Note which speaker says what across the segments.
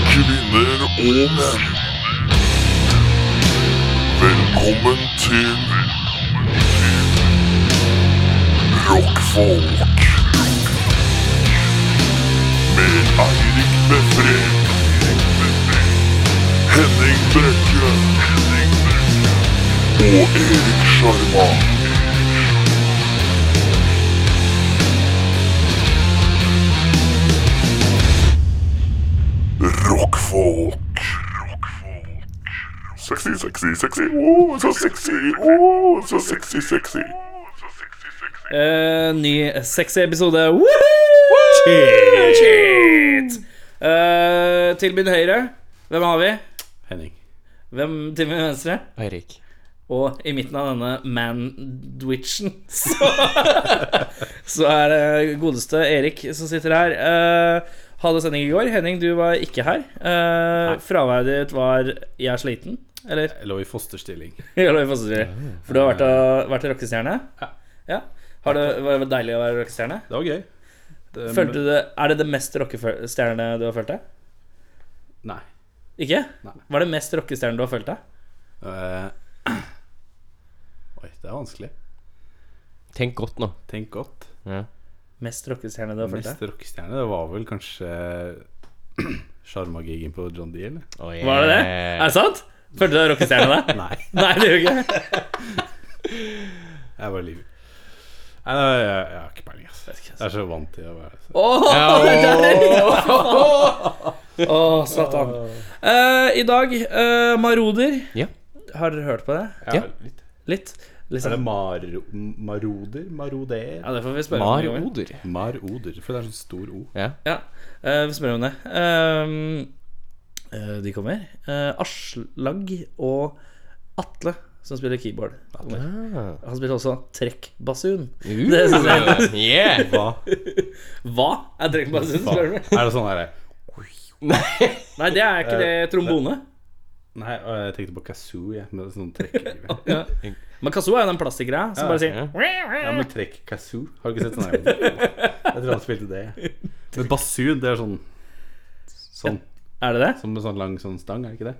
Speaker 1: Kvinner og menn. Velkommen til Rockfolk. Med Eirik Befre. Henning Brekke. Og Erik Sjarma. Rockfolk. Sexy, sexy, sexy. Oh, så sexy. Oh, så sexy, sexy.
Speaker 2: Eh, ny sexy episode. Woohoo! Shit! Eh, til min høyre, hvem har vi?
Speaker 3: Henning.
Speaker 2: Hvem til min venstre?
Speaker 3: Eirik.
Speaker 2: Og i midten av denne mandwichen så, så er det godeste Erik som sitter her. Eh, hadde sending i går. Henning, du var ikke her. Uh, Fraværet ditt var 'jeg er sliten', eller?
Speaker 3: Jeg lå i fosterstilling.
Speaker 2: Eller hva faen sier du? For du har vært, og- vært rockestjerne?
Speaker 3: Ja.
Speaker 2: ja. Har det, var det deilig å være rockestjerne?
Speaker 3: Det var gøy. Det,
Speaker 2: Følte du det, Er det det mest rockestjerne du har følt deg?
Speaker 3: Nei.
Speaker 2: Ikke?
Speaker 3: Nei.
Speaker 2: Hva er det mest rockestjerne du har følt deg?
Speaker 3: Eh, oi, det er vanskelig.
Speaker 4: Tenk godt nå.
Speaker 3: Tenk godt.
Speaker 2: Mest rockestjerne du har følt
Speaker 3: Mest
Speaker 2: deg?
Speaker 3: rockestjerne det var vel kanskje sjarmagigen på John D, eller?
Speaker 2: Var det det?
Speaker 4: Eh.
Speaker 2: Er det sant? Følte du deg rockestjerne da?
Speaker 3: Nei,
Speaker 2: Nei, det gjør du ikke.
Speaker 3: jeg bare lyver. Nei, nei, jeg, jeg har ikke peiling, ass. Jeg er så vant til å være så.
Speaker 2: Åh,
Speaker 4: Ja,
Speaker 2: Åh, satan. Eh, I dag, eh, Maroder.
Speaker 4: Ja.
Speaker 2: Har dere hørt på det?
Speaker 3: Jeg
Speaker 4: Ja.
Speaker 3: er litt-
Speaker 2: Litt?
Speaker 3: Er det
Speaker 2: Liksom.
Speaker 3: mar maroder? Maroder?
Speaker 2: Ja, det får vi spørre om.
Speaker 4: Mar
Speaker 2: Joey.
Speaker 4: Oder.
Speaker 3: Maroder, for det er sånn stor O.
Speaker 4: Ja.
Speaker 2: Ja, eh, vi spør om det. Ehm, eh, de kommer. Eh, Aslag og Atle, som spiller keyboard. kommer.
Speaker 4: Ah.
Speaker 2: Han spiller også trekkbasun. Det synes jeg.
Speaker 4: Uh. Yeah.
Speaker 3: Hva?
Speaker 2: Hva er trekkbasun, spør du? meg?
Speaker 3: Er det sånn herre
Speaker 4: Nei.
Speaker 2: Nei, det er ikke det trombone.
Speaker 3: Nei, og jeg tenkte på kazoo, jeg, med sånn trekk.
Speaker 2: Ja. Men kazoo er jo den plastikkgreia som bare sier
Speaker 4: Ja.
Speaker 3: Ja, men trekk kazoo. Har du ikke sett sånn her? Jeg tror han spilte det. Men basun, det er sånn Sånn.
Speaker 2: Er det det?
Speaker 3: Som en sånn lang sånn stang, er det ikke det?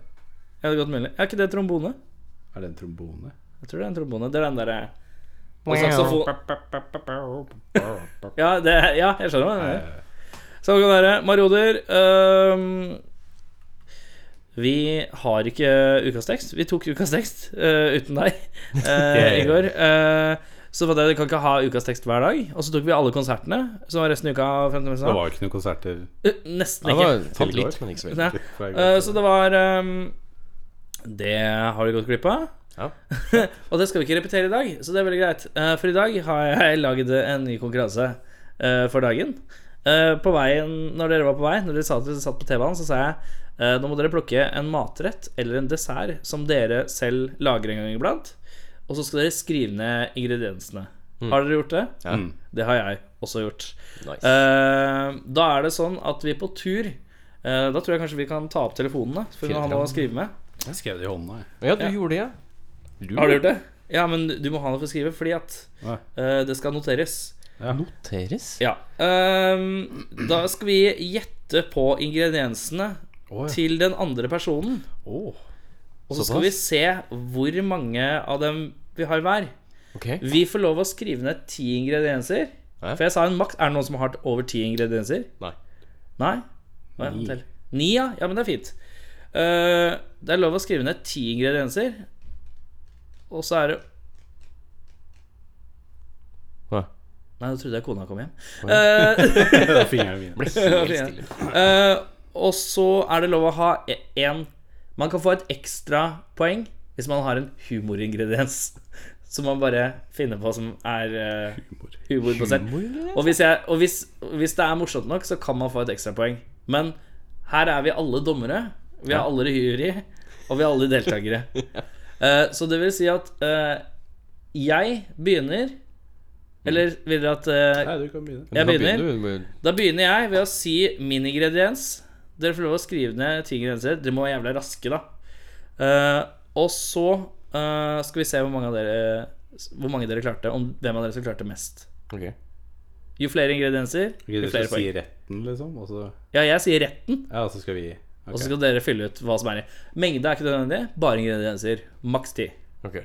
Speaker 2: Ja, det er godt mulig. Er ikke det trombone?
Speaker 3: Er det en trombone?
Speaker 2: Jeg tror det er en trombone. Det er den eh, derre Og saksofon. Ja, det, ja, jeg skjønner hva du mener. Sånn kan det være. Marioder. ehm, vi har ikke ukas tekst. Vi tok ukas tekst eh, uten deg eh, i går. Eh, så fant jeg at vi kan ikke ha ukas tekst hver dag. Og så tok vi alle konsertene som var resten av uka. frem til
Speaker 3: Det
Speaker 2: onsdag.
Speaker 3: var jo ikke noen konserter
Speaker 2: Eh, Nesten
Speaker 4: Det
Speaker 2: ikke.
Speaker 4: var fant litt, men ikke så veldig.
Speaker 2: Nei.
Speaker 3: fra i
Speaker 2: Eh,
Speaker 3: går.
Speaker 2: så det var ehm, Det har du gått glipp av.
Speaker 4: Ja.
Speaker 2: Og det skal vi ikke repetere i dag, så det er veldig greit. Eh, For i dag har jeg lagd en ny konkurranse eh, for dagen. Eh, På veien, når dere var på vei, når dere satt, satt på T-banen, så sa jeg eh, nå må dere plukke en matrett eller en dessert som dere selv lager en gang iblant. Og så skal dere skrive ned ingrediensene. Har dere gjort det?
Speaker 4: Ja.
Speaker 2: Det har jeg også gjort.
Speaker 4: Nice.
Speaker 2: Eh, da er det sånn at vi på tur eh, Da tror jeg kanskje vi kan ta opp telefonene. For vi må ha noe å skrive med.
Speaker 3: Jeg skrev det i hånda, jeg.
Speaker 2: Eh,
Speaker 4: Ja, du gjorde det, ja.
Speaker 2: Har du gjort det? Ja, men du må ha noe for å skrive, fordi at
Speaker 3: Ja.
Speaker 2: eh, det skal noteres.
Speaker 4: Teres?
Speaker 2: Ja. Ehm, da skal vi gjette på ingrediensene
Speaker 3: Å, ja.
Speaker 2: til den andre personen.
Speaker 3: Å.
Speaker 2: Og så skal vi se hvor mange av dem vi har hver.
Speaker 4: Ok.
Speaker 2: Vi får lov å skrive ned ti ingredienser.
Speaker 4: Ja.
Speaker 2: For jeg sa en maks. Er det noen som har hatt over ti ingredienser?
Speaker 4: Nei.
Speaker 2: Nei? Hva er det til? Ni, ja. ja. Men det er fint. Eh, det er lov å skrive ned ti ingredienser. Og så er det
Speaker 4: Hva?
Speaker 2: Nei, nå trodde jeg kona kom hjem.
Speaker 3: Det var fingeren min.
Speaker 4: Ble helt stille.
Speaker 2: Eh, og så er det lov å ha e- en Man kan få et ekstra poeng hvis man har en humoringrediens som man bare finner på som er eh,
Speaker 3: Humor.
Speaker 2: humorbasert.
Speaker 4: Humoringrediens?
Speaker 2: Og, hvis, jeg, og hvis, hvis det er morsomt nok, så kan man få et ekstrapoeng. Men her er vi alle dommere. Vi er alle jury, og vi er alle deltakere. Eh, så det vil si at eh, jeg begynner Eller vil dere at eh,
Speaker 3: Nei, du kan begynne.
Speaker 2: Jeg
Speaker 4: Da
Speaker 2: begynner.
Speaker 4: du med-
Speaker 2: da begynner jeg ved å si min ingrediens. Dere får lov å skrive ned ti ingredienser. Dere må være jævla raske, da. Eh, og så eh, skal vi se hvor mange av dere Hvor mange dere klarte. Om hvem av dere som klarte mest.
Speaker 4: Ok.
Speaker 2: Jo flere ingredienser,
Speaker 3: Ok,
Speaker 2: jo
Speaker 3: du
Speaker 2: flere
Speaker 3: skal si
Speaker 2: poeng.
Speaker 3: retten, liksom, og så
Speaker 2: Ja, jeg sier retten.
Speaker 3: Ja, så skal vi
Speaker 2: Og så skal dere fylle ut hva som er i. Mengde er ikke nødvendig, bare ingredienser. Maks ti.
Speaker 4: Ok.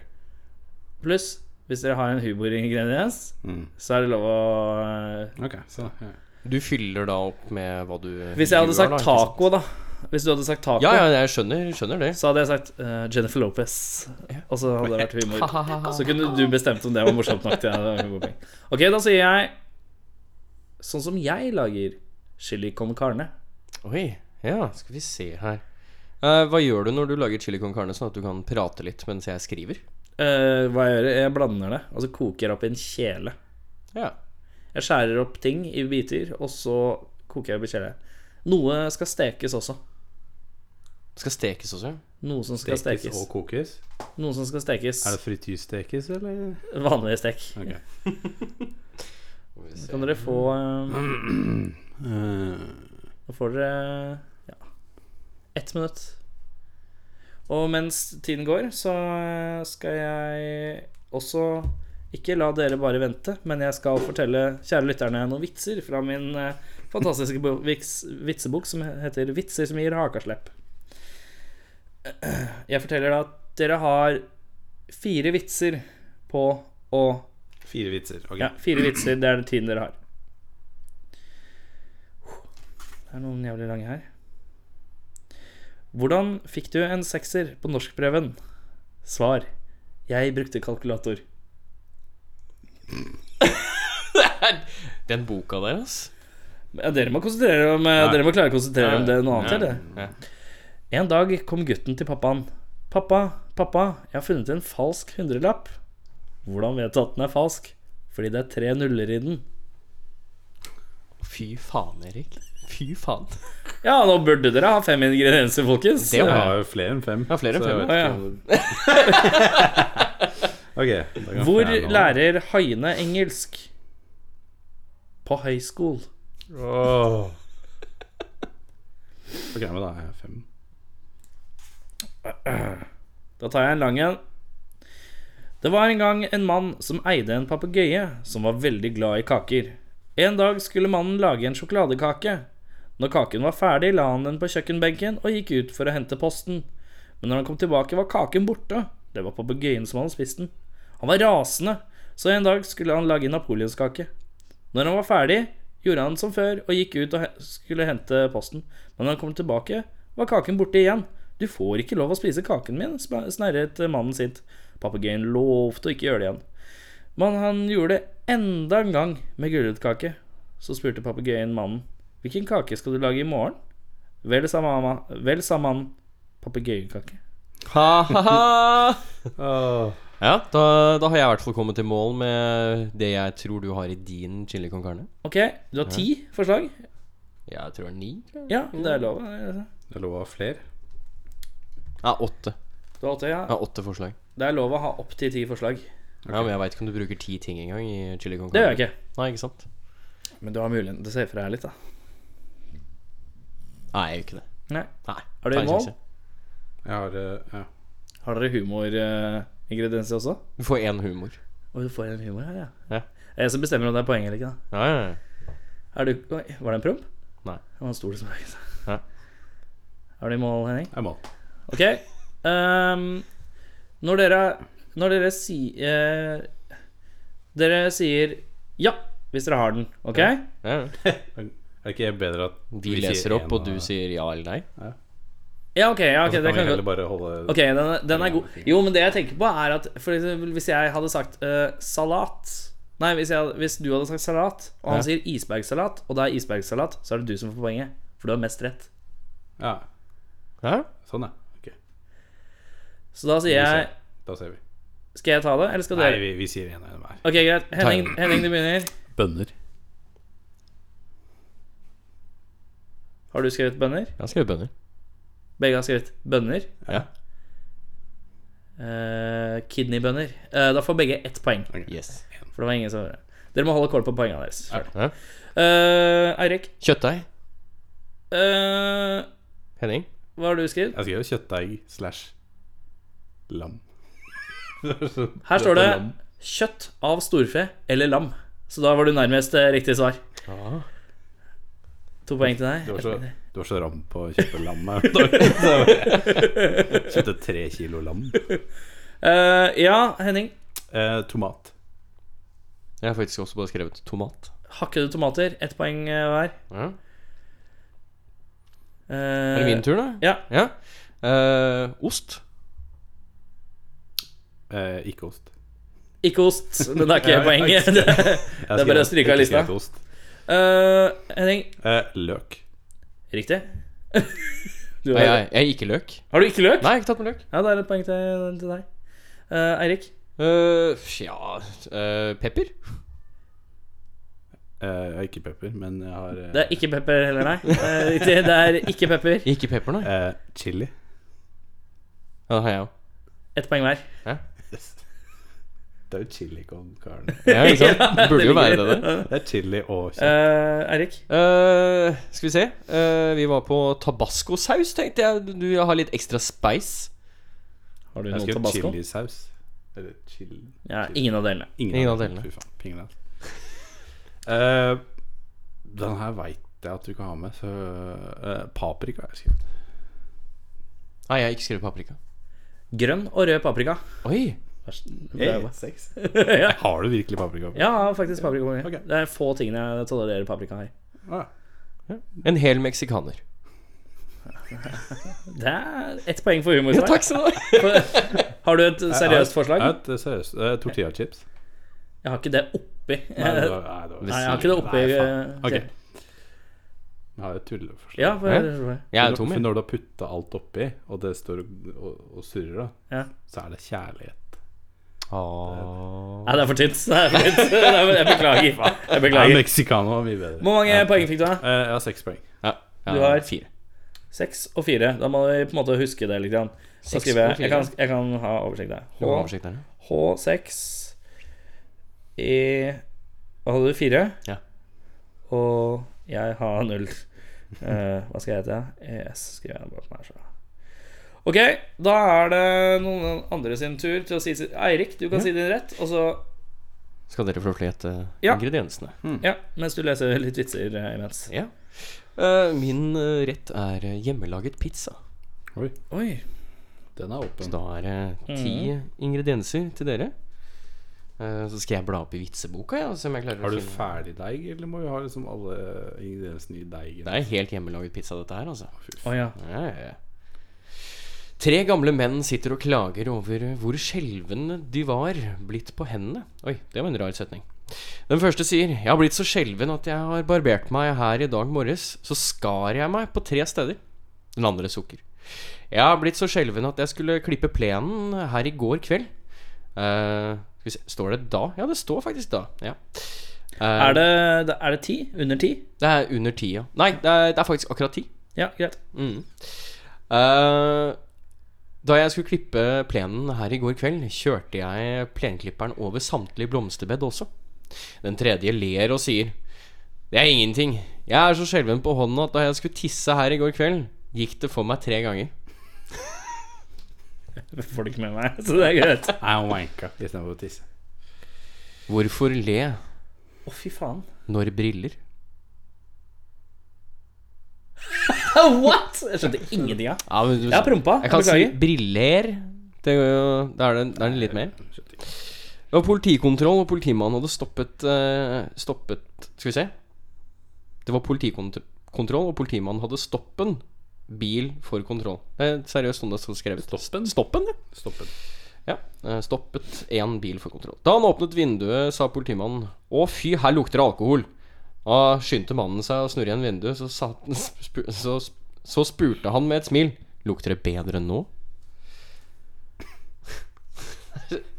Speaker 2: Pluss, hvis dere har en humoringrediens,
Speaker 4: Mm.
Speaker 2: så er det lov å eh,
Speaker 3: Ok, så ja.
Speaker 4: Du fyller da opp med hva du
Speaker 2: Hvis jeg hadde
Speaker 4: gjør, da,
Speaker 2: sagt
Speaker 4: ikke sant?
Speaker 2: taco, da. Hvis du hadde sagt taco,
Speaker 4: Ja, ja, jeg skjønner, skjønner det.
Speaker 2: så hadde jeg sagt eh, Jennifer Lopez. Og så hadde det vært humor. Så kunne du bestemt om det var morsomt nok til at det var humorpoeng. Ok, da sier jeg sånn som jeg lager chili con carne.
Speaker 4: Oi, ja, skal vi se her Eh, Hva gjør du når du lager chili con carne Sånn at du kan prate litt mens jeg skriver?
Speaker 2: Eh, hva jeg gjør? Jeg blander det, og så koker jeg opp i en kjele.
Speaker 4: Ja,
Speaker 2: Jeg skjærer opp ting i biter, og så koker jeg opp i kjele. Noe skal stekes også.
Speaker 4: skal stekes også
Speaker 2: Noe som skal stekes.
Speaker 3: og kokes.
Speaker 2: Noe som skal stekes.
Speaker 3: Er det frityrstekes, eller?
Speaker 2: Vanlig stek.
Speaker 3: Ok.
Speaker 2: Kan dere få eh,
Speaker 3: Eh,
Speaker 2: Nå får dere ja, ett minutt. Og mens tiden går, så eh, skal jeg også ikke la dere bare vente, men jeg skal fortelle kjære lytterne noen vitser fra min eh, fantastiske bo- viks, vitsebok som heter 'Vitser som gir hakaslepp'. Jeg forteller da at dere har fire vitser på å
Speaker 3: fire vitser. Ok.
Speaker 2: ja, fire vitser, det er den tiden dere har. Det er noen jævlig lange her. Hvordan fikk du en sekser på norskprøven? Svar. Jeg brukte kalkulator.
Speaker 4: Den boka der, ass
Speaker 2: Ja, dere, må konsentrere dere om, eh, dere må klare å konsentrere dere om det noe annet. eller?
Speaker 4: ja.
Speaker 2: En dag kom gutten til pappaen. 'Pappa, pappa, jeg har funnet en falsk hundrelapp.' 'Hvordan vet du at den er falsk?' 'Fordi det er tre nuller i den.'
Speaker 4: Fy faen, Erik Fy faen
Speaker 2: Ja, nå burde dere ha fem ingredienser, folkens.
Speaker 4: Det
Speaker 3: Jeg
Speaker 4: var
Speaker 3: har jo flere enn fem.
Speaker 4: Ja, flere enn
Speaker 3: så jeg
Speaker 4: fem,
Speaker 3: vet
Speaker 2: ja.
Speaker 3: ikke om det- Ok. da kan
Speaker 2: Hvor
Speaker 3: jeg fjerne den.
Speaker 2: lærer haiene engelsk? På høyskol.
Speaker 3: Åh. Ok, men da er jeg fem.
Speaker 2: Da tar jeg en lang en. Det var en gang en mann som eide en papegøye som var veldig glad i kaker. En dag skulle mannen lage en sjokoladekake. Når kaken var ferdig, la han den på kjøkkenbenken og gikk ut for å hente posten. Men når han kom tilbake, var kaken borte. Det var papegøyen som hadde spist den. Han var rasende, så en dag skulle han lage napoleonskake. Når han var ferdig, gjorde han som før og gikk ut og he- skulle hente posten. Men når han kom tilbake, var kaken borte igjen. Du får ikke lov å spise kaken min, sp- snerret mannen sitt. Papegøyen lovte å ikke gjøre det igjen. Men han gjorde det enda en gang med gulrotkake. Så spurte papegøyen mannen. Hvilken kake skal du lage i morgen? Vel, sa mamma. Vel, sa mannen. Papegøyekake.
Speaker 4: Ha ha ha
Speaker 3: Åh.
Speaker 4: Ja, da, da har jeg i hvert fall kommet til mål Med det jeg tror du har i din chili con carne
Speaker 2: Ok, du har ti forslag?
Speaker 4: Jeg tror det er ni tror jeg.
Speaker 2: Ja, det er lov. Du
Speaker 3: Det er lov å ha flere.
Speaker 4: Ja, åtte
Speaker 2: har åtte, ja.
Speaker 4: Ja, åtte forslag
Speaker 2: Det er lov å ha opptil ti forslag.
Speaker 4: Ja, men jeg vet ikke om du bruker ti ting engang i chili con carne
Speaker 2: Det gjør jeg ikke.
Speaker 4: Nei, ikke sant?
Speaker 2: Men du har muligheten til å se for deg litt, da.
Speaker 4: Nei, jeg gjør ikke det
Speaker 2: Nei.
Speaker 4: Nei
Speaker 2: Er det
Speaker 4: ta en
Speaker 2: mål?
Speaker 4: sjanse.
Speaker 3: Jeg har eh, ja.
Speaker 2: Har dere humoringredienser også?
Speaker 4: Du får én humor
Speaker 2: Å, du får en humor her, ja.
Speaker 4: Ja.
Speaker 2: Det er Jeg som bestemmer om det er poeng eller ikke. da
Speaker 4: Ja, ja, ja
Speaker 2: Er du, oi, Var det en promp?
Speaker 4: Nei.
Speaker 2: Det var en stol som bøyde seg.
Speaker 4: Ja.
Speaker 2: Er du i mål, Henning?
Speaker 3: Jeg er mål.
Speaker 2: Ok. ehm, når dere Når dere sier Dere sier ja hvis dere har den, OK?
Speaker 4: ja, ja.
Speaker 3: Er det ikke bedre at
Speaker 4: Vi
Speaker 3: sier
Speaker 4: leser opp,
Speaker 3: en
Speaker 4: og du sier ja eller nei.
Speaker 2: Ja, ok. Ja, ok,
Speaker 3: Så
Speaker 2: det
Speaker 3: kan vi
Speaker 2: kan gå.
Speaker 3: heller bare holde
Speaker 2: Ok, den, er- den er god. Jo, men det jeg tenker på, er at for eksempel, hvis jeg hadde sagt eh, salat Nei, hvis, jeg, hvis du hadde sagt salat, og han sier isbergsalat, og det er isbergsalat, så er det du som får poenget. For du har mest rett.
Speaker 3: Ja,
Speaker 4: Hæ?
Speaker 3: sånn, ja. Ok,
Speaker 2: Så da sier jeg
Speaker 3: Da ser vi.
Speaker 2: Skal jeg ta det, eller skal
Speaker 3: Nei,
Speaker 2: dere?
Speaker 3: vi, vi sier en av hver.
Speaker 2: Ok, greit. Henning, Henning, du begynner.
Speaker 3: Bønner.
Speaker 2: Har du skrevet bønner?
Speaker 4: Jeg har skrevet bønner.
Speaker 2: Begge har skrevet bønner.
Speaker 4: Ja.
Speaker 2: Eh, kidneybønner. Eh, da får begge ett poeng.
Speaker 4: Yes.
Speaker 2: For det var ingen som Dere må holde kål på poengene deres.
Speaker 4: Ja.
Speaker 2: Eh, Eirik,
Speaker 4: Kjøttdeig.
Speaker 2: eh,
Speaker 4: Henning.
Speaker 2: hva har du skrevet?
Speaker 3: Jeg skrev kjøttdeig slash lam. Her
Speaker 2: Her står det 'kjøtt av storfe eller lam'. Så da var du nærmest eh, riktig svar. To poeng til deg.
Speaker 3: Du var så, du var så ram på å kjøpe lam her om dagen. så jeg Kjøpte tre kilo lam.
Speaker 2: Eh, ja, Henning.
Speaker 3: Eh, tomat.
Speaker 4: Jeg har faktisk også bare skrevet tomat.
Speaker 2: Hakkede tomater. Ett poeng eh, hver.
Speaker 4: Ja.
Speaker 2: Eh,
Speaker 4: Er det min tur, da?
Speaker 2: Ja.
Speaker 4: ja. Eh, ost.
Speaker 3: Eh, ikke ost.
Speaker 2: Ikke ost. Den er ikke
Speaker 3: Ja,
Speaker 2: poenget.
Speaker 3: ikke-
Speaker 2: Det-
Speaker 3: Jeg
Speaker 2: Det er bare å
Speaker 3: skrev-
Speaker 2: stryke av
Speaker 3: ikke skrev
Speaker 2: lista.
Speaker 3: til Ost.
Speaker 2: Eh, Henning.
Speaker 3: Eh, løk.
Speaker 2: Riktig. Du
Speaker 4: Nei,
Speaker 2: har,
Speaker 4: jeg, jeg ikke løk.
Speaker 2: har du ikke løk?
Speaker 4: Nei, jeg har ikke tatt med løk.
Speaker 2: Ja, det er et poeng til, til deg. Eh, Eirik.
Speaker 4: Eh, ja eh, Pepper?
Speaker 3: Eh, jeg har ikke pepper, men jeg har eh,
Speaker 2: Det er ikke pepper heller, nei. Eh, Riktig. Det er ikke pepper.
Speaker 4: Ikke pepper, nei.
Speaker 3: eh, chili.
Speaker 4: Ja, det har jeg òg.
Speaker 2: Ett poeng hver.
Speaker 3: Det er jo chili con carne.
Speaker 4: Ja, ikke sant? det burde jo være det, det.
Speaker 3: Det er chili og kjøtt.
Speaker 2: Eh, Eirik.
Speaker 4: Eh, skal vi se. Eh, vi var på tabascosaus, tenkte jeg. Du vil ha litt ekstra spice.
Speaker 2: Har du
Speaker 3: Jeg
Speaker 2: noe
Speaker 3: skrev
Speaker 2: tabasco?
Speaker 3: chilisaus. Eller chili
Speaker 2: Ja, ingen av delene.
Speaker 4: Ingen av delene.
Speaker 3: Fy faen, ingen av delene. Eh, den her veit jeg at du ikke har med, så eh, Paprika har jeg skrevet.
Speaker 4: Nei, jeg har ikke skrevet paprika.
Speaker 2: Grønn og rød paprika.
Speaker 4: Oi!
Speaker 3: Hey, seks.
Speaker 2: ja.
Speaker 3: Har du virkelig paprika?
Speaker 2: Ja, faktisk paprikakonge.
Speaker 3: Ok.
Speaker 2: Det er få tingene jeg tolererer paprika her.
Speaker 3: Ah,
Speaker 4: En hel meksikaner.
Speaker 2: Det er ett poeng for humor.
Speaker 4: Ja,
Speaker 2: Svein.
Speaker 4: takk skal du ha.
Speaker 2: Har du et seriøst forslag?
Speaker 3: ja, et, eh, seriøst. Eh, tortillachips.
Speaker 2: Jeg har ikke det oppi.
Speaker 3: Nei, det
Speaker 2: Nei,
Speaker 3: var- nei, det var-
Speaker 2: jeg har ikke det oppi.
Speaker 3: Nei, faen.
Speaker 2: eh,
Speaker 3: Ok.
Speaker 2: til-
Speaker 3: Jeg har et tulleforslag.
Speaker 2: Ja, for,
Speaker 4: Jeg er jo tom,
Speaker 3: For
Speaker 4: jeg.
Speaker 3: når du har putta alt oppi, og det står og, og, og surrer, da,
Speaker 2: Ja.
Speaker 3: så er det kjærlighet.
Speaker 4: Åh.
Speaker 2: Nei, det er for tynt. Det er for tynt. Nei, men Jeg beklager. Jeg
Speaker 3: Ja,
Speaker 2: beklager.
Speaker 3: Mexicano var mye bedre.
Speaker 2: Hvor mange
Speaker 3: Ja.
Speaker 2: poeng fikk du? da?
Speaker 3: Eh, jeg har seks poeng.
Speaker 4: Ja, ja,
Speaker 2: Du har-
Speaker 4: fire.
Speaker 2: Seks og fire. Da må vi på en måte huske det litt. Grann. Så
Speaker 4: Seks
Speaker 2: skriver jeg
Speaker 4: og
Speaker 2: jeg
Speaker 4: fire.
Speaker 2: kan, jeg kan ha oversikt der.
Speaker 4: Du må ha
Speaker 2: H,
Speaker 4: oversikt der, ja.
Speaker 2: H6 E Hva hadde du? Fire?
Speaker 4: Ja.
Speaker 2: Og jeg har null. Eh, hva skal jeg hete? ES skriver jeg bak meg. Så. Ok, da er det noen andre sin tur til å si sitt. Eirik, du kan si din rett. Og så
Speaker 4: Skal dere få lov til å gjette
Speaker 2: Ja.
Speaker 4: ingrediensene?
Speaker 2: Ja, mens du leser litt vitser eh, imens.
Speaker 4: Ja. Eh, min eh, rett er eh, hjemmelaget pizza.
Speaker 3: Oi,
Speaker 2: Oi.
Speaker 3: den er
Speaker 4: Så
Speaker 3: åpen.
Speaker 4: da er det
Speaker 3: Mm.
Speaker 4: ti ingredienser til dere. Eh, så skal jeg bla opp i vitseboka, ja, og se om jeg klarer
Speaker 3: Har
Speaker 4: å
Speaker 3: du
Speaker 4: finne
Speaker 3: ferdig deig, eller må vi ha liksom alle ingrediensene i deigen?
Speaker 4: Det er helt hjemmelaget pizza, dette her, altså.
Speaker 2: Å ja.
Speaker 4: Ja, ja, ja. Tre gamle menn sitter og klager over hvor skjelvende de var blitt på hendene. Oi, det var en rar setning. Den første sier Jeg har blitt så skjelven at jeg har barbert meg her i dag morges. Så skar jeg meg på tre steder. Den andre sukker. Jeg har blitt så skjelven at jeg skulle klippe plenen her i går kveld. Eh, skal vi se, står det da? Ja, det står faktisk da. Ja. Eh,
Speaker 2: Er det, det- er det ti? Under ti?
Speaker 4: det er under ti, ja. Nei, det er, det er faktisk akkurat ti.
Speaker 2: Ja, greit.
Speaker 4: Mm. Eh, da jeg skulle klippe plenen her i går kveld, kjørte jeg plenklipperen over samtlige blomsterbed også. Den tredje ler og sier Det er ingenting. Jeg er så skjelven på hånda at da jeg skulle tisse her i går kveld, gikk det for meg tre ganger.
Speaker 2: Det får du ikke med meg, så det er greit. Å,
Speaker 3: Nei, hun wanka istedenfor å tisse.
Speaker 4: Hvorfor le
Speaker 2: fy faen.
Speaker 4: når briller?
Speaker 2: What?! Jeg skjønte ingenting av.
Speaker 4: Ja, men du-
Speaker 2: Jeg har prompa.
Speaker 4: Jeg
Speaker 2: Jeg
Speaker 4: kan si
Speaker 2: beklager.
Speaker 4: briller. Det, er jo- da er det, da er det litt mer. Det var politikontroll, og politimannen hadde stoppet eh, Stoppet Skal vi se. Det var politikontroll, og politimannen hadde stoppen bil for kontroll. Det er seriøst sånn det står skrevet. Stoppen? Stoppen, ja.
Speaker 3: Stoppet.
Speaker 4: ja. eh, Stoppet én bil for kontroll. Da han åpnet vinduet, sa politimannen Å, fy, her lukter det alkohol. Da skyndte mannen seg å snurre igjen vinduet, så, satt, spu, så, så spurte han med et smil Lukter det bedre enn nå?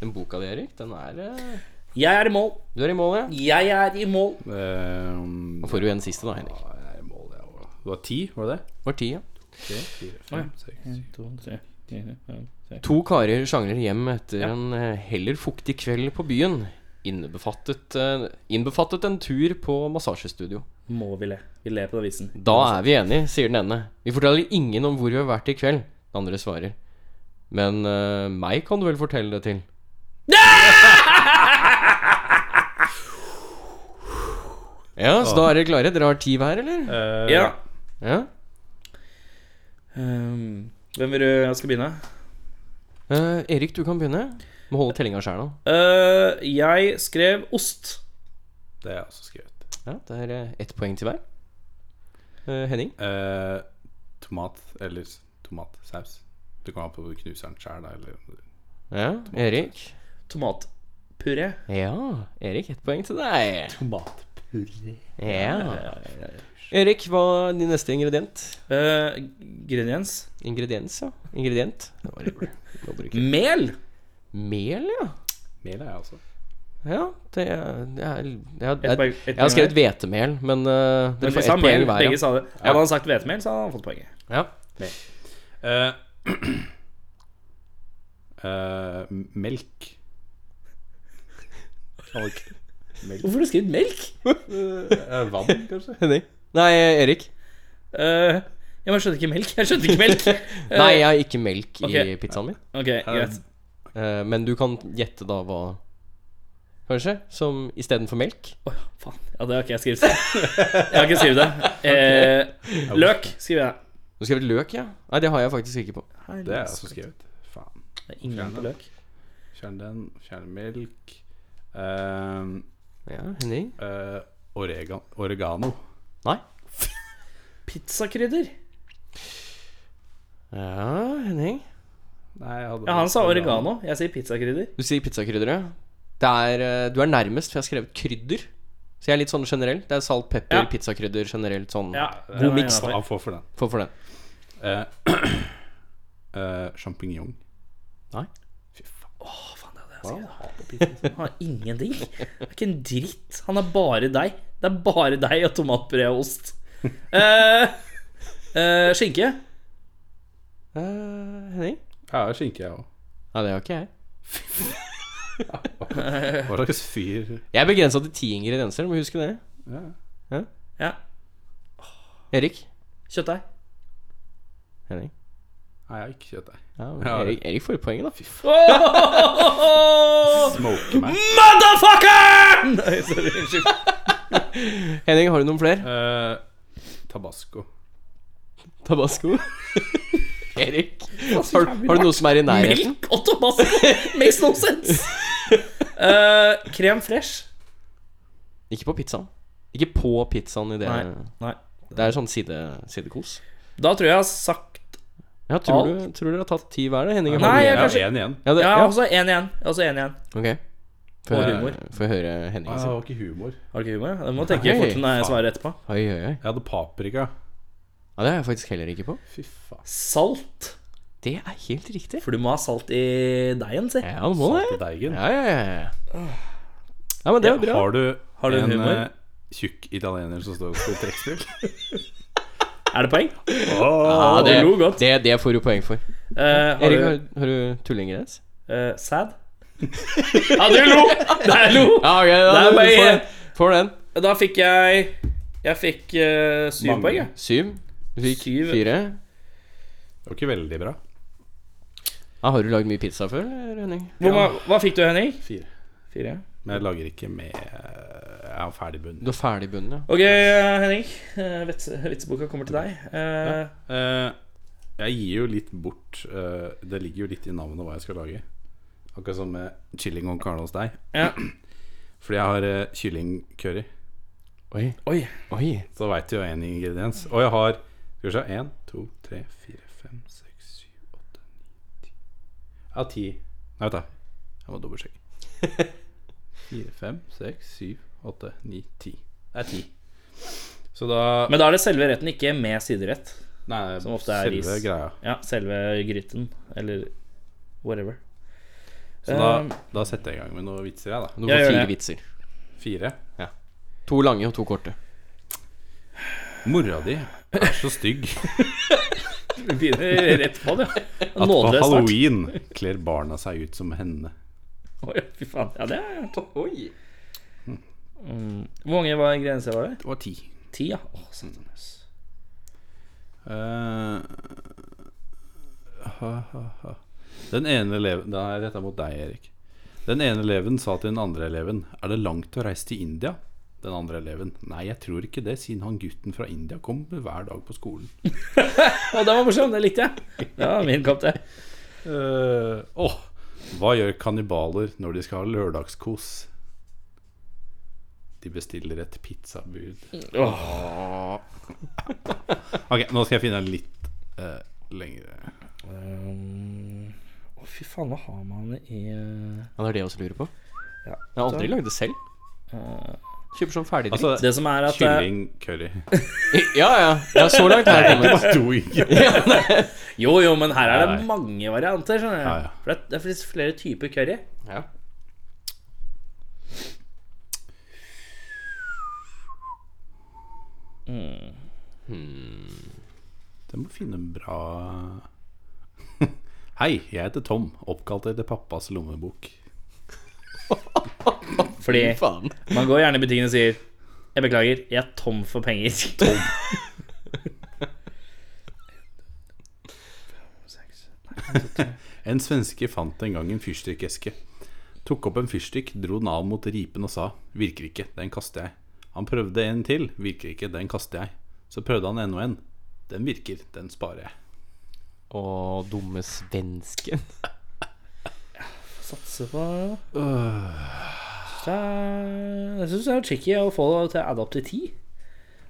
Speaker 4: Den boka di, Erik, den er eh,
Speaker 2: Jeg er i mål.
Speaker 4: Du er i mål, ja?
Speaker 2: Jeg er i mål.
Speaker 3: Um,
Speaker 4: Da får du en siste, da, Henrik.
Speaker 3: jeg er i mål, jeg òg. Det var ti, var det det?
Speaker 4: Var ti, ja.
Speaker 3: Tre, fire, fem, seks.
Speaker 4: To karer sjangler hjem etter en eh, heller fuktig kveld på byen. Innebefattet, eh, innbefattet en tur på massasjestudio.
Speaker 2: Må vi le. Vi ler på den vitsen.
Speaker 4: Da er vi enige, sier den ene. Vi forteller ingen om hvor vi har vært i kveld. Den andre svarer. Men eh, meg kan du vel fortelle det til? Ja, så da er dere klare? Dere har ti hver, eller?
Speaker 3: Eh,
Speaker 2: Ja.
Speaker 4: Ja.
Speaker 2: Ehm, hvem vil du jeg skal begynne?
Speaker 4: Eh, Erik, du kan begynne. Må holde tellinga sjæl nå.
Speaker 2: Eh, jeg skrev ost.
Speaker 3: Det er jeg også skrevet.
Speaker 4: Ja, det er eh, ett poeng til hver. Eh, Henning?
Speaker 3: Eh, tomat eller s- tomatsaus. Du kan ha på knuseren sjæl, da, eller
Speaker 4: Ja, Erik?
Speaker 2: Tomatpuré.
Speaker 4: Ja, Erik, ett poeng til deg.
Speaker 3: Tomatpuré.
Speaker 4: Ja. Erik, hva er din neste ingrediens?
Speaker 2: Eh, Ingrediens.
Speaker 4: Ingrediens, ja. Ingredient. Det var det. Nå bruker jeg-
Speaker 2: Mel.
Speaker 4: Mel, ja.
Speaker 3: Mel er jeg altså. også.
Speaker 4: Ja, det er, det er, det er,
Speaker 2: Ett
Speaker 4: det er
Speaker 2: poeng- ett
Speaker 4: Jeg har
Speaker 2: poeng
Speaker 4: skrevet hvetemel, men uh, dere
Speaker 2: Men vi
Speaker 4: får
Speaker 2: sa
Speaker 4: ett poeng
Speaker 2: mel.
Speaker 4: hver.
Speaker 2: Begge
Speaker 4: Ja.
Speaker 2: sa det. Hadde han sagt hvetemel, så hadde han fått poenget.
Speaker 4: Ja.
Speaker 3: Eh, eh, melk. Melk.
Speaker 2: Hvorfor har du skrevet melk?
Speaker 3: Eh, vann, kanskje?
Speaker 4: Henning? Nei, Erik.
Speaker 2: Eh, ja, men jeg skjønner ikke melk. Jeg skjønner ikke melk. Eh,
Speaker 4: Nei, jeg har ikke melk i
Speaker 2: ok.
Speaker 4: pizzaen min.
Speaker 2: Ok, greit.
Speaker 4: Eh, men du kan gjette da hva Kanskje? Som istedenfor melk?
Speaker 2: Åh, faen. Ja, det har ikke jeg skrevet. Jeg har ikke skrevet det. Eh, løk skriver jeg.
Speaker 4: Du skrev løk, ja? Nei, det har jeg faktisk ikke på.
Speaker 3: Det er jeg også skrevet. Faen.
Speaker 2: Det er ingen på løk.
Speaker 3: Fjern den. Fjern melk. Eh,
Speaker 4: Ja, Henning?
Speaker 3: eh, oregan, oregano.
Speaker 4: Nei?
Speaker 2: Pizzakrydder.
Speaker 4: Ja, Henning?
Speaker 3: Nei, jeg hadde
Speaker 2: Ja, han sa oregano. Jeg sier pizzakrydder.
Speaker 4: Du sier pizzakrydder, ja. Det er, eh, du er nærmest, for jeg har skrevet krydder. Så jeg er litt sånn generell. Det er salt, pepper,
Speaker 2: Ja.
Speaker 4: pizzakrydder generelt sånn.
Speaker 2: Ja, den
Speaker 4: God
Speaker 2: er
Speaker 4: miks.
Speaker 2: innenfor.
Speaker 3: Han får for den.
Speaker 4: Få for den.
Speaker 3: Uh, eh, Sjampinjong.
Speaker 4: Nei?
Speaker 2: Åh, faen, det hadde jeg skrevet. Han har ingenting. Det er ikke en dritt. Han er bare deg. Det er bare deg og tomatpuré og ost. Eh, eh, skinke.
Speaker 4: Eh, Henning?
Speaker 3: Ja, skinke, jeg òg.
Speaker 4: Nei, det har ikke jeg.
Speaker 3: Hva slags fyr
Speaker 4: Jeg er begrensa til ti ingredienser, må huske det.
Speaker 3: ja.
Speaker 2: Ja.
Speaker 4: Erik?
Speaker 2: Kjøttdeig.
Speaker 4: Henning?
Speaker 3: Nei, jeg har ikke kjøtt, jeg.
Speaker 4: Ja, men
Speaker 3: Ja.
Speaker 4: Erik, Erik får jo poenget, da.
Speaker 3: Smoke meg.
Speaker 2: Motherfucker! Nei, sorry, unnskyld.
Speaker 4: Henning, har du noen flere?
Speaker 3: Eh, tabasco.
Speaker 4: Tabasco? Erik? Har, har du noe som er i nærheten?
Speaker 2: Melk og tomater makes no sense. Eh, krem fresh.
Speaker 4: Ikke på pizzaen. Ikke på pizzaen i det.
Speaker 2: Nei, nei.
Speaker 4: Det er sånn side, sidekos.
Speaker 2: Da tror jeg jeg har sagt
Speaker 4: Ja, tror, du, tror dere har tatt ti hver, da? Henning?
Speaker 2: Nei,
Speaker 4: har du-
Speaker 2: jeg
Speaker 3: Jeg har
Speaker 2: kanskje-
Speaker 3: én igjen.
Speaker 4: ja, altså. det,
Speaker 2: Jeg har
Speaker 4: ja.
Speaker 2: også én igjen. Jeg har også en igjen.
Speaker 4: Ok. Få
Speaker 2: Og
Speaker 4: høre-
Speaker 2: humor.
Speaker 4: Få høre Henning
Speaker 3: Ah, det
Speaker 4: sin.
Speaker 3: var ikke humor.
Speaker 2: Har du ikke humor? Du må tenke
Speaker 4: Nei,
Speaker 2: fort når jeg
Speaker 3: faen.
Speaker 2: svarer etterpå.
Speaker 4: Oi, oi, oi.
Speaker 3: Jeg hadde paprika.
Speaker 4: Ja, det er jeg faktisk heller ikke på.
Speaker 3: Fy faen.
Speaker 2: Salt.
Speaker 4: Det er helt riktig.
Speaker 2: For du må ha salt i deigen, si.
Speaker 4: Ja, du må
Speaker 3: Salte
Speaker 4: det.
Speaker 3: deigen.
Speaker 4: Ja, ja, ja. ja. Ja, men det er bra.
Speaker 3: Har du,
Speaker 2: du
Speaker 3: en
Speaker 2: humor?
Speaker 3: eh, tjukk italiener som står og spiller trekkspill?
Speaker 2: Er det poeng?
Speaker 4: Ja, det,
Speaker 2: du lo godt.
Speaker 4: Det, det får du poeng for.
Speaker 2: Eh, har
Speaker 4: Erik,
Speaker 2: du
Speaker 4: har, har du tullingress?
Speaker 2: eh, sad? ja, du lo! Der lo!
Speaker 4: Ja, ok, da,
Speaker 2: Det er
Speaker 4: du
Speaker 2: bare-
Speaker 4: får, den. får den.
Speaker 2: Da fikk jeg Jeg fikk eh, syv
Speaker 3: Mange.
Speaker 2: poeng, jeg.
Speaker 4: Syv. Du fikk
Speaker 2: Syv.
Speaker 4: fire.
Speaker 3: Det var ikke veldig bra.
Speaker 4: Ja, har du lagd mye pizza før, eller, Henning?
Speaker 2: Hvor ma- Hva fikk du, Henning?
Speaker 3: Fire.
Speaker 2: Fire.
Speaker 3: Men jeg lager ikke med eh, Jeg har ferdig bunn.
Speaker 4: Du er ferdig i bunnen, ja.
Speaker 2: Ok, eh, Henning. eh, vits, vitseboka kommer til deg. Eh,
Speaker 3: Eh, jeg gir jo litt bort eh, Det ligger jo litt i navnet hva jeg skal lage. Akkurat som med chilling on carne hos deg.
Speaker 2: Ja.
Speaker 3: Fordi jeg har eh, kyllingcurry.
Speaker 4: Oi.
Speaker 2: Oi.
Speaker 4: Oi.
Speaker 3: Så veit du jo én ingrediens. Og jeg har Skal vi se Én, to, tre, fire, fem, seks, syv, åtte, ni, ti Jeg har ti. Nei, vent, da. Jeg må dobbeltsjekke. Fire, fem, seks, syv, åtte, ni, ti. Det er ti. Så da
Speaker 2: Men da er det selve retten, ikke med siderett.
Speaker 3: Nei,
Speaker 2: som ofte er
Speaker 3: selve
Speaker 2: ris.
Speaker 3: greia.
Speaker 2: Ja, selve gryten. Eller whatever.
Speaker 3: Så da,
Speaker 2: Um,
Speaker 3: da setter jeg i gang med noen vitser, jeg,
Speaker 2: Jeg
Speaker 4: Du får
Speaker 2: gjør
Speaker 4: fire
Speaker 2: det.
Speaker 4: vitser.
Speaker 3: da. Fire.
Speaker 4: To lange og to korte.
Speaker 3: Mora di er så stygg
Speaker 2: Vi begynner Eh, rett på det.
Speaker 3: at på
Speaker 2: Nådeløs start.
Speaker 3: halloween kler barna seg ut som henne.
Speaker 2: Oi, fy faen. Ja, det er Mm.
Speaker 4: Oi.
Speaker 2: Hvor mange var grenser var det?
Speaker 3: Det var ti.
Speaker 2: Ti, ja. Å, satan, ass.
Speaker 3: Eh, ha, ha, ha. Den ene eleven Den er retta mot deg, Erik. Den ene eleven sa til den andre eleven Er det langt å reise til India? Den andre eleven. Nei, jeg tror ikke det, siden han gutten fra India kommer hver dag på skolen.
Speaker 2: Å, den var morsom. Det likte jeg. Det var min kopp, det.
Speaker 3: Eh, åh, hva gjør kannibaler når de skal ha lørdagskos? De bestiller et pizzabud. Ok, nå skal jeg finne en litt uh, lengre
Speaker 2: Um, Å, fy faen, hva har man i eh,
Speaker 4: Ja, det er det jeg også lurer på.
Speaker 2: Ja.
Speaker 4: Jeg har aldri lagd det selv. Kjøper sånn ferdig dritt.
Speaker 3: Altså,
Speaker 2: Det som er at eh,
Speaker 3: kylling curry.
Speaker 4: Ja, ja. ja så langt har jeg kommet.
Speaker 3: Bare to ikke.
Speaker 2: Jo, jo, men her er det
Speaker 3: Nei.
Speaker 2: mange varianter, skjønner du.
Speaker 3: Ja, ja.
Speaker 2: For det, det finnes flere typer curry.
Speaker 4: Ja.
Speaker 3: Du må finne en bra Hei, jeg heter Tom, oppkalt etter pappas lommebok.
Speaker 2: Fordi
Speaker 4: Faen.
Speaker 2: man går gjerne i butikken og sier Jeg beklager, jeg er tom for penger. Tom.
Speaker 3: En svenske fant en gang en fyrstikkeske. Tok opp en fyrstikk, dro den av mot ripen og sa 'virker ikke, den kaster jeg'. Han prøvde en til, 'virker ikke, den kaster jeg'. Så prøvde han enda en. Den virker, den sparer jeg.
Speaker 4: Å, dumme svensken.
Speaker 2: Satser på
Speaker 3: Øh.
Speaker 2: Det er- Jeg syns det er tricky å få det til å adde opp til ti.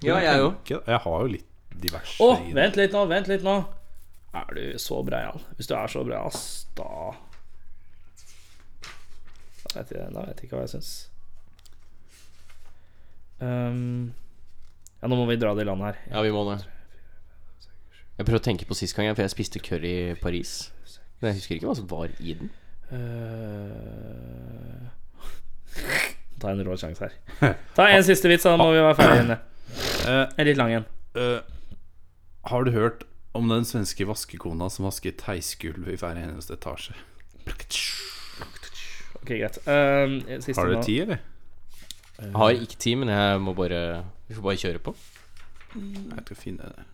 Speaker 4: Ja, jeg òg.
Speaker 3: Ikke- Jeg har jo litt diverse
Speaker 2: Å,
Speaker 3: i det.
Speaker 2: vent litt nå, vent litt nå. Er du så breial? Hvis du er så breial, ass, da Da vet jeg, da vet jeg ikke hva jeg syns. Ehm, ja, nå må vi dra det i land her.
Speaker 4: Ja, vi må det. Jeg prøvde å tenke på sist gang, jeg, for jeg spiste curry i Paris. Men jeg husker ikke hva som var i den.
Speaker 2: Eh, Ta en rå sjanse her. Ta en siste vits, da må vi være ferdige. Inne.
Speaker 3: Eh,
Speaker 2: En litt lang en.
Speaker 3: eh, har du hørt om den svenske vaskekona som vasket heisgulv i hver eneste etasje?
Speaker 2: Ok, greit. Ehm, siste
Speaker 3: Har du
Speaker 2: nå.
Speaker 3: ti, eller?
Speaker 4: Jeg har ikke tid, men jeg må bare Vi får bare kjøre på.
Speaker 3: Jeg skal finne det.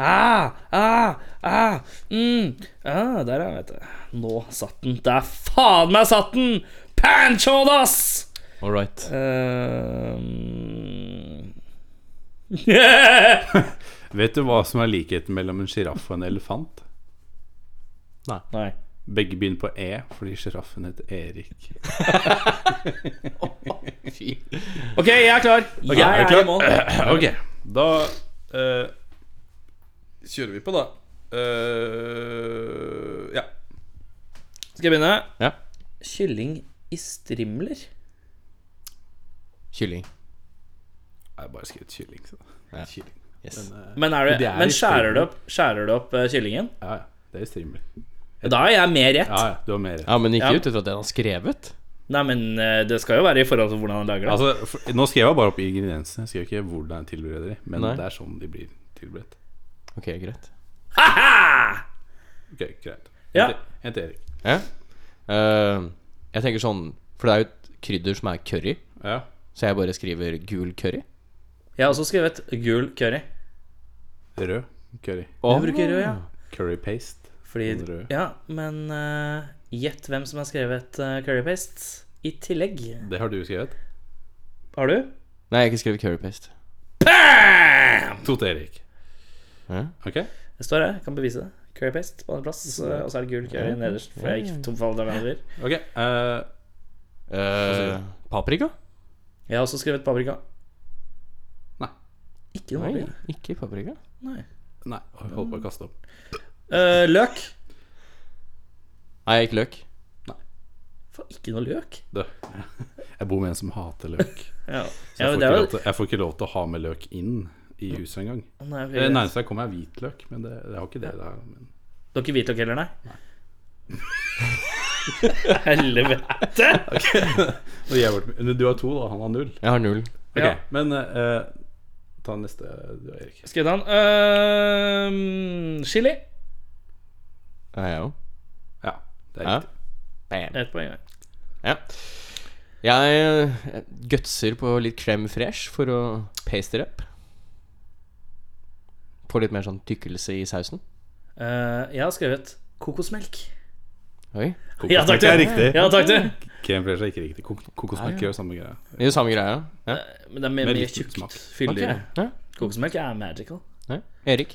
Speaker 2: Ah, ah, ah, mm, ah, der er vet du. Nå satt den. Der faen meg satt den! Panchod, ass!
Speaker 4: All right.
Speaker 2: Ehm.
Speaker 3: Vet du hva som er likheten mellom en sjiraff og en elefant?
Speaker 2: Nei.
Speaker 3: Begge begynner på E fordi sjiraffen heter Erik.
Speaker 4: Fy.
Speaker 2: Ok, jeg er klar. Jeg
Speaker 3: er
Speaker 2: er,
Speaker 3: du klar?
Speaker 2: i mål.
Speaker 3: Ok, da eh, kjører vi på, da. Eh, ja.
Speaker 2: Skal jeg begynne?
Speaker 4: Ja.
Speaker 2: Kylling i strimler?
Speaker 4: Kylling.
Speaker 3: Jeg har bare skrevet kylling. Så.
Speaker 4: Ja.
Speaker 3: kylling.
Speaker 4: Yes.
Speaker 2: Men, er du,
Speaker 3: Det er i
Speaker 2: men skjærer, du
Speaker 3: strimler.
Speaker 2: opp, skjærer du opp eh, kyllingen?
Speaker 3: Ja, ja. Det er strimler.
Speaker 2: Da er jeg mer rett.
Speaker 3: Ja, ja. Du har mer rett.
Speaker 4: Ja, men ikke
Speaker 2: Ja.
Speaker 4: ut ifra det han har skrevet.
Speaker 2: Nei, men eh, det skal jo være i forhold til hvordan han lager det.
Speaker 3: Altså, for, nå skrev jeg bare opp ingrediensene. Jeg skrev ikke hvor det er tilberedt i, men
Speaker 4: Nei.
Speaker 3: det er sånn de blir tilberedt.
Speaker 4: Ok, greit.
Speaker 3: Ok, greit.
Speaker 2: Ja.
Speaker 3: En til Erik.
Speaker 4: Ja. Eh, jeg tenker sånn For det er jo et krydder som er curry,
Speaker 3: Ja.
Speaker 4: så jeg bare skriver gul curry.
Speaker 2: Jeg har også skrevet gul curry.
Speaker 3: Rød curry.
Speaker 4: Og
Speaker 2: Du bruker rød, ja.
Speaker 3: Curry paste. Den
Speaker 2: Fordi,
Speaker 3: røde.
Speaker 2: ja, men eh, gjett hvem som har skrevet eh, curry paste i tillegg.
Speaker 3: Det har du skrevet.
Speaker 2: Har du?
Speaker 4: Nei, jeg har ikke skrevet curry paste.
Speaker 3: To til Erik.
Speaker 4: Ja.
Speaker 3: Ok?
Speaker 2: Det står her, jeg kan bevise det. Curry paste på andreplass, eh, og så er det gul curry nederst. For jeg gikk tom for alle hverandre.
Speaker 3: Ok, eh,
Speaker 4: Eh, paprika?
Speaker 2: Jeg har også skrevet paprika.
Speaker 3: Nei.
Speaker 2: Ikke noe
Speaker 4: Nei,
Speaker 2: paprika.
Speaker 4: ikke paprika.
Speaker 2: Nei.
Speaker 3: Nei, jeg holdt på å kaste opp.
Speaker 2: Eh, løk.
Speaker 4: Nei, ikke løk.
Speaker 2: Faen, ikke noe løk.
Speaker 3: Du, jeg bor med en som hater løk.
Speaker 2: Ja,
Speaker 3: Så
Speaker 2: ja men det
Speaker 3: jeg, får ikke
Speaker 2: er
Speaker 3: lov
Speaker 2: jo
Speaker 3: til, jeg får ikke lov til å ha med løk inn i huset engang.
Speaker 2: Nei, ok,
Speaker 3: Det
Speaker 2: greit.
Speaker 3: nærmeste jeg kommer, er hvitløk, men det, det er jo ikke det. det er, men.
Speaker 2: Du har ikke hvitløk heller, nei? Helvete!
Speaker 3: Og jeg har vært med- Du har to, da. Han har null.
Speaker 4: Jeg har null.
Speaker 3: Ok,
Speaker 2: Ja.
Speaker 3: Men eh, ta neste, du, Erik.
Speaker 2: Skal jeg ta den? Uh, chili.
Speaker 4: Ja, jeg òg.
Speaker 3: Ja, det er
Speaker 4: Ja.
Speaker 3: riktig.
Speaker 4: Bam.
Speaker 2: Ett poeng. ja.
Speaker 4: Ja. Jeg eh, gutser på litt crème fresh for å paste det opp. Få litt mer sånn tykkelse i sausen.
Speaker 2: Eh, jeg har skrevet kokosmelk.
Speaker 4: Oi.
Speaker 2: Ja takk,
Speaker 3: Det er
Speaker 2: du.
Speaker 3: riktig.
Speaker 2: Ja, takk du.
Speaker 3: Kremflesj er ikke riktig. Kok kokosmelk gjør samme greia.
Speaker 4: Det er jo samme greia. Ja.
Speaker 2: Men det er mer,
Speaker 3: Med
Speaker 2: mer
Speaker 3: litt
Speaker 2: tjukt.
Speaker 3: smak.
Speaker 4: Ok,
Speaker 2: Fyldigere.
Speaker 4: Eh, ja.
Speaker 2: Kokosmelk er magical.
Speaker 4: Ja. Erik?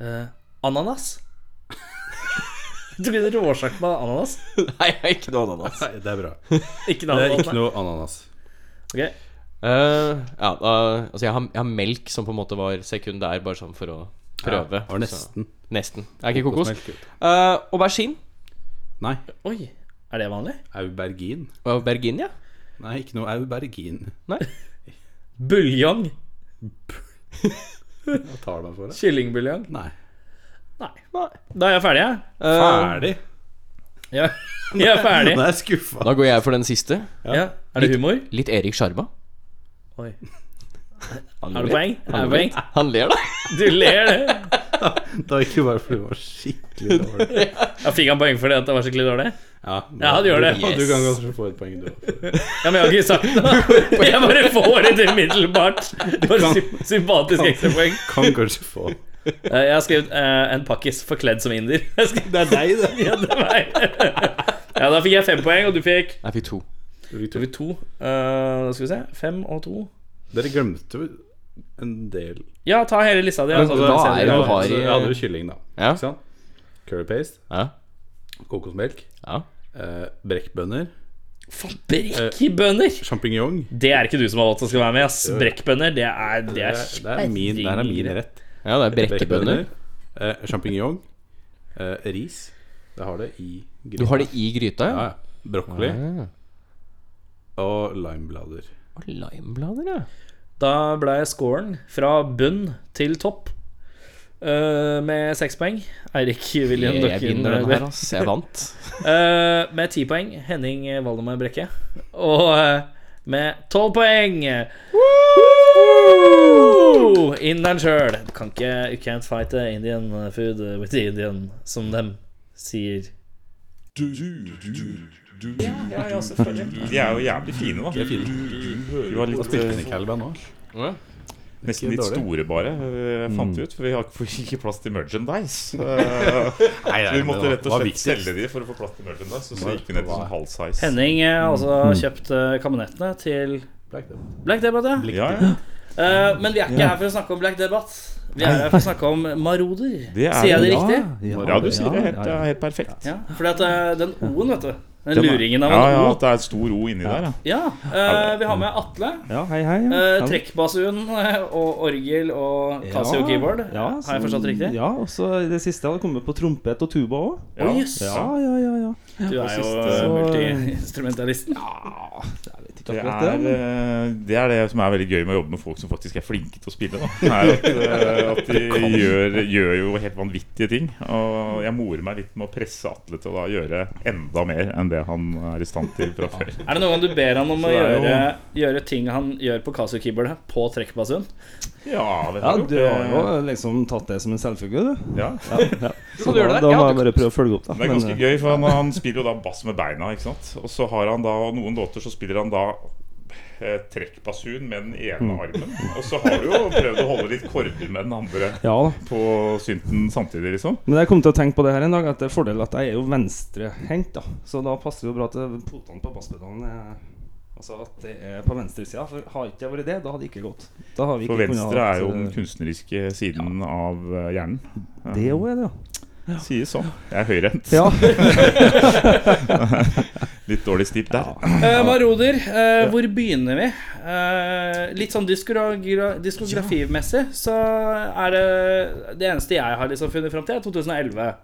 Speaker 2: Eh, ananas. Du begynner råsjakk med ananas.
Speaker 4: Nei, jeg er ikke noe ananas.
Speaker 3: Nei, det er bra.
Speaker 2: Ikke
Speaker 3: Det
Speaker 2: noe
Speaker 3: er
Speaker 2: ananas.
Speaker 3: ikke noe ananas.
Speaker 2: nei. Ok.
Speaker 4: Eh, ja, da, altså jeg har, jeg har melk som på en måte var sekundær, bare sånn for å prøve.
Speaker 3: Ja, var nesten.
Speaker 4: Så, nesten. Er ikke kokos.
Speaker 3: Kokosmelk, vet du.
Speaker 4: Uh, aubergine.
Speaker 3: Nei,
Speaker 2: Oi, er det vanlig?
Speaker 3: aubergin.
Speaker 4: Aubergine, ja.
Speaker 3: Nei, ikke noe aubergin.
Speaker 2: Buljong.
Speaker 3: Hva tar du meg for det?
Speaker 2: Kyllingbuljong.
Speaker 3: Nei.
Speaker 4: Nei.
Speaker 2: Da er jeg ferdig, jeg.
Speaker 4: Eh,
Speaker 3: Ferdig?
Speaker 2: Ja. Jeg er ferdig.
Speaker 3: Nå er jeg skuffa.
Speaker 4: da går jeg for den siste.
Speaker 2: Ja. Er det humor?
Speaker 4: Litt Erik Sjarma.
Speaker 2: Oi. Er det poeng? Er det poeng?
Speaker 4: Han ler, da.
Speaker 2: Du ler, du.
Speaker 3: Det var ikke bare fordi det var skikkelig dårlig.
Speaker 2: Ja, fikk han poeng for det at det var skikkelig dårlig?
Speaker 3: Ja,
Speaker 2: Ja, du gjør det.
Speaker 3: Du kan kanskje få et poeng, du òg.
Speaker 2: Ja, men jeg har ikke sagt noe. Jeg bare får et umiddelbart bare sy sympatisk ekstrapoeng.
Speaker 3: Kan kanskje få.
Speaker 2: Eh, Jeg har skrevet eh, 'en pakkis forkledd som inder'. Jeg har skrevet-
Speaker 3: Det er deg, det.
Speaker 2: Ja, det var jeg. Ja, da fikk jeg fem poeng, og du fikk
Speaker 4: Jeg fikk to.
Speaker 2: Du fikk to. Eh, Da skal vi se. Fem og to.
Speaker 3: Dere glemte jo en del
Speaker 2: Ja, ta hele lista di. altså,
Speaker 4: hva
Speaker 2: så-
Speaker 4: er det du har i-
Speaker 3: Så Jeg hadde jo kylling, da.
Speaker 4: Ja.
Speaker 3: Ikke sant? Curry paste,
Speaker 4: Ja.
Speaker 3: kokosmelk,
Speaker 4: ja.
Speaker 3: eh, brekkbønner,
Speaker 2: Fabrikkbønner!
Speaker 3: sjampinjong.
Speaker 2: Det er ikke du som har valgt å skal være med. ass Brekkbønner, det er Det er,
Speaker 3: Det er, det er min, der er min rett.
Speaker 4: Ja, det er brekkebønner.
Speaker 3: eh, Sjampinjong, eh, ris. Jeg har det i
Speaker 4: Du
Speaker 3: gryta.
Speaker 4: har det i gryta,
Speaker 3: Ja,
Speaker 4: ja?
Speaker 3: ja. Brokkoli
Speaker 4: ja.
Speaker 3: og limeblader.
Speaker 4: Og limeblader, ja.
Speaker 2: Da ble scoren fra bunn til topp eh, med seks poeng. Eirik William
Speaker 4: Jeg, jeg
Speaker 2: Døkken.
Speaker 4: vinner den her, ass. Jeg vant.
Speaker 2: Eh, med ti poeng Henning Valdemar Brekke. Og eh, med tolv poeng Woo! Inderen sjøl. Kan ikke You can't fight the Indian food with the Indian, som dem sier.
Speaker 5: De er jo jævlig fine, da.
Speaker 3: De er fine.
Speaker 5: De var
Speaker 3: Da
Speaker 5: litt,
Speaker 3: spilte den i
Speaker 5: eh,
Speaker 3: Calban òg.
Speaker 4: Ja.
Speaker 5: nesten
Speaker 3: ikke
Speaker 5: litt
Speaker 3: dårlig. Mm.
Speaker 5: store, bare, eh, fant vi ut. For vi har ikke- får ikke plass til merchandise. Eh, Så vi måtte rett og slett selge de for å få plass til merchandise. Så, så gikk vi ned til sånn halv size.
Speaker 2: Henning eh, har altså
Speaker 4: Mm.
Speaker 2: kjøpt eh, kabinettene til Black Debate.
Speaker 5: Ja,
Speaker 2: Ja.
Speaker 5: ja.
Speaker 2: Eh, men vi er ikke her for å snakke om Black Debate. Vi er her for å snakke om maroder.
Speaker 5: Det er-
Speaker 2: Sier jeg det riktig?
Speaker 5: ja, du sier det. Helt, det er helt perfekt.
Speaker 2: Ja, fordi at eh, den O-en, vet du. Den
Speaker 3: Den er-
Speaker 2: luringen av
Speaker 5: Ja,
Speaker 2: en
Speaker 5: ja,
Speaker 2: O.
Speaker 5: at det er et stor O inni der, ja.
Speaker 2: Ja, eh, vi har med Atle.
Speaker 6: Ja, hei, hei. ja.
Speaker 2: eh,
Speaker 6: Ja.
Speaker 2: Trekkbasun eh, og orgel og Casio
Speaker 6: Ja,
Speaker 2: keyboard.
Speaker 6: ja,
Speaker 2: har jeg forstått
Speaker 6: så-
Speaker 2: riktig?
Speaker 6: Ja, og så i det siste hadde kommet på trompet og tuba òg.
Speaker 2: Å jøss.
Speaker 6: Ja, ja, ja, ja.
Speaker 2: Du er jo eh, multiinstrumentalisten.
Speaker 6: Jeg vet ikke
Speaker 5: Ah, Det
Speaker 6: akkurat det.
Speaker 5: er,
Speaker 6: men-
Speaker 5: eh, det er det som er veldig gøy med å jobbe med folk som faktisk er flinke til å spille. Da. Er at, eh, at de gjør, gjør jo helt vanvittige ting. Og jeg morer meg litt med å presse Atle til å da gjøre enda mer enn det han er i stand til fra før.
Speaker 2: Er det noen gang du ber han om å
Speaker 5: Så det er jo-
Speaker 2: gjøre, gjøre ting han gjør på Casio keyboardet, på trekkbasun?
Speaker 5: Ja, det
Speaker 6: Ja,
Speaker 5: har
Speaker 6: du har jo liksom tatt det som en selvfølge, du.
Speaker 5: Ja.
Speaker 6: Så
Speaker 4: du gjør
Speaker 6: da,
Speaker 4: det?
Speaker 6: da
Speaker 4: Ja,
Speaker 6: må
Speaker 4: du-
Speaker 6: jeg bare prøve å følge opp, da.
Speaker 5: Det er
Speaker 6: Men, eh,
Speaker 5: ganske gøy, for han, han spiller jo da bass med beina. ikke sant? Og så har han da og noen låter så spiller han da eh, trekkbasun med den ene
Speaker 6: Mm.
Speaker 5: armen. Og så har du jo prøvd å holde litt korder med den andre
Speaker 6: Ja da.
Speaker 5: på synten samtidig, liksom.
Speaker 6: Men jeg kom til å tenke på det her en dag, at det er fordel at jeg er jo venstrehendt, da. Så da passer det jo bra til potene på basspedalen er Altså at det er på venstresida. For har ikke det vært det, da hadde det ikke gått. Da har vi ikke
Speaker 5: For venstre
Speaker 6: hatt,
Speaker 5: er jo den
Speaker 6: eh,
Speaker 5: kunstneriske siden av eh, hjernen.
Speaker 6: Det òg er det, ja.
Speaker 5: Sies sånn. Jeg er høyrehendt.
Speaker 6: Ja.
Speaker 5: Litt dårlig stilt der.
Speaker 2: Eh, Maroder, eh, hvor begynner vi? Eh, litt sånn diskogra diskografimessig så er det Det eneste jeg har liksom funnet fram til, er 2011.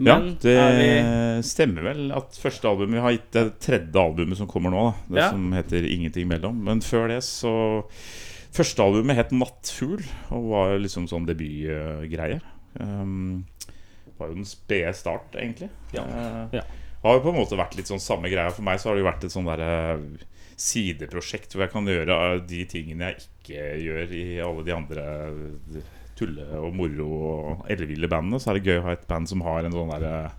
Speaker 5: Ja,
Speaker 2: Men er vi
Speaker 5: det stemmer vel at første albumet Vi har gitt det tredje albumet som kommer nå, da. Det
Speaker 2: Ja.
Speaker 5: som heter 'Ingenting mellom'. Men før det så Første albumet het 'Nattfugl' og var jo liksom sånn debutgreie. Um, var jo den spede start, egentlig. Eh,
Speaker 6: Ja.
Speaker 5: Har jo på en måte vært litt sånn samme greia. For meg så har det jo vært et sånn derre sideprosjekt hvor jeg kan gjøre eh, de tingene jeg ikke gjør i alle de andre eh, tulle- og moro- og elleville bandene, så er det gøy å ha et band som har en sånn derre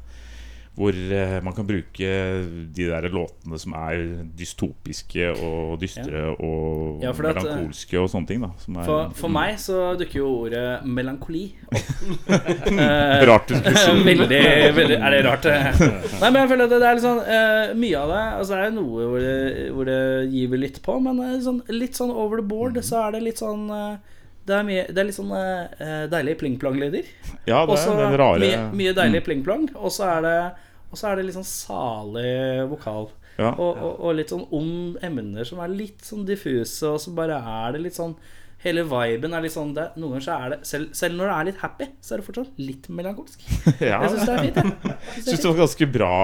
Speaker 5: Hvor eh, man kan bruke de der låtene som er dystopiske og dystre og
Speaker 2: Ja, for det at, eh,
Speaker 5: melankolske og sånne ting. da som er
Speaker 2: For, for meg så dukker jo ordet melankoli opp.
Speaker 5: Mm.
Speaker 2: Eh,
Speaker 5: Rart du skulle si.
Speaker 2: veldig, veldig Er det rart? eh? Nei, men jeg føler at det, det er litt sånn eh, Mye av det Altså, det er jo noe hvor det, hvor det giver litt på, men eh, sånn, litt sånn over the board så er det litt sånn eh, det er, mye, det er litt sånn eh, deilige pling-plong-lyder.
Speaker 5: Ja, det
Speaker 2: Også
Speaker 5: er den rare Mm.
Speaker 2: mye, mye deilig pling-plong. Og så er det og så er det litt sånn salig vokal.
Speaker 5: Ja.
Speaker 2: Og, og, og litt sånn om emner som er litt sånn diffuse, og så bare er det litt sånn Hele viben er litt sånn det, Noen ganger så er det selv, selv når det er litt happy, så er det fortsatt litt melankolsk.
Speaker 5: ja.
Speaker 2: Jeg syns det er fint. jeg. Jeg
Speaker 5: Syns det
Speaker 2: synes det er fint.
Speaker 5: var ganske bra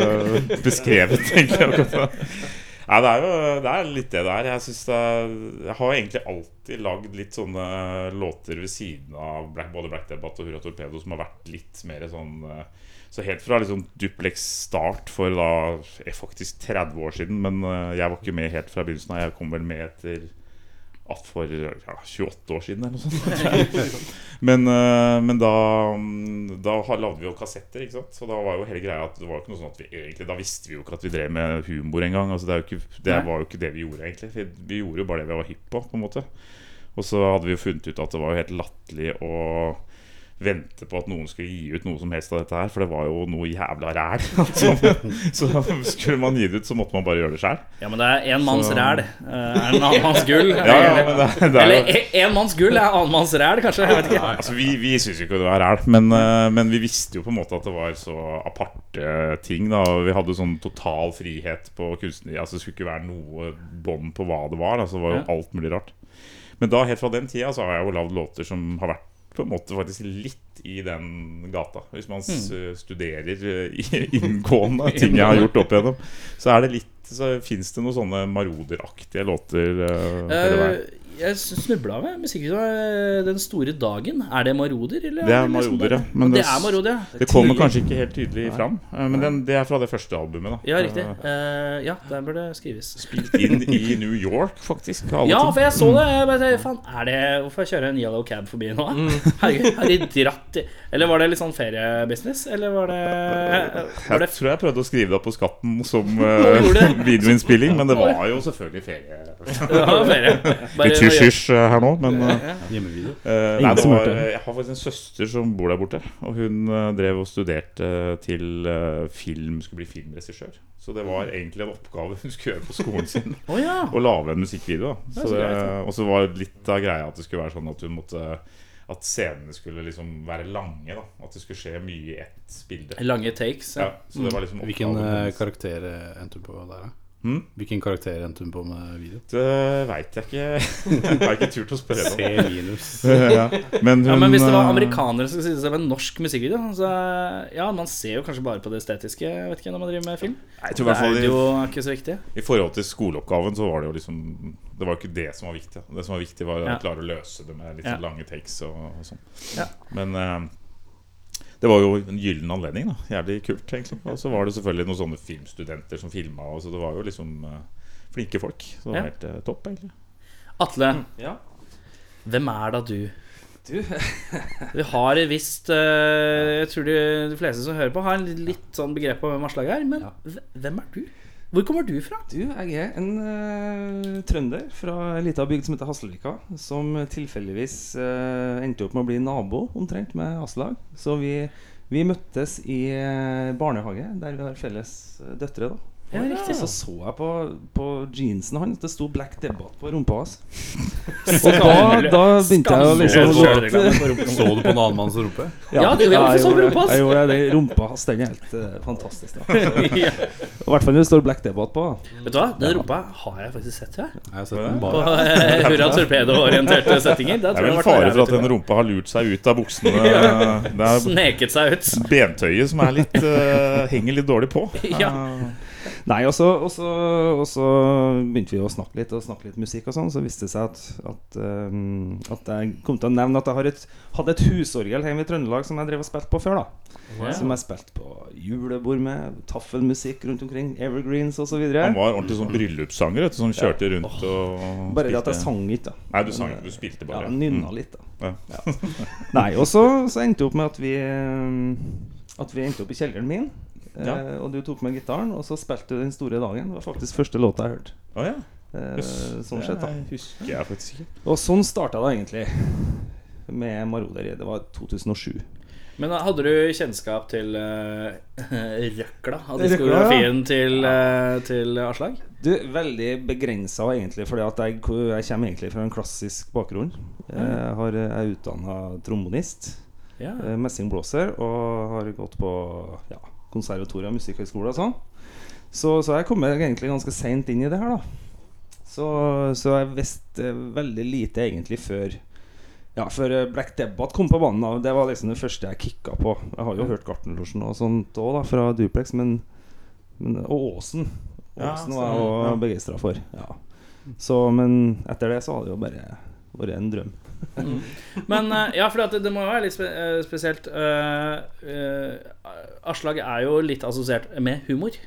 Speaker 5: eh, beskrevet, egentlig. akkurat det. Nei, det er jo det er litt det der. Jeg, synes det er, jeg har egentlig alltid lagd litt sånne eh, låter ved siden av Black, både Black Debate og Hurra Torpedo som har vært litt mer sånn eh, Så helt fra liksom Duplex start for da eh, faktisk 30 år siden, men eh, jeg var ikke med helt fra begynnelsen av. Jeg kom vel med etter at for ja, 28 år siden eller noe sånt. Men, eh, men da, mm, da har- lagde vi jo kassetter, ikke sant? Så da var jo hele greia at det var jo ikke noe sånn at vi egentlig Da visste vi jo ikke at vi drev med humor engang. Altså det, er jo ikke- det
Speaker 2: Nei.
Speaker 5: var jo ikke det vi gjorde, egentlig. Vi, vi gjorde jo bare det vi var hypp på, på en måte. Og så hadde vi jo funnet ut at det var jo helt latterlig å vente på at noen skulle gi ut noe som helst av dette her, for det var jo noe jævla ræl. Altså. Så skulle man gi det ut, så måtte man bare gjøre det sjæl.
Speaker 2: Ja, men det er én manns ræl. eh, Er en annen manns gull.
Speaker 5: Ja, ja, men det, det er jo
Speaker 2: Eller én manns gull er annen manns ræl, kanskje. Jeg vet ikke.
Speaker 5: Altså, vi vi syntes jo ikke det var ræl, men, eh, men vi visste jo på en måte at det var så aparte ting. da og Vi hadde sånn total frihet på kunstner... Altså, det skulle ikke være noe bånd på hva det var. Altså, det var jo
Speaker 2: Ja.
Speaker 5: alt mulig rart. Men da, helt fra den tida så har jeg jo lagd låter som har vært på en måte faktisk litt i den gata. Hvis man
Speaker 2: Mm.
Speaker 5: s- studerer eh, i- inngående ting jeg har gjort opp igjennom, så er det litt så fins det noen sånne maroderaktige låter. eh, hele veien.
Speaker 2: Eh, Jeg snubla over musikkvideoen eh, Den store dagen. Er det Maroder? Eller
Speaker 5: Det er
Speaker 2: liksom
Speaker 5: Maroder,
Speaker 2: bare-
Speaker 5: ja. Men
Speaker 2: det
Speaker 5: det-
Speaker 2: er Maroder, ja.
Speaker 5: Det kommer kanskje ikke helt tydelig fram, eh, men den, det er fra det første albumet. da
Speaker 2: Ja, riktig. Eh, ja, der bør det skrives.
Speaker 5: Spilt inn i New York, faktisk. av alle
Speaker 2: Ja,
Speaker 5: ting.
Speaker 2: for jeg så det. Jeg bare, tenkte, faen, er det Hvorfor kjører jeg en yellow cab forbi nå?
Speaker 5: Mm.
Speaker 2: Herregud, har de dratt i Eller var det litt sånn feriebusiness? Eller var det, var det
Speaker 5: Jeg tror jeg prøvde å skrive det opp på skatten som
Speaker 2: Nå gjorde
Speaker 5: eh,
Speaker 2: du det.
Speaker 5: videoinnspilling, men det var jo selvfølgelig ferie.
Speaker 2: det var ferie? Bare-
Speaker 5: Litt hysj-hysj eh, her nå, men eh,
Speaker 3: Hjemmevideo.
Speaker 5: Eh, nei,
Speaker 6: Ingen
Speaker 5: det
Speaker 6: som
Speaker 5: var,
Speaker 6: hørte.
Speaker 5: jeg har faktisk en søster som bor der borte. Og hun eh, drev og studerte til eh, film, skulle bli filmregissør. Så det var egentlig en oppgave hun skulle gjøre på skolen sin.
Speaker 2: Å ja.
Speaker 5: Å lage en musikkvideo. Da.
Speaker 2: er
Speaker 5: Så
Speaker 2: så
Speaker 5: det,
Speaker 2: greit,
Speaker 5: og så var litt av greia at det skulle være sånn at hun måtte At scenene skulle liksom være lange. da At det skulle skje mye i ett bilde.
Speaker 2: Lange takes.
Speaker 5: Ja,
Speaker 2: Ja.
Speaker 5: så det var liksom
Speaker 3: Hvilken
Speaker 5: oppgaven
Speaker 3: eh,
Speaker 5: hennes.
Speaker 3: karakter eh, endte hun på der, da?
Speaker 5: Hm?
Speaker 3: Hvilken karakter endte hun på med video?
Speaker 5: Det veit jeg ikke. jeg har ikke turt å spørre henne.
Speaker 3: minus.
Speaker 5: Ja. Men hun
Speaker 2: Ja, men hvis det var
Speaker 5: eh,
Speaker 2: amerikanere som skulle sitte seg med en norsk musikkvideo, så ja, man ser jo kanskje bare på det estetiske, jeg vet ikke, når man driver med film.
Speaker 5: jeg tror i
Speaker 2: Det
Speaker 5: hvert fall
Speaker 2: er
Speaker 5: de-
Speaker 2: jo ikke så viktig.
Speaker 5: I forhold til skoleoppgaven så var det jo liksom Det var jo ikke det som var viktig. Det som var viktig, var å
Speaker 2: Ja.
Speaker 5: klare å løse det med litt
Speaker 2: Ja.
Speaker 5: lange takes og, og sånn.
Speaker 2: Ja.
Speaker 5: Men eh, det var jo en gyllen anledning. da Jævlig kult, egentlig. Og så var det selvfølgelig noen sånne filmstudenter som filma, og så det var jo liksom eh, flinke folk. Så det var
Speaker 2: Ja.
Speaker 5: helt eh, topp, egentlig.
Speaker 2: Atle,
Speaker 6: Ja.
Speaker 2: hvem er da du?
Speaker 6: Du.
Speaker 2: Vi har et visst eh, Jeg tror de, de fleste som hører på, har en litt sånn begrep om hvem Aslak er. Men
Speaker 6: Ja.
Speaker 2: hve- hvem er du? Hvor kommer du fra?
Speaker 6: Du, jeg er en eh, trønder fra ei lita bygd som heter Hasselvika. Som tilfeldigvis eh, endte opp med å bli nabo omtrent med Aslag. Så vi, vi møttes i eh, barnehage, der vi har felles eh, døtre. da
Speaker 2: Ja, riktig.
Speaker 6: Så så jeg på, på jeansen hans, det sto Black Debate på rumpa hans.
Speaker 2: Så
Speaker 6: Da, da begynte jeg å liksom
Speaker 5: Skamløs
Speaker 6: låte-
Speaker 3: Så du på en annen manns rumpe?
Speaker 2: Ja, det gjorde jeg også, så
Speaker 6: gjorde det.
Speaker 2: sånn rumpa hans.
Speaker 6: Jeg gjorde det. Rumpa hans, den er helt eh, fantastisk. da
Speaker 2: ja.
Speaker 6: Og I hvert fall når det står Black Debate på. da.
Speaker 2: Vet du hva, den rumpa har jeg faktisk sett, jeg.
Speaker 3: Jeg har sett den
Speaker 2: På
Speaker 3: bare.
Speaker 2: eh, Hurra torpedo-orienterte settinger. Da
Speaker 5: Det er vel
Speaker 2: tror jeg det har
Speaker 5: fare for
Speaker 2: vært der,
Speaker 5: at den
Speaker 2: vet du.
Speaker 5: rumpa har lurt seg ut av buksene. Det er
Speaker 2: Sneket seg ut.
Speaker 5: bentøyet som er litt eh, henger litt dårlig på.
Speaker 2: Ja.
Speaker 6: Nei, og så, og, så, og så begynte vi å snakke litt og snakke litt musikk og sånn. Så viste det seg at, at, ehm, at jeg kom til å nevne at jeg har et, hadde et husorgel hjemme i Trøndelag som jeg drev og spilte på før. da Som jeg spilte på julebord med, taffelmusikk rundt omkring, evergreens osv.
Speaker 5: Han var ordentlig sånn bryllupssanger vet du, som kjørte rundt og
Speaker 6: Bare det at
Speaker 5: spilte.
Speaker 6: jeg sang litt, da.
Speaker 5: Nei, du sang ikke, du spilte
Speaker 6: Ja,
Speaker 5: bare. Mm.
Speaker 6: nynna litt, da.
Speaker 5: Ja.
Speaker 6: Nei, og så, så endte det opp med at vi eh, At vi endte opp i kjelleren min. eh,
Speaker 5: Ja.
Speaker 6: Eh, og du tok med gitaren, og så spilte du Den store dagen. Det var faktisk første låta jeg hørte.
Speaker 5: Å ja.
Speaker 6: Eh,
Speaker 5: Jøss,
Speaker 6: sånn sett, da.
Speaker 5: Det husker jeg faktisk ikke.
Speaker 6: Og sånn starta det egentlig. Med Maroder. Det var 2007.
Speaker 2: Men hadde du kjennskap til uh, røkla av
Speaker 6: Røkla,
Speaker 2: diskografien til, eh, til Aslag?
Speaker 6: Du, Veldig begrensa, egentlig. Fordi at jeg, jeg kommer egentlig fra en klassisk bakgrunn. Jeg, har, jeg er utdanna trombonist,
Speaker 2: Ja.
Speaker 6: eh, messingblåser, og har gått på ja, konservatoriet og musikkhøgskole og sånn. Så, så jeg kommer egentlig ganske seint inn i det her, da. Så, så jeg visste veldig lite egentlig før Ja, før eh, Black Debbath kom på banen. Da. Det var liksom det første jeg kicka på. Jeg har jo hørt Gartnerlosjen og sånt òg, da, fra Duplex, men, men Og Åsen.
Speaker 5: Ja,
Speaker 6: Åsen var jeg
Speaker 5: stemmer,
Speaker 6: òg
Speaker 5: ja.
Speaker 6: begeistra for. Ja. Så, men etter det så har det jo bare vært en drøm.
Speaker 2: Men eh, ja, for det, det må jo være litt spe eh, spesielt. eh, eh, Aslag er jo litt assosiert med humor.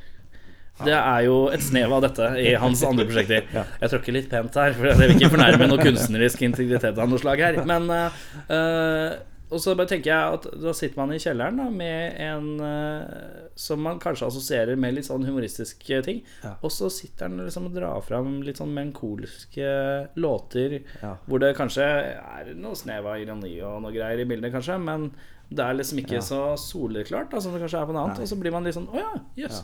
Speaker 2: Det er jo et snev av dette i hans andre prosjekter. Jeg tråkker litt pent her, for jeg vil ikke fornærme noe kunstnerisk integritet av noe slag her. Men eh, eh, Og så bare tenker jeg at da sitter man i kjelleren da med en eh, som man kanskje assosierer med litt sånn humoristiske ting.
Speaker 6: Ja.
Speaker 2: Og så sitter han liksom og drar fram litt sånn melankoliske låter.
Speaker 6: Ja.
Speaker 2: Hvor det kanskje er noe snev av ironi og noe greier i bildet, kanskje, men det er liksom ikke så soleklart da, som det kanskje er på noe annet.
Speaker 6: Nei.
Speaker 2: Og så blir man litt sånn Å ja, jøss.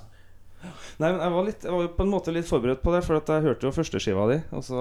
Speaker 6: Nei, men jeg var, litt, jeg var jo på en måte litt forberedt på det, for at jeg hørte jo førsteskiva di. Og så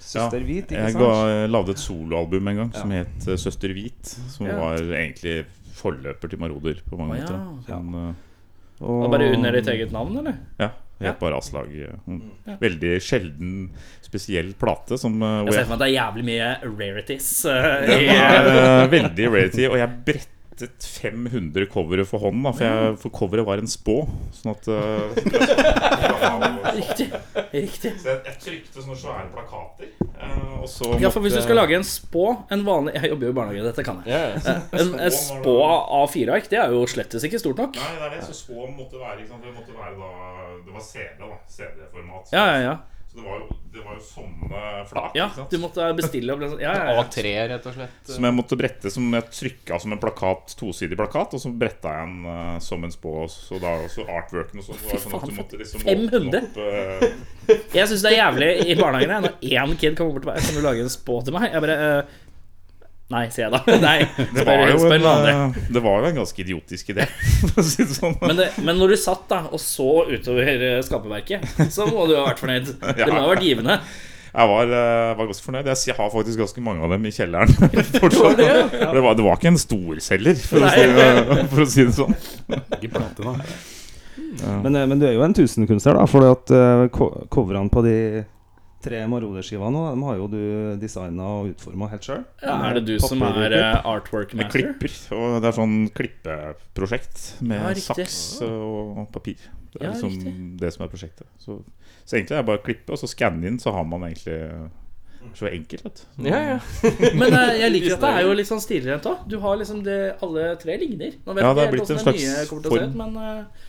Speaker 6: Søster Hvit, ikke
Speaker 5: jeg
Speaker 6: sant?
Speaker 5: ga- eh, lagde et soloalbum en gang som het eh, Søster Hvit. Som
Speaker 2: Ja.
Speaker 5: var egentlig forløper til Maroder på mange
Speaker 2: Å, ja.
Speaker 5: måter. da. Sånn, eh,
Speaker 6: Og,
Speaker 2: Det var bare under ditt eget navn, eller?
Speaker 5: Ja.
Speaker 2: Ja.
Speaker 5: Helt bare avslag. eh, Mm.
Speaker 2: Ja.
Speaker 5: Veldig sjelden spesiell plate. Som, eh, hvor
Speaker 2: Jeg ser
Speaker 5: jeg
Speaker 2: for meg at det er jævlig mye rarities. eh,
Speaker 5: Det
Speaker 2: i-
Speaker 5: er eh, veldig rarity, og jeg brettet 500 covere for hånden, da, for, jeg, for coveret var en spå. Sånn at eh,
Speaker 2: Riktig. Riktig.
Speaker 5: Så jeg, jeg trykte sånne svære plakater, eh, og så
Speaker 2: Ja, for hvis
Speaker 5: måtte-
Speaker 2: du skal lage en spå En vanlig Jeg jobber jo i barnehage, dette kan jeg. Eh,
Speaker 4: Ja, ja.
Speaker 2: En, en spå av A4-ark, det er jo slettes ikke stort nok.
Speaker 5: Nei, det er det. Så spå måtte være, ikke sant? Det måtte være da Det var CD, da. CD-format.
Speaker 2: Ja, ja, ja.
Speaker 5: Så det var, jo, det var jo sånne flak.
Speaker 2: ja
Speaker 5: ikke sant?
Speaker 2: du måtte bestille og bli sånn Ja, ja, ja.
Speaker 4: A3, rett og slett.
Speaker 5: Som jeg måtte brette som jeg trykka som en plakat, tosidig plakat, og så bretta jeg den eh, som en spå. og Så da også artworken og sånn. så var det Sånn at du måtte liksom åpne
Speaker 2: 500?
Speaker 5: opp eh,
Speaker 2: Jeg syns det er jævlig i barnehagen jeg, når én kid kommer bort til meg Kan du lage en spå til meg. Jeg bare eh, Nei, sier jeg da. Nei,
Speaker 5: det,
Speaker 2: spør,
Speaker 5: var jo
Speaker 2: spør
Speaker 5: en,
Speaker 2: noen andre.
Speaker 5: eh, det var jo en ganske idiotisk idé, for å si det sånn.
Speaker 2: Men, det, men når du satt da og så utover eh, skaperverket, så må du ha vært fornøyd. Det må ha vært givende.
Speaker 5: Jeg var, eh, var ganske fornøyd. Jeg s- Jeg har faktisk ganske mange av dem i kjelleren fortsatt.
Speaker 2: det, ja.
Speaker 5: For det, var, det var ikke en storselger, for, å si
Speaker 2: Nei.
Speaker 5: det- for å si det sånn.
Speaker 3: Ikke plate, da.
Speaker 6: men, eh, men du er jo en tusenkunstner, da. For at eh, co- coverne på de tre Maroder-skivene nå, dem har jo du designa og utforma helt sjøl.
Speaker 2: Ja, er det du som er eh, artwork
Speaker 5: Jeg
Speaker 2: master?
Speaker 5: klipper. Og det er sånn klippeprosjekt med
Speaker 2: Ja, riktig.
Speaker 5: saks og og papir. Det er
Speaker 2: Ja,
Speaker 5: liksom
Speaker 2: riktig.
Speaker 5: det som er prosjektet. Så, så egentlig er det bare å klippe, og så skanne inn, så har man egentlig eh, så enkelt, vet du.
Speaker 4: Ja, ja.
Speaker 2: Men eh, jeg liker at det er jo litt sånn stilrent òg. Du har liksom det Alle tre ligner. Nå vet
Speaker 5: Ja,
Speaker 2: jeg
Speaker 5: det har
Speaker 2: ikke
Speaker 5: blitt
Speaker 2: helt
Speaker 5: en
Speaker 2: hvordan den
Speaker 5: slags
Speaker 2: nye kommer til å se
Speaker 5: form.
Speaker 2: ut, men eh,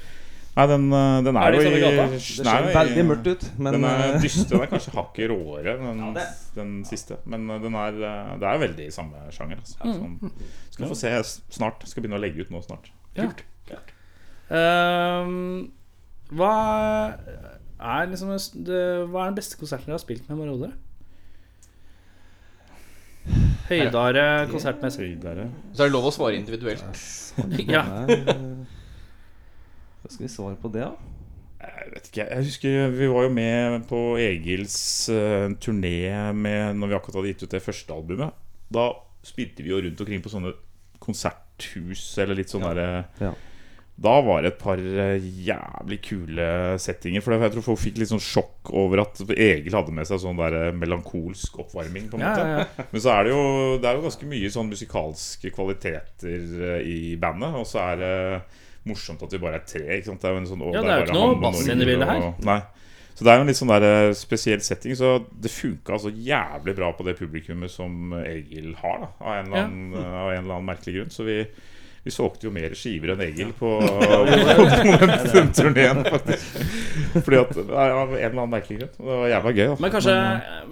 Speaker 5: Nei, den, eh, den
Speaker 2: Er
Speaker 5: er,
Speaker 2: det
Speaker 5: jo
Speaker 2: sånn i
Speaker 5: i
Speaker 2: gata?
Speaker 6: Det ser
Speaker 5: nei,
Speaker 6: veldig mørkt ut, men
Speaker 5: den er
Speaker 6: eh,
Speaker 5: dyster. Den er kanskje hakket råere, den,
Speaker 6: det-
Speaker 5: den siste. Men eh, den er, eh, det er veldig i samme sjanger. Altså.
Speaker 2: Mm.
Speaker 5: Sånn, skal få se s- snart. Skal begynne å legge ut nå snart.
Speaker 2: Kult. Ehm, hva er liksom det, Hva er den beste konserten dere har spilt med Marode? Høydare konsertmessig.
Speaker 5: Høydere.
Speaker 4: Så er det lov å svare individuelt.
Speaker 2: Ja.
Speaker 6: Hva skal vi svare på det, da?
Speaker 5: Jeg vet ikke, jeg husker vi var jo med på Egils eh, turné med, Når vi akkurat hadde gitt ut det første albumet Da spilte vi jo rundt omkring på sånne konserthus Eller litt sånn der
Speaker 6: Ja.
Speaker 5: Da var det et par eh, jævlig kule settinger For jeg tror folk fikk litt sånn sjokk over at Egil hadde med seg sånn der eh, melankolsk oppvarming på en
Speaker 2: Ja,
Speaker 5: måte
Speaker 2: ja, ja.
Speaker 5: men så er det jo, det er jo ganske mye sånn musikalske kvaliteter eh, i bandet. Og så er det morsomt at vi bare er tre. Ikke sant? Det er jo en sånn, å,
Speaker 2: Ja, det er
Speaker 5: bare
Speaker 2: jo ikke noe
Speaker 5: han og
Speaker 2: bass
Speaker 5: Norge
Speaker 2: inne i bildet her.
Speaker 5: og- Nei. Så det er jo en litt sånn der eh, spesiell setting. Så det funka altså jævlig bra på det publikummet som Egil har, da, av, en eller
Speaker 2: Ja.
Speaker 5: annen, av en eller annen merkelig grunn. Så vi Vi solgte jo mer skiver enn Egil på, på den, den turneen, faktisk. Fordi at, nei, Av en eller annen merkelig grunn. Det var jævla gøy. altså. da.
Speaker 2: Men kanskje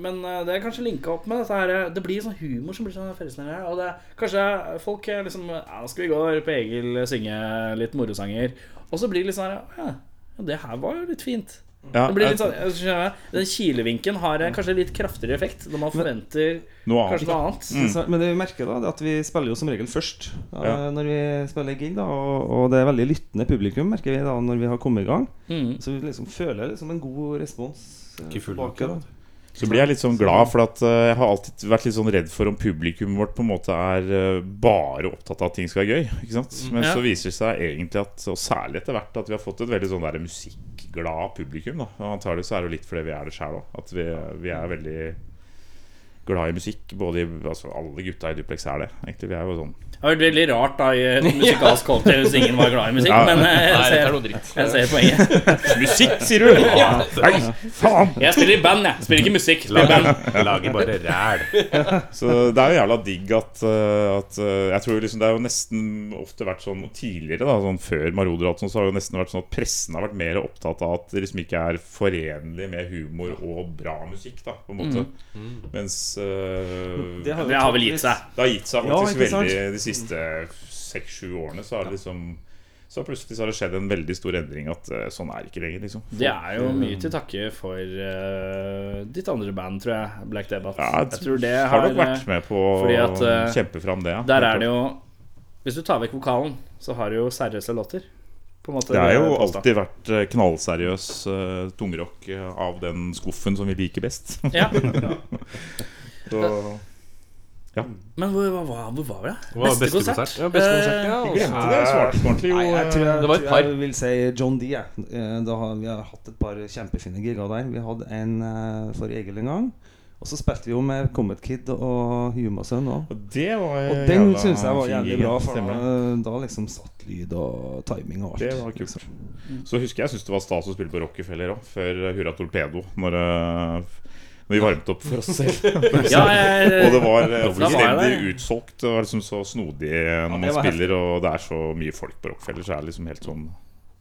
Speaker 2: Men eh, det er kanskje linka opp med dette her eh, Det blir sånn humor som blir sånn fellesnevner her. Og det kanskje folk eh, liksom Ja, nå skal vi gå og høre på Egil synge litt morosanger. Og så blir det litt sånn her Ja, ja, det her var jo litt fint.
Speaker 5: Ja,
Speaker 2: Det blir
Speaker 5: jeg-
Speaker 2: litt sånn, jeg skjønner det. Den kilevinken har eh, kanskje litt kraftigere effekt når man forventer
Speaker 5: Noe annet.
Speaker 2: kanskje noe annet.
Speaker 4: Mm.
Speaker 6: Så, men det vi merker da, det er at vi spiller jo som regel først da,
Speaker 5: Mm. Ja.
Speaker 6: når vi spiller gig. da og, og det er veldig lyttende publikum, merker vi da når vi har kommet i gang.
Speaker 2: Mhm.
Speaker 6: Så vi liksom føler liksom en god respons eh,
Speaker 3: Ikke full
Speaker 6: tilbake. da
Speaker 5: Så blir jeg litt sånn glad, for at eh, jeg har alltid vært litt sånn redd for om publikummet vårt på en måte er eh, bare opptatt av at ting skal være gøy. Ikke sant? Men
Speaker 2: Mm, Ja.
Speaker 5: så viser det seg egentlig at, og særlig etter hvert, at vi har fått et veldig sånn der musikkglad publikum. Da. Og antagelig så er det jo litt fordi vi er det sjæl òg. At vi, vi er veldig glad i musikk. Både i, altså, alle gutta i Duplex er det. Egentlig, vi er jo sånn
Speaker 2: Det har vært veldig rart da i et musikalsk kollektiv hvis ingen var glad i musikk,
Speaker 5: Ja.
Speaker 2: men eh, jeg
Speaker 4: Nei, dette er
Speaker 2: ser,
Speaker 4: noe dritt.
Speaker 2: jeg ser poenget.
Speaker 5: Musikk, sier du! Nei, faen!
Speaker 2: Jeg spiller i band, jeg. Spiller ikke musikk, spiller i band.
Speaker 3: Lager, lager bare ræl.
Speaker 5: Så det er jo jævla digg at, eh, at eh, Jeg tror liksom Det har jo nesten ofte vært sånn tidligere, da sånn før Maroder og alt sånt, så har det jo nesten vært sånn at pressen har vært mer opptatt av at det liksom ikke er forenlig med humor og bra musikk, da, på en måte.
Speaker 2: Mm.
Speaker 5: Mens eh, det, har,
Speaker 2: Det har vel gitt seg.
Speaker 5: gitt seg
Speaker 6: Ja,
Speaker 5: faktisk
Speaker 6: ikke sant?
Speaker 5: veldig de siste seks-sju årene, så har det liksom så plutselig så har det skjedd en veldig stor endring at eh, sånn er det ikke lenger, liksom.
Speaker 2: Det er jo mye til takke for eh, ditt andre band, tror jeg. Black Debate.
Speaker 5: Ja,
Speaker 2: jeg tror det
Speaker 5: har nok vært med på å
Speaker 2: fordi at, eh,
Speaker 5: kjempe fram det. ja.
Speaker 2: Der er det jo Hvis du tar vekk vokalen, så har du jo seriøse låter. På en måte,
Speaker 5: Det har jo
Speaker 2: vil jeg påstå.
Speaker 5: alltid vært eh, knallseriøs eh, tungrock eh, av den skuffen som vi liker best.
Speaker 2: ja.
Speaker 5: Så,
Speaker 2: Men hvor, hva, hva, hvor var vi, da?
Speaker 3: Hva var beste konsert?
Speaker 4: Ja, beste konsert, ja. altså.
Speaker 5: jeg glemte det, jeg svarte ikke ordentlig. Jo,
Speaker 6: Nei, jeg tror jeg,
Speaker 4: Det var et
Speaker 6: tror jeg
Speaker 4: par.
Speaker 6: vil si John D. jeg. Eh, Da har, vi har hatt et par kjempefine giger der. Vi hadde en eh, for Egil en gang. Og så spilte vi jo med Comet Kid og Humasønn
Speaker 5: eh,
Speaker 6: òg.
Speaker 5: og det var
Speaker 6: Og
Speaker 5: jævla
Speaker 6: den syns jeg var
Speaker 5: fin
Speaker 6: jævlig
Speaker 5: gig,
Speaker 6: bra,
Speaker 5: ja,
Speaker 6: for
Speaker 5: stemmer det.
Speaker 6: da, da liksom satt lyd og timing og alt.
Speaker 5: Det var kult. Så husker jeg jeg syns det var stas å spille på Rockefeller òg, før eh, Hurra Torpedo. Når, eh, når vi varmet opp for oss selv.
Speaker 2: Ja, jeg,
Speaker 5: Og det var eh,
Speaker 2: var jeg
Speaker 5: fullstendig
Speaker 2: der.
Speaker 5: utsolgt. Det var liksom så snodig eh, når
Speaker 6: det
Speaker 5: man
Speaker 6: var
Speaker 5: spiller, og det er så mye folk på Rockefeller, så er det liksom helt sånn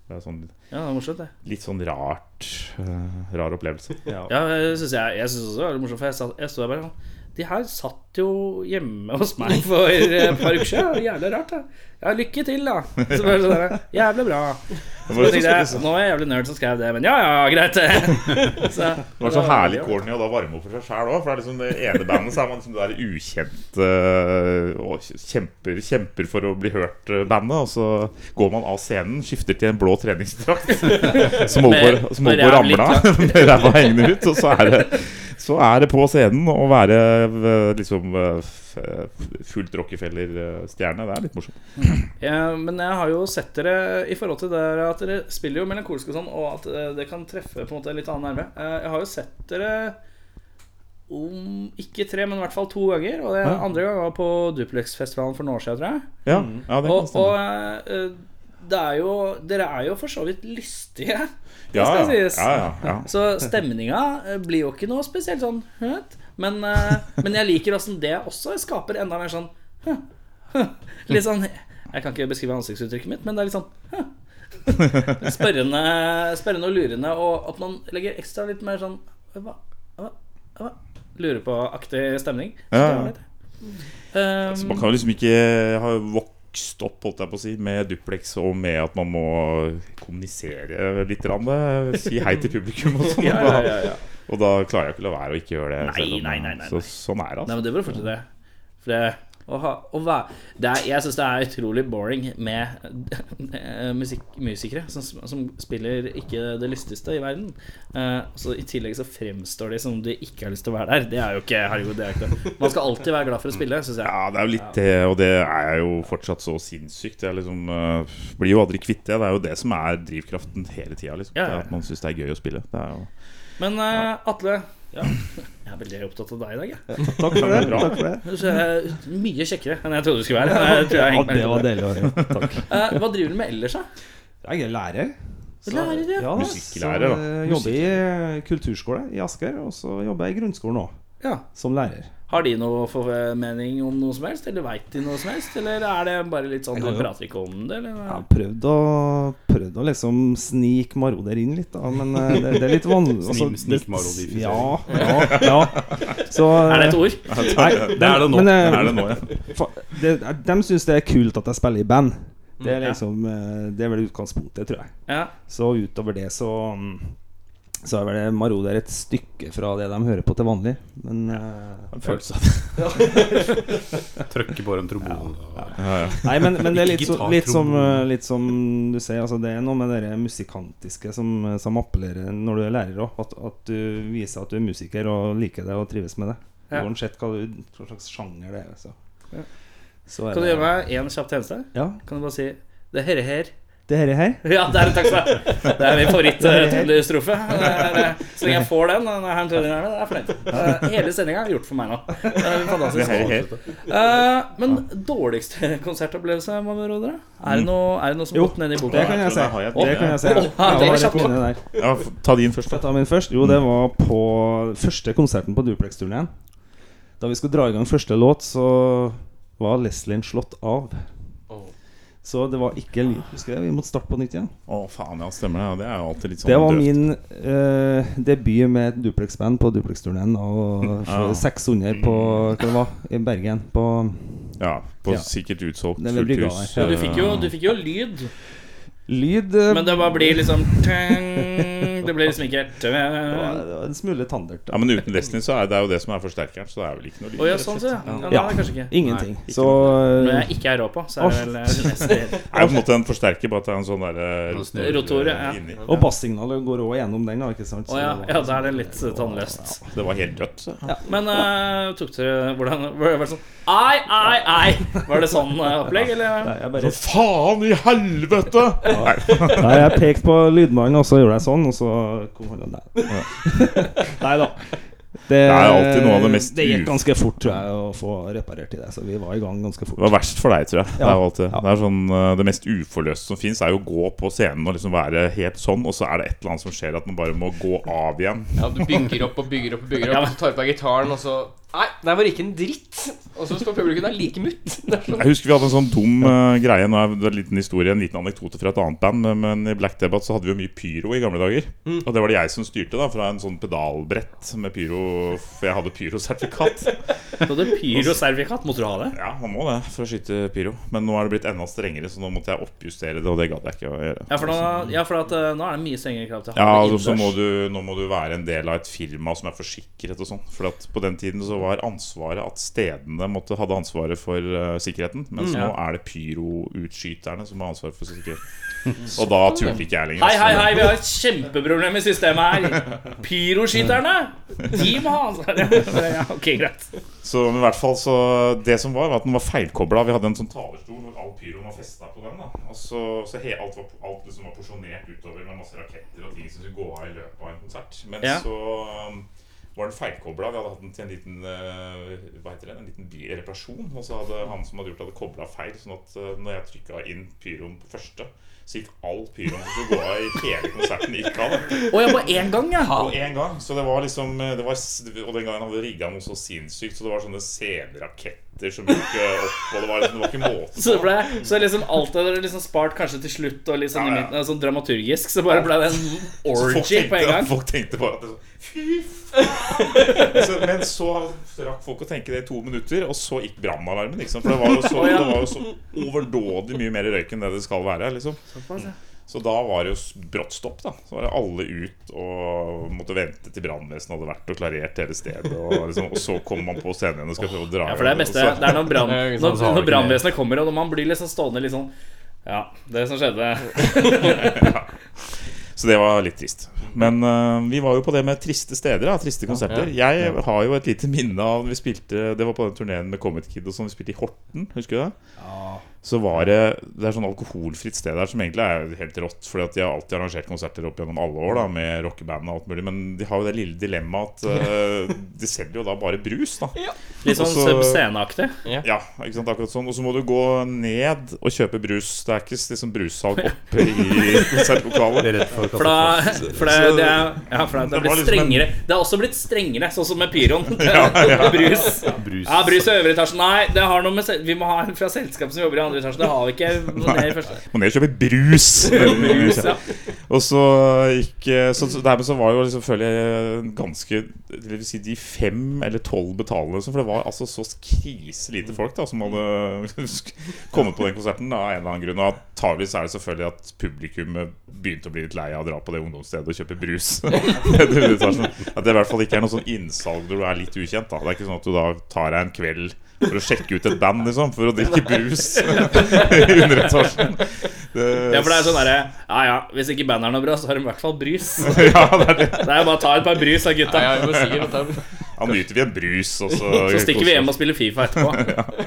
Speaker 5: Det er sånn
Speaker 2: ja, det var morsomt, det.
Speaker 5: litt sånn rart eh, Rar opplevelse.
Speaker 2: Ja, jeg synes jeg, jeg synes også det var morsomt, for jeg, satt, jeg sto der bare sånn De her satt jo hjemme hos meg for et par uker siden. Jævlig rart, da. Ja, lykke til, da. Så bare sånn der, Jævlig bra. Så bare tenkte
Speaker 5: liksom.
Speaker 2: jeg, Nå var jeg jævlig nerd som skrev det, men ja, ja, greit. Så,
Speaker 5: Det var så herlig corny å da varme opp for seg sjæl òg. For det er liksom det ene bandet så er man liksom det der ukjente øh, og kjemper, kjemper for å bli hørt-bandet. Og så går man av scenen, skifter til en blå treningsdrakt som holder på- som
Speaker 2: Med-
Speaker 5: holder på å
Speaker 2: med ræv
Speaker 5: ramle av. Med ræva hengende ut. Og så er det, så er det på scenen å være øh, liksom øh, f- øh, fullt Rockefeller-stjerne. Det er litt morsomt.
Speaker 2: Ja, men jeg har jo sett dere i forhold til dere at dere spiller jo melankolsk og sånn, og at eh, det kan treffe på en måte en litt annen nerve. Eh, Jeg har jo sett dere om ikke tre, men i hvert fall to ganger. Og det andre gang var på Duplex-festivalen for noen år siden, tror jeg.
Speaker 5: Ja, ja det kan
Speaker 2: Mm. Og, og
Speaker 5: stemme.
Speaker 2: eh, det er jo, dere er jo for så vidt lystige.
Speaker 5: Ja, ja,
Speaker 2: skal sies.
Speaker 5: ja, ja.
Speaker 2: Så stemninga eh, blir jo ikke noe spesielt sånn høt. Men, eh, men jeg liker åssen det også skaper enda mer sånn «Hø, hø». Litt sånn Jeg kan ikke beskrive ansiktsuttrykket mitt, men det er litt sånn «Hø». spørrende, spørrende og lurende, og at man legger ekstra litt mer sånn hva, hva, hva? Lurer på-aktig stemning.
Speaker 5: Ja,
Speaker 2: Så
Speaker 5: ja.
Speaker 2: det er litt.
Speaker 5: Så
Speaker 2: Um,
Speaker 5: man kan jo liksom ikke ha vokst opp holdt jeg på å si, med duplex og med at man må kommunisere litt. grann, eh, Si hei til publikum og sånn.
Speaker 2: ja, ja, ja.
Speaker 5: Og da klarer jeg ikke å la være å ikke gjøre det.
Speaker 2: Nei,
Speaker 5: selv om-
Speaker 2: nei, nei, nei,
Speaker 5: Så sånn er det,
Speaker 2: Nei,
Speaker 5: altså.
Speaker 2: men det bør fortsette det. For det å ha, å være, det er, jeg syns det er utrolig boring med eh, musikk, musikere som, som spiller ikke det lystigste i verden. Eh, så I tillegg så fremstår de som de ikke har lyst til å være der. Det er jo ikke herregud, det er ikke det. Man skal alltid være glad for å spille, syns jeg.
Speaker 5: Ja, det er jo litt det, og det er jo fortsatt så sinnssykt. Jeg liksom eh, blir jo aldri kvitt det. Det er jo det som er drivkraften hele tida. Liksom. Det
Speaker 2: Ja, ja,
Speaker 5: er
Speaker 2: ja.
Speaker 5: At man syns det er gøy å spille. Det er jo
Speaker 2: Men eh, Atle, jeg er veldig opptatt av deg i dag, jeg.
Speaker 6: Takk for det. Takk for det.
Speaker 2: Du er mye kjekkere enn jeg trodde du skulle være. Jeg tror jeg har
Speaker 6: Ja,
Speaker 2: hengt meg
Speaker 6: det
Speaker 2: litt på
Speaker 6: var
Speaker 2: det.
Speaker 6: deilig å høre. Takk.
Speaker 2: Eh, hva driver du med ellers, da?
Speaker 6: Jeg er lærer. Så-
Speaker 2: Lærer, ja.
Speaker 6: da,
Speaker 5: Musikklærer, da.
Speaker 6: så, eh, Jobber i eh, kulturskole i Asker, og så jobber jeg i grunnskolen òg,
Speaker 2: Ja.
Speaker 6: som lærer.
Speaker 2: Har de noe formening om noe som helst, eller veit de noe som helst? Eller er det bare litt sånn
Speaker 6: Jeg kan
Speaker 2: Dere
Speaker 6: jo-
Speaker 2: prater ikke om det, eller?
Speaker 6: Jeg har prøvd å, prøvd å liksom snike maroder inn litt, da, men eh, det, det er litt vanlig. altså,
Speaker 3: Snim-
Speaker 6: det-
Speaker 3: snikmarodifisering.
Speaker 6: Ja, ja, ja. Så, eh,
Speaker 2: Er det et ord?
Speaker 6: Nei,
Speaker 3: Det er det nå.
Speaker 6: Men, eh,
Speaker 5: Er det nå, ja?
Speaker 6: fa- det, de syns det er kult at jeg spiller i band. Det er
Speaker 2: Mm, ja.
Speaker 6: liksom eh, Det er vel utgangspunktet, tror jeg.
Speaker 2: Ja.
Speaker 6: Så utover det så mm, Så er vel det Maroder et stykke fra det de hører på til vanlig. Men eh,
Speaker 3: Følelse av det. Trykke på en trombone. og-
Speaker 5: Ja, ja.
Speaker 6: Nei, men, men det er litt,
Speaker 3: Ikke
Speaker 6: så,
Speaker 3: ta
Speaker 6: litt, som,
Speaker 3: trombone.
Speaker 6: eh, litt som du sier, altså det er noe med det der musikantiske som, eh, som appellerer når du er lærer òg. At, at du viser at du er musiker og liker det og trives med det.
Speaker 2: Ja.
Speaker 6: Uansett hva, du, hva slags sjanger det er. Så.
Speaker 2: Ja.
Speaker 6: Så
Speaker 2: Kan du gjøre meg én kjapp tjeneste?
Speaker 6: Ja,
Speaker 2: Kan du bare si det herre her.
Speaker 6: det her er her.
Speaker 2: Ja, det er en takk skal du ha. Det er min eh, favoritt-trønderstrofe. eh, Så lenge jeg får den, den er her trønderen er med, det er jeg fornøyd. Eh, Hele sendinga er gjort for meg nå. Det er
Speaker 5: Det
Speaker 2: fantastisk.
Speaker 5: her, her.
Speaker 2: Eh, men dårligste konsertopplevelse, hva med dere? Er det noe, er det noe som
Speaker 6: Jo,
Speaker 2: gått ned i boka?
Speaker 6: Det kan jeg
Speaker 5: tror
Speaker 6: si.
Speaker 5: jeg har jeg-
Speaker 6: Det kan jeg si.
Speaker 2: Å,
Speaker 6: Jeg
Speaker 2: ja, det er
Speaker 6: har et
Speaker 2: kjapt.
Speaker 6: minne der.
Speaker 5: Ja, f- ta din først,
Speaker 6: Skal jeg
Speaker 5: da.
Speaker 6: ta min først? Jo, det var på første konserten på Duplex-turneen. Da vi skulle dra i gang første låt, så var Leslien slått av.
Speaker 4: Åh.
Speaker 6: Så det var ikke lyd. Husker jeg, vi måtte starte på nytt igjen.
Speaker 5: Å, faen, ja, stemmer det. ja. Det er jo alltid litt sånn
Speaker 6: Det var
Speaker 5: døvt.
Speaker 6: min eh, debut med et Duplex-band på Duplex-turneen. Og
Speaker 5: Ja.
Speaker 6: for 600 på hva det var, i Bergen. På,
Speaker 5: Ja, på
Speaker 6: Ja.
Speaker 5: sikkert utsolgt
Speaker 6: Det er vel
Speaker 5: fullt
Speaker 6: brygga
Speaker 5: hus.
Speaker 6: her.
Speaker 2: Du fikk, jo, du fikk jo lyd,
Speaker 6: lyd eh,
Speaker 2: men det bare blir liksom tang, Det blir liksom ikke
Speaker 6: det
Speaker 2: helt
Speaker 6: var- eh, det var en smule tandert.
Speaker 5: Ja, Men uten Destiny så er det er jo det som er forsterkeren, så det er vel ikke noe lyd.
Speaker 2: Å ja,
Speaker 5: rett
Speaker 2: sånn
Speaker 5: og
Speaker 2: så,
Speaker 5: slett.
Speaker 2: ja. ja.
Speaker 6: Ja.
Speaker 2: Nei, kanskje ikke.
Speaker 6: Ingenting.
Speaker 3: Nei, ikke
Speaker 6: så eh,
Speaker 2: Når jeg ikke er rå på, så er det vel eh, neste
Speaker 5: Det er jo på en måte en forsterker, bare at det er en sånn
Speaker 3: Sånn
Speaker 5: derre
Speaker 3: snurr.
Speaker 2: rotor. Ja.
Speaker 5: inni.
Speaker 6: Og bassignalet går òg gjennom den, da. Ikke sant?
Speaker 2: Å ja, ja, da er det litt eh, tannløst.
Speaker 5: Det var helt dødt. så.
Speaker 2: Men eh, tok dere hvordan Var det bare sånn Ai, ai, ai! Var det sånn eh, opplegg, eller?
Speaker 6: Nei, jeg bare
Speaker 5: Faen i helvete! Nei,
Speaker 6: Nei, jeg pekte på lydmannen, og så gjorde jeg sånn, og så kom han og der. Nei da. Det,
Speaker 5: er alltid noe av det mest
Speaker 6: Det gikk
Speaker 5: u-
Speaker 6: ganske fort, tror jeg, å få reparert i det. Så vi var i gang ganske
Speaker 5: Det var
Speaker 6: fort.
Speaker 5: verst for deg, tror jeg. Det,
Speaker 6: Ja.
Speaker 5: er jo alltid, det, er sånn, eh, det mest uforløste som fins, er jo å gå på scenen og liksom være helt sånn, og så er det et eller annet som skjer at man bare må gå av igjen.
Speaker 4: Ja, du bygger opp og bygger opp og bygger opp, og så tar du på deg gitaren, og så Nei, der var ikke en dritt! Og så står publikum der like mutt. Det er sånn
Speaker 5: Jeg husker vi hadde en sånn dum eh, greie Nå er det en liten historie, en liten anekdote fra et annet band Men, men i Black Debate så hadde vi jo mye pyro i gamle dager Og det var det jeg som styrte da Fra en sånn pedalbrett med pyro For jeg hadde pyrosertifikat
Speaker 2: Så hadde pyroservikat. Måtte du ha det?
Speaker 5: Ja, man må det for å skyte pyro Men nå er det blitt enda strengere Så nå måtte jeg oppjustere det Og det gadd jeg ikke å gjøre
Speaker 2: Ja, for, nå, ja, for at, eh, nå er det mye strengere krav til å
Speaker 5: ja,
Speaker 2: ha det
Speaker 5: altså, så må
Speaker 2: innendørs.
Speaker 5: du, nå må du være en del av et firma som er forsikret og sånn. For at på den tiden så var ansvaret at stedene måtte, hadde ansvaret for eh, sikkerheten. Mens
Speaker 2: Mm,
Speaker 5: nå er det pyroutskyterne som har ansvaret for sikkerheten. Og da turte ikke jeg lenger.
Speaker 2: Hei, hei,
Speaker 5: altså.
Speaker 2: hei, vi har et kjempeproblem i systemet her. Pyroskyterne! De må ha ansvaret. Ja, ok, greit.
Speaker 5: Så men i hvert fall så Det som var, var at den var feilkobla. Vi hadde en sånn talerstol hvor all pyroen var festa på den. da Og så, så he, alt, var, alt liksom var porsjonert utover med masse raketter og ting som skulle gå av i løpet av en konsert. Men
Speaker 2: Ja.
Speaker 5: så um, var den feilkobla. Vi hadde hatt den til en liten eh, Hva heter det? En liten bi- reparasjon. Og så hadde han som hadde gjort det, hadde kobla feil. Sånn at eh, når jeg trykka inn pyroen på første, så gikk all pyroen som skulle gå av i hele konserten, gikk av. da.
Speaker 2: Å ja, på én gang, ja.
Speaker 5: På én gang. Så det var liksom det var, Og den gangen hadde rigga noe så sinnssykt, så det var sånne sceneraketter som gikk eh, opp, og det var, liksom, det var ikke måte
Speaker 2: Så, det ble, så liksom alt hadde dere liksom spart kanskje til slutt, og litt sånn, i
Speaker 5: Ja, ja.
Speaker 2: midten, sånn dramaturgisk, så bare ble det en
Speaker 5: Så folk
Speaker 2: orgy på en
Speaker 5: tenkte,
Speaker 2: gang.
Speaker 5: folk tenkte bare at det, så- Fy faen! Så, men så rakk folk å tenke det i to minutter, og så gikk brannalarmen. Liksom, for det var, jo så,
Speaker 2: Å, ja.
Speaker 5: det var jo så overdådig mye mer røyk enn det det skal være. Liksom. Så da var det jo s- brått stopp. da Så var det alle ut og måtte vente til brannvesenet hadde vært og klarert hele stedet. Og, liksom, og så kom man på scenen igjen og skal prøve å dra
Speaker 2: Ja, for det er
Speaker 5: igjen,
Speaker 2: beste
Speaker 5: og så-
Speaker 2: Det er når brann-
Speaker 4: Ja, ikke sant,
Speaker 2: når-
Speaker 4: så har du
Speaker 2: når
Speaker 4: ikke
Speaker 2: brannvesenet kommer, og når man blir liksom stående litt sånn Ja, det som skjedde
Speaker 5: Så det var litt trist. Men eh, vi var jo på det med triste steder. Da, triste konserter. Jeg har jo et lite minne av vi spilte Det var på den turneen med Comet Kid og sånn. Vi spilte i Horten, husker du det? så var det Det er sånn alkoholfritt sted der som egentlig er helt rått. Fordi at de har alltid arrangert konserter opp gjennom alle år da med rockeband og alt mulig. Men de har jo det lille dilemmaet at eh, de selger jo da bare brus, da.
Speaker 2: Litt sånn
Speaker 5: Også-
Speaker 2: sceneaktig.
Speaker 5: Ja, ikke sant, akkurat sånn Og så må du gå ned og kjøpe brus. Det er ikke liksom brussalg oppe i konsertlokalet.
Speaker 3: Redd for
Speaker 2: For, da, for det, det er Ja, for det, det
Speaker 5: Det
Speaker 2: er
Speaker 5: var
Speaker 2: blitt
Speaker 5: liksom en-
Speaker 2: strengere. Det er også blitt strengere, sånn som med pyroen. Brus.
Speaker 3: brus.
Speaker 2: Ja, brus i øvre etasje. Nei, det har noe med sel- vi må ha en fra selskap som jobber i andre etasje. Det har vi ikke. Noe ned i første.
Speaker 5: Må ned og kjøpe brus!
Speaker 2: Brus, ja.
Speaker 5: Og så gikk eh, Så, så dermed så var jo liksom, føler jeg, ganske Det vil si de fem eller tolv betalende som For det var altså så kriselite folk da som hadde kommet på den konserten da, av en eller annen grunn. Og antakeligvis er det selvfølgelig at publikummet begynte å bli litt lei av å dra på det ungdomsstedet og kjøpe brus. Nede i underetasjen. At det i hvert fall ikke er noe sånn innsalg når du er litt ukjent. da Det er ikke sånn at du da tar deg en kveld for å sjekke ut et band, liksom, for å drikke brus i underetasjen.
Speaker 2: ja, for det er sånn derre Ja ja, hvis ikke bandet er noe bra, så har de i hvert fall brus.
Speaker 5: ja, det er det.
Speaker 2: Det er jo bare å ta et par brus av gutta.
Speaker 4: Ja, vi må si at det er-
Speaker 5: Da nyter vi en brus, og så
Speaker 2: Så stikker vi hjem og spiller Fifa etterpå.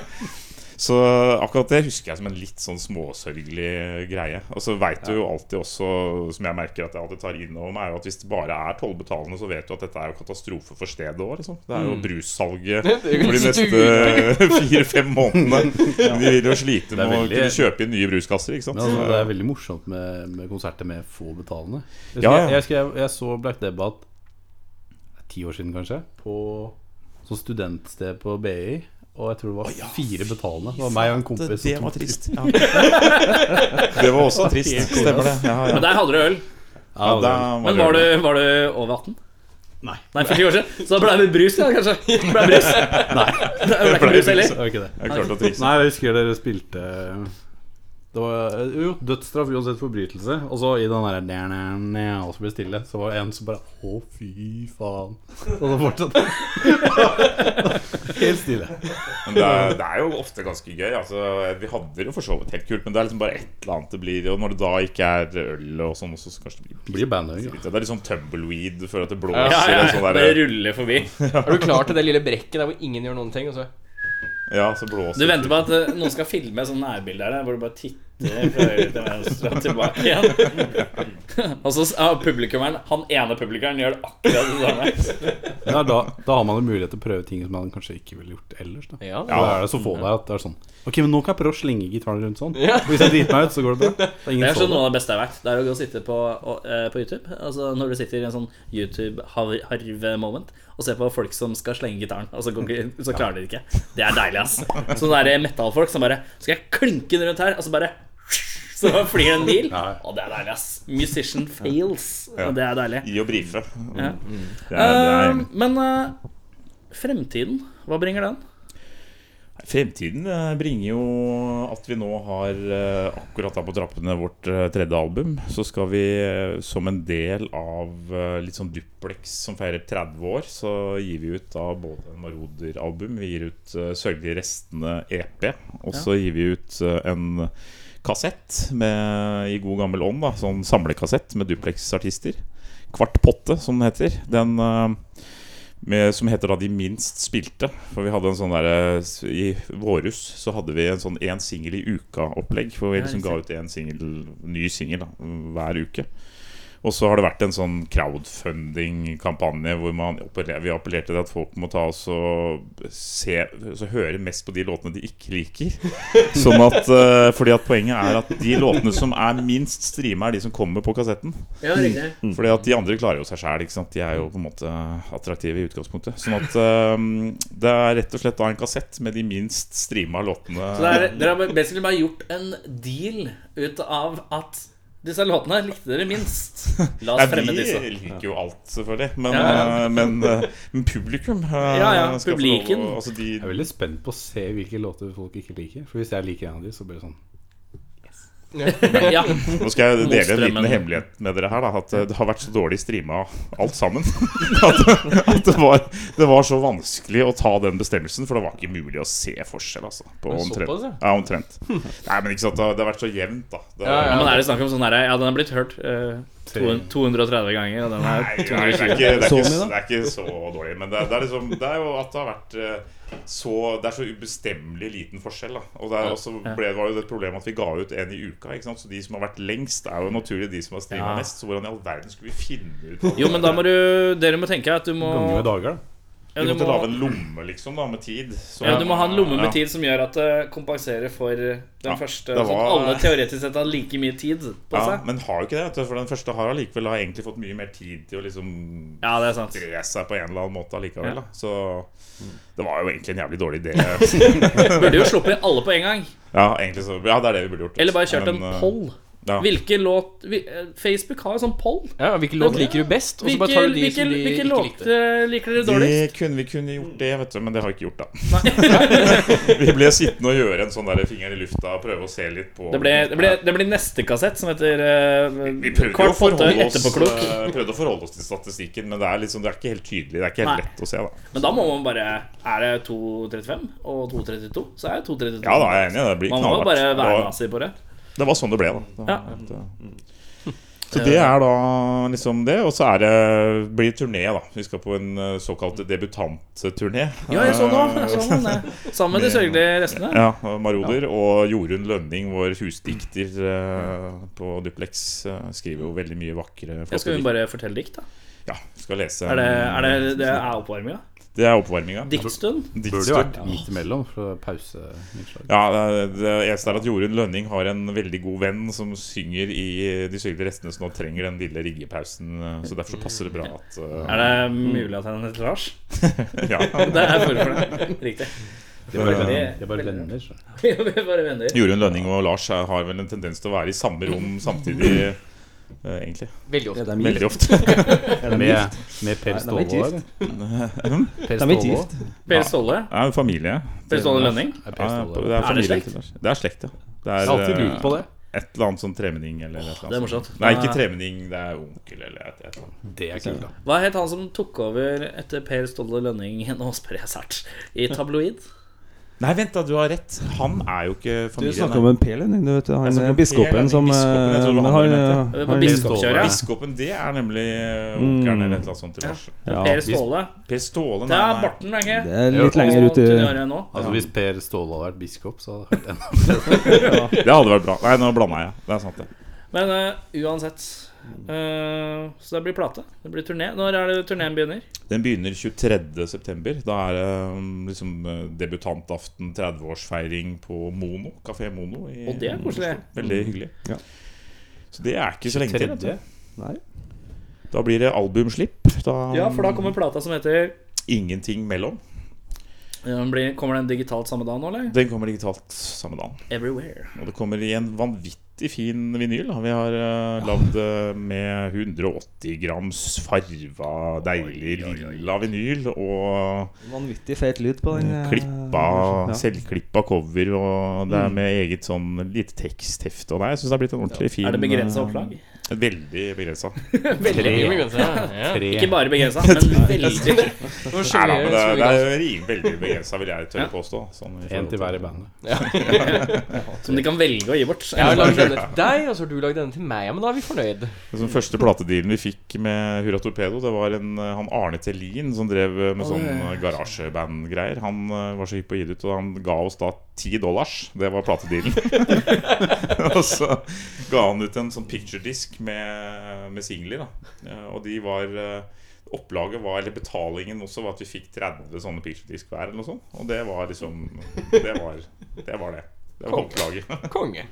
Speaker 5: Så akkurat det husker jeg som en litt sånn småsørgelig greie. Og så veit du jo alltid også, som jeg merker at jeg alltid tar inn over meg, er jo at hvis det bare er tollbetalende, så vet du at dette er jo katastrofe for stedet òg, liksom. Det er jo brussalget
Speaker 4: er jo
Speaker 5: for de neste fire-fem månedene. De vil jo slite
Speaker 3: er
Speaker 5: med å
Speaker 3: veldig-
Speaker 5: kunne kjøpe inn nye bruskasser, ikke sant.
Speaker 3: Men altså, det er veldig morsomt med, med konserter med få betalende. Jeg, husker,
Speaker 5: Ja, ja.
Speaker 3: jeg, husker jeg, jeg så Black Debbath ti år siden, kanskje, på sånn studentsted på BI. Og jeg tror det var fire betalende. Det var meg og en kompis. som tok-
Speaker 5: trist. Ja. Det var også trist. Stemmer det. Ja, ja.
Speaker 2: Men der hadde du øl.
Speaker 3: Ja, det
Speaker 5: Da
Speaker 3: var-
Speaker 5: var
Speaker 2: Men
Speaker 5: det-
Speaker 2: var du, var du over 18?
Speaker 3: Nei.
Speaker 2: Nei, for 20 år siden. Så da ble det brus, ja, kanskje? Ble det brus? Nei. Det ble ikke
Speaker 5: Ble
Speaker 2: brus
Speaker 5: brus,
Speaker 2: heller.
Speaker 3: det var ikke det.
Speaker 5: Jeg klarte å trikse.
Speaker 3: Nei, jeg husker dere spilte det var, Jo, dødsstraff uansett forbrytelse. Og så i den der næ, næ, næ, Og så ble det stille. Så var det en som bare Å, fy faen. Og så fortsatte Helt stille.
Speaker 5: Men det er, det er jo ofte ganske gøy. Altså, vi hadde det jo for så vidt helt kult, men det er liksom bare et eller annet det blir. Og når det da ikke er øl og sånn, også, så kanskje det blir
Speaker 3: Blir bandøy, ja.
Speaker 5: litt Det er liksom tumbleweed før at det
Speaker 2: Ja,
Speaker 5: blåser.
Speaker 2: ja,
Speaker 5: og
Speaker 2: ja.
Speaker 5: sånn
Speaker 2: Bare
Speaker 5: der,
Speaker 2: ruller forbi.
Speaker 4: Er du klar til det lille brekket der hvor ingen gjør noen ting? Og så
Speaker 5: ja, så blåser
Speaker 2: Du venter på at eh, noen skal filme et sånt nærbilde her, hvor du bare titter fra høyre til venstre og tilbake igjen. Og så s- ja, publikummeren, han ene publikummeren gjør det akkurat det samme.
Speaker 3: Ja, da, da har man jo mulighet til å prøve ting som man kanskje ikke ville gjort ellers. Da.
Speaker 4: Ja.
Speaker 3: Da er det så få der at det er sånn Ok, men nå kan jeg prøve å slenge gitaren rundt sånn.
Speaker 4: Ja.
Speaker 3: Og hvis jeg driter meg ut, så går det bra. Det er
Speaker 2: Det
Speaker 3: ingen
Speaker 2: er sånn
Speaker 3: som
Speaker 2: noe
Speaker 3: så det.
Speaker 2: av det beste jeg vet. Det er å gå og sitte på, og, eh, på YouTube. Altså Når du sitter i en sånn YouTube-harv-moment og ser på folk som skal slenge gitaren, og så, går, ikke- så klarer de det ikke. Det er deilig, ass. Sånne der eh, metallfolk som bare Skal jeg klinke den rundt her? Og så bare Så flyr det en bil. Og det er deilig, ass. Musician fails. Og det er deilig.
Speaker 5: I å brife. Det
Speaker 2: Ja.
Speaker 5: er, det er,
Speaker 2: Eh, men eh, fremtiden, hva bringer den?
Speaker 5: Fremtiden eh, bringer jo at vi nå har eh, akkurat da på trappene vårt eh, tredje album. Så skal vi eh, som en del av eh, litt sånn Duplex som feirer 30 år, så gir vi ut da både en Maroder-album, vi gir ut uh, Sørgelige restene EP, og så gir vi ut eh, en kassett med, i god gammel ånd, da, sånn samlekassett med Duplex-artister. Kvart potte, som den heter. Den eh, med, som heter da De minst spilte. For vi hadde en sånn der, eh, I vårhus så hadde vi en sånn én singel i uka-opplegg. For vi
Speaker 2: Ja,
Speaker 5: liksom
Speaker 2: riktig.
Speaker 5: ga ut en singel, ny singel da, hver uke. Og så har det vært en sånn crowdfunding-kampanje hvor man appeller- vi appellerte til at folk må ta oss og se, altså høre mest på de låtene de ikke liker. Sånn at, eh, fordi at Poenget er at de låtene som er minst streama, er de som kommer på kassetten.
Speaker 2: Ja, riktig.
Speaker 5: Fordi at de andre klarer jo seg sjæl. De er jo på en måte attraktive i utgangspunktet. Sånn at eh, det er rett og slett da en kassett med de minst streama låtene.
Speaker 2: Så det er, dere har basically bare gjort en deal ut av at disse låtene likte dere minst. La oss
Speaker 5: Nei,
Speaker 2: fremme disse.
Speaker 5: vi liker jo alt, selvfølgelig. Men,
Speaker 2: Ja, ja.
Speaker 5: eh, men, eh, men publikum eh,
Speaker 2: Ja, ja,
Speaker 5: skal få lov å-
Speaker 2: publiken.
Speaker 5: altså de,
Speaker 3: Jeg er veldig spent på å se hvilke låter folk ikke liker. For hvis jeg liker en av de, så blir det sånn
Speaker 2: Ja,
Speaker 5: Nå skal jeg dele en
Speaker 2: Motstrømmen.
Speaker 5: liten hemmelighet med dere her. Da, at eh, det har vært så dårlig streama alt sammen. At, at det, var, det var så vanskelig å ta den bestemmelsen, for det var ikke mulig å se forskjell. Altså, på
Speaker 4: Men
Speaker 5: omtrent.
Speaker 4: såpass, ja.
Speaker 5: Ja, omtrent. Nei, men ikke sant, det har- det har vært så jevnt, da. Det,
Speaker 4: Ja, ja.
Speaker 2: Men er det snakk om sånn derre Ja, den er blitt hørt. eh, 230 ganger, og den er
Speaker 5: Nei, nei, det, er
Speaker 2: 220.
Speaker 5: ikke, det, er
Speaker 6: Så
Speaker 5: ikke,
Speaker 6: mye, da?
Speaker 5: det er ikke så dårlig. Men det er, det er, liksom, det er jo at det har vært eh, så Det er så ubestemmelig liten forskjell. Da. Og det er også ble, var jo det et problem at vi ga ut en i uka. Ikke sant? Så de som har vært lengst, er jo naturlig de som har streama
Speaker 2: Ja.
Speaker 5: mest. Så hvordan i all verden skulle vi finne ut
Speaker 2: Jo, men da må du Dere må tenke at du må
Speaker 3: Ganger med dager, da.
Speaker 2: ja,
Speaker 5: Vi
Speaker 2: du
Speaker 5: måtte
Speaker 2: må,
Speaker 5: lage en lomme, liksom, da, med tid. Så-
Speaker 2: ja, du må ha en lomme med
Speaker 5: Ja.
Speaker 2: tid som gjør at det kompenserer for eh, den
Speaker 5: Ja,
Speaker 2: første.
Speaker 5: det
Speaker 2: Sånn at
Speaker 5: var-
Speaker 2: alle teoretisk sett har like mye tid på
Speaker 5: Ja,
Speaker 2: seg.
Speaker 5: men har jo ikke det. Vet du, for den første har allikevel har egentlig fått mye mer tid til å liksom
Speaker 2: Ja, det er sant.
Speaker 5: spre seg på en eller annen måte allikevel.
Speaker 2: Ja.
Speaker 5: Da. Så det var jo egentlig en jævlig dårlig idé.
Speaker 2: Burde jo sluppet alle på en gang.
Speaker 5: Ja, egentlig så, ja det er det vi burde gjort.
Speaker 2: Eller bare kjørt
Speaker 5: Men,
Speaker 2: en
Speaker 5: eh,
Speaker 2: poll.
Speaker 5: Ja.
Speaker 2: Hvilke låt vi, eh, Facebook har jo sånn poll.
Speaker 4: Ja, Hvilken låt liker du best? Og så bare
Speaker 2: Hvilke,
Speaker 4: tar du de
Speaker 2: hvilke,
Speaker 4: som de
Speaker 2: hvilke
Speaker 4: ikke likte.
Speaker 2: låter liker dere dårligst?
Speaker 5: Det kunne, vi kunne gjort det, vet du, men det har vi ikke gjort, da. vi ble sittende og gjøre en sånn der finger i lufta og prøve å se litt på
Speaker 2: Det blir, det, blir, det blir neste kassett, som heter
Speaker 5: Vi
Speaker 2: uh,
Speaker 5: prøvde, jo å
Speaker 2: Kvart på åtte
Speaker 5: forholde oss,
Speaker 2: etterpåklok.
Speaker 5: eh, prøvde å forholde oss til statistikken, men det er, liksom, det er ikke helt tydelig. Det er ikke helt
Speaker 2: Nei.
Speaker 5: lett å se, da.
Speaker 2: Men da må man bare Er det 2.35 og 2.32, så er det 2.32.
Speaker 5: Ja da, jeg er enig. Det blir
Speaker 2: man må bare
Speaker 5: knallhardt. Det,
Speaker 2: være
Speaker 5: var-
Speaker 2: nazi på det.
Speaker 5: det var sånn det ble, da. Det var
Speaker 2: Ja.
Speaker 5: helt, eh, Så det
Speaker 3: Eh.
Speaker 5: er da liksom det. Og så er det, blir det turné, da. Vi skal på en eh, såkalt debutantturné.
Speaker 2: Ja, jeg så nå. Jeg så den, eh, Sammen med de sørgelige restene.
Speaker 5: Ja, og Marioder og Jorunn Lønning, vår husdikter eh, på Duplex, eh, skriver jo veldig mye vakre
Speaker 2: Jeg skal
Speaker 5: flotte
Speaker 2: hun
Speaker 5: dikt.
Speaker 2: bare fortelle dikt, da.
Speaker 5: Ja, skal lese.
Speaker 2: Er det, er det, det er oppvarminga?
Speaker 5: det er oppvarminga.
Speaker 2: Diktstund?
Speaker 3: Burde jo
Speaker 5: Diktstund.
Speaker 3: vært midt imellom for pauseinnslag.
Speaker 5: Ja, det er- det eneste er at Jorunn Lønning har en veldig god venn som synger i De syrlige restene, så nå trenger den lille riggepausen. eh, Så derfor så passer det bra at eh,
Speaker 2: Er det mulig at han heter Lars?
Speaker 5: ja.
Speaker 2: Det er form for det. Riktig.
Speaker 3: De er bare venner.
Speaker 2: Det-
Speaker 3: De er bare venner så.
Speaker 2: Vi er bare venner.
Speaker 5: Jorunn Lønning og Lars eh, har vel en tendens til å være i samme rom samtidig, eh, egentlig.
Speaker 4: Veldig ofte.
Speaker 6: Er de gift?
Speaker 5: Veldig ofte.
Speaker 6: Er de
Speaker 3: Med,
Speaker 6: gift?
Speaker 3: med Per
Speaker 6: Nei, de er
Speaker 3: Ståle,
Speaker 6: ikke gift.
Speaker 3: eller? Per
Speaker 6: De er ikke
Speaker 3: Ståle?
Speaker 6: gift.
Speaker 2: Per Ståle.
Speaker 5: Det er jo familie.
Speaker 2: Per Ståle Lønning.
Speaker 3: Er Per
Speaker 5: Ja,
Speaker 3: Ståle.
Speaker 5: det er,
Speaker 2: Er det
Speaker 5: familie
Speaker 2: slekt?
Speaker 5: til Lars. Det er slekt, ja. Det er,
Speaker 3: Jeg har alltid
Speaker 5: eh,
Speaker 3: lurt på det.
Speaker 5: Et eller annet sånn tremenning eller et eller annet. sånn.
Speaker 2: det er morsomt.
Speaker 5: Nei, ikke
Speaker 2: Da-
Speaker 5: tremenning, det er onkel eller et et eller annet.
Speaker 3: Det er kult, da.
Speaker 2: Hva het han som tok over etter Per Ståle Lønning nå spør jeg sært, i tabloid?
Speaker 5: Nei, vent da, du har rett. Han er jo ikke
Speaker 6: Du
Speaker 5: familien.
Speaker 6: snakker om en Per Lønning, du vet. Han
Speaker 5: snakker om
Speaker 6: er biskopen
Speaker 5: Per
Speaker 6: som
Speaker 5: Lønning, biskopen, jeg
Speaker 6: eh,
Speaker 5: trodde
Speaker 6: men
Speaker 5: han
Speaker 6: han,
Speaker 5: mente.
Speaker 2: Det
Speaker 6: eh,
Speaker 2: var
Speaker 6: han-
Speaker 2: biskopkjøret. ja.
Speaker 5: Biskopen, det er nemlig eh, onkelen eller et eller annet sånt til Lars.
Speaker 6: Ja,
Speaker 2: Per Ståle.
Speaker 5: Per Ståle,
Speaker 2: Det
Speaker 5: nei,
Speaker 2: er
Speaker 5: nei.
Speaker 2: barten, er ikke
Speaker 6: Det er litt
Speaker 3: Jo.
Speaker 6: lenger ut i
Speaker 2: nå.
Speaker 3: Altså Hvis Per Ståle hadde vært biskop, så hadde det vært enda
Speaker 5: Det hadde vært bra. Nei, nå blanda jeg. Det er sant, det.
Speaker 2: Men eh, uansett. eh, så det blir plate. Det blir turné. Når er det turneen begynner?
Speaker 5: Den begynner 23.9. Da er det um, liksom eh, debutantaften, 30-årsfeiring på Mono. Kafé Mono. I,
Speaker 2: Og det er koselig.
Speaker 5: Veldig hyggelig.
Speaker 6: Ja.
Speaker 5: Så det er ikke så lenge til. vet
Speaker 3: tredje.
Speaker 6: Nei.
Speaker 5: du. Da blir det albumslipp. Da,
Speaker 2: Ja, for da kommer plata som heter
Speaker 5: Ingenting mellom.
Speaker 2: den blir, Kommer den digitalt samme dag nå, eller?
Speaker 5: Den kommer digitalt samme dagen.
Speaker 2: Everywhere.
Speaker 5: Og det kommer i en vanvittig fin vinyl. da. Vi har uh, lagd eh, med 180 grams farva, deilig lilla vinyl. Og
Speaker 6: Vanvittig fet lyd på den. eh,
Speaker 5: klippa,
Speaker 6: ja.
Speaker 5: selvklippa cover. Og det er med eget sånn lite teksthefte. Og nei, jeg syns det har blitt en ordentlig fin
Speaker 2: Er det begrensa
Speaker 5: eh,
Speaker 2: opplag?
Speaker 5: Veldig begrensa.
Speaker 4: Tre. Ja.
Speaker 3: tre.
Speaker 2: Ikke bare begrensa, men veldig.
Speaker 5: Nei da, men det,
Speaker 4: Som vi
Speaker 5: det
Speaker 4: kan-
Speaker 5: er rim- veldig begrensa, vil jeg tørre påstå. Sånn, i
Speaker 3: En
Speaker 5: forhold
Speaker 3: til
Speaker 5: til-
Speaker 3: hver i bandet.
Speaker 2: Som de kan velge å gi bort.
Speaker 4: Jeg har lagd denne til deg, og så har du lagd denne til meg. Ja, men da er vi fornøyd.
Speaker 5: Den første platedealen vi fikk med Hurra Torpedo, det var en, eh, han Arne Tellin som drev eh, med sånn eh, garasjeband-greier. Han eh, var så hypp på å gi det ut, og han ga oss da ti dollars. Det var platedealen. og så ga han ut en sånn picturedisk med, med singler, da. Eh, Og de var eh, Opplaget var, eller betalingen også, var at vi fikk 30 sånne picturedisk hver, eller noe sånt. Og det var liksom Det var det. Var det. Det var opplaget.
Speaker 4: Konge.